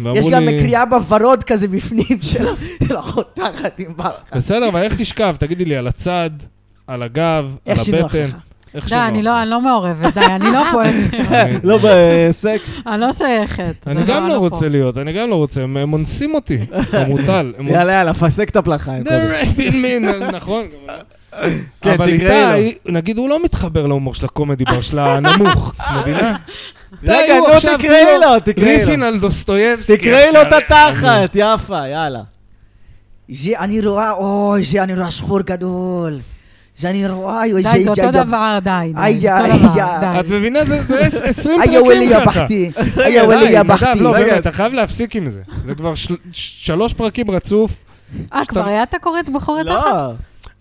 A: ואמרו לי...
C: יש גם קריאה בוורוד כזה בפנים של של החותכת, אם בא
B: כן.
C: לך.
A: בסדר, אבל איך תשכב? תגידי לי, על הצד, על הגב, על
C: איך שינוח
A: הבטן,
C: לך.
A: איך
D: די, אני לא אני לא מעורבת, די, אני לא פה יותר.
A: אני-
B: לא
A: אה,
B: בעסק.
D: אני לא שייכת.
A: אני גם לא רוצה להיות, אני גם לא רוצה, הם הם אונסים אותי, חמוטל. הם
B: יאללה, יאללה, פסק את הפלחיים.
A: They're
B: קובי.
A: raping me, נ- נכון. גם אני-
B: כן,
A: אה, אבל
B: תקראי לו.
A: איתי, נגיד, הוא לא מתחבר להומור של הקומדי בר של הנמוך, את מבינה?
B: רגע,
A: איתי, הוא
B: נו,
A: עכשיו
B: תקראי
A: כאילו
B: לו, תקראי
A: ריפין
B: לו.
A: על דוסטויבסקי.
B: תקראי לו את
A: עכשיו.
B: התחת, יפה, יאללה.
C: זה אני רואה, אוי, זה אני רואה שחור גדול. זה אני רואה, אוי,
D: די, זה אותו
C: ג'ב-
D: דבר, די,
C: איי,
D: די, זה
C: איי,
D: אותו דבר,
C: איי.
A: את
D: די.
A: מבינה? זה- זה עש- 20
C: איי, וולי
A: פרקים
C: יא
A: ככה.
C: בכתי.
B: רגע,
C: איי, וולי
A: די,
C: יא
A: נדב,
C: בכתי.
A: לא,
B: רגע.
A: באמת, אתה חייב להפסיק עם זה. זה כבר של- ש- שלוש פרקים רצוף.
D: אה, כבר היה אתה קורא את בחורת
B: לא,
D: אחת?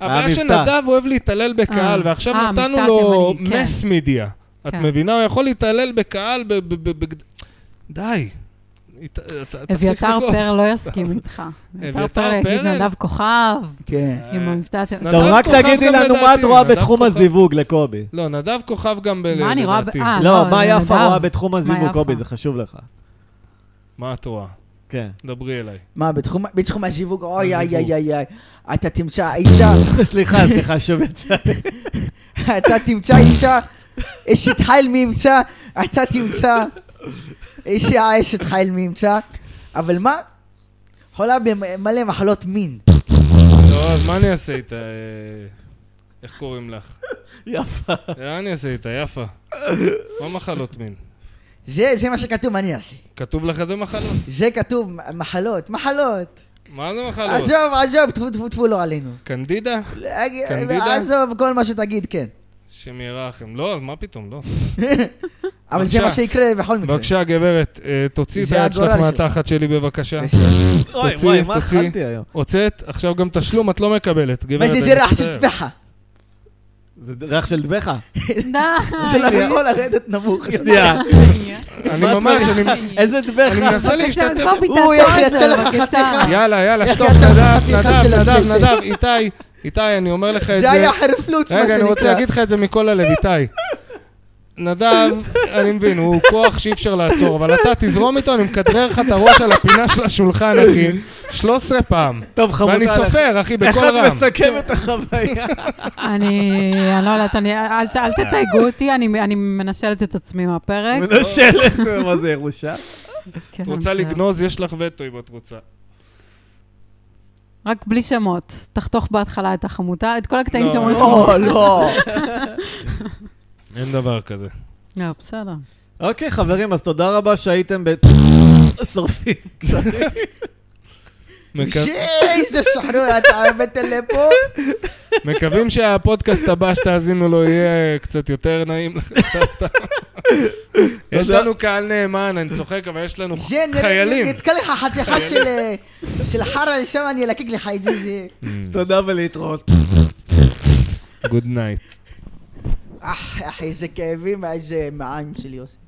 A: הבעיה
B: מבטא.
A: שנדב אוהב להתעלל בקהל,
D: אה,
A: ועכשיו
D: אה,
A: נתנו
D: מבטא
A: לו
D: תימני, כן.
A: מס מידיה. את
D: כן.
A: מבינה? הוא יכול להתעלל בקהל ב... ב- ב- ב- די. הת- ת- תפסיק
D: אביתר
A: לגלוס.
D: פר לא יסכים איתך. אביתר
A: אביתר
D: פר יגיד
A: פרל?
D: נדב כוכב,
C: כן.
A: אה,
D: עם המבטא... הת-
A: נדב-
B: טוב, רק
A: כוכב
B: תגידי
A: גם
B: לנו מה את
A: לדעתי,
B: רואה
A: נדב
B: בתחום
A: כוכב.
B: הזיווג לקובי.
A: לא, נדב כוכב גם ב...
D: מה אני רואה ב-
A: לדעתי.
D: אה,
B: לא,
D: לא,
B: מה
D: זה
B: יפה
D: נדב.
B: רואה בתחום הזיווג,
D: יפה?
B: קובי, זה חשוב לך.
A: מה את רואה?
B: כן.
A: דברי אליי.
C: מה, בתחום- בתחום השיווק, אוי, איי,
A: השיווק.
C: איי, איי, איי. אתה תמצא אישה,
B: סליחה, סליחה, שוב יצא. לי.
C: אתה תמצא אישה, אשת חיל מי ימצא, אתה תמצא, אישה אשת חיל מי ימצא, אבל מה? חולה במלא מחלות מין.
A: לא, אז מה אני אעשה איתה? אה, איך קוראים לך?
B: יפה.
A: מה אני אעשה איתה? יפה. מה מחלות מין?
C: זה זה מה שכתוב, מה אני אעשה?
A: כתוב לך זה מחלות?
C: זה כתוב, מחלות, מחלות.
A: מה זה מחלות?
C: עזוב, עזוב, טפו טפו טפו לא עלינו.
A: קנדידה? קנדידה?
C: עזוב כל מה שתגיד, כן.
A: השם ירחם. לא, אז מה פתאום? לא.
C: אבל זה
A: בבקשה.
C: מה שיקרה בכל מקרה.
A: בבקשה, גברת, אה, תוציאי את
C: אוקיי. זה
A: היד שלך
C: הגורל אוקיי. שלך.
A: מהתחת שלי בבקשה.
B: אוי,
A: תוציאי,
B: וואי, מה
A: תוציאי.
B: אכלתי היום?
A: הוצאת, עכשיו גם תשלום את לא מקבלת, גברת.
C: מה זה זה
A: אני
C: ריח של
A: מצטער.
C: טפחה.
B: זה ריח של דבחה.
C: זה
A: אה.
D: די.
C: לא יכול לרדת נמוך.
B: שנייה.
A: אני
B: מה את
A: ממש,
B: אומרת?
A: אני
B: איזה
A: אני
B: דבחה.
A: מנסה
D: בבקשה,
A: להשתתף.
D: כבר ביטלת
C: אוי, איך
D: את זה,
C: יצא לך
D: בבקשה.
C: חתיכה.
A: יאללה, יאללה,
C: איך
A: שטוף,
C: יצא לך
A: נדב,
C: חתיכה
A: נדב,
C: של
A: נדב,
C: השלישי?
A: נדב, איתי, איתי, אני אומר לך את זה.
C: זה היה חרפלוץ, מה שנקרא.
A: רגע, אני רוצה להגיד לך את זה מכל הלב, איתי. נדב, אני מבין, הוא כוח שאי אפשר לעצור, אבל אתה תזרום איתו, אני מכדרר לך את הראש על הפינה של השולחן, אחי, 13 פעם.
B: טוב, חמודה
A: ואני
B: לך.
A: סופר, אחי, בקול
B: איך את
A: רם.
B: מסכמת את החוויה?
D: אני, אני לא יודעת, אני, אל, ת- אל תתייגו אותי, אני, אני מנשלת את עצמי מהפרק.
B: מנושלת. מה זה, ירושה?
D: כן,
A: את רוצה
D: אני
A: לגנוז, יש לך וטו אם את רוצה.
D: חייבת. רק בלי שמות. תחתוך בהתחלה את החמותה, את כל הקטעים
A: לא,
D: שאומרים שמות.
C: לא, לא.
A: אין דבר כזה.
D: לא, בסדר.
B: אוקיי, חברים, אז תודה רבה שהייתם ב... שורפים.
A: מקו-
C: איזה שחרור, אתה הבאת לפה?
A: מקווים שהפודקאסט הבא שתאזינו לו יהיה קצת יותר נעים לכם. סתם. יש
B: תודה.
A: לנו קהל נאמן, אני צוחק, אבל יש לנו
C: זה, נראה-
A: חיילים.
C: נתקע לך חתיכה של, אה, של חרא שם, אני אלקק לך את זה. זה.
A: Mm.
B: תודה ולהתראות.
A: גוד נייט.
C: אח, אחי, איזה כאבים, איזה מעיים שלי עושה.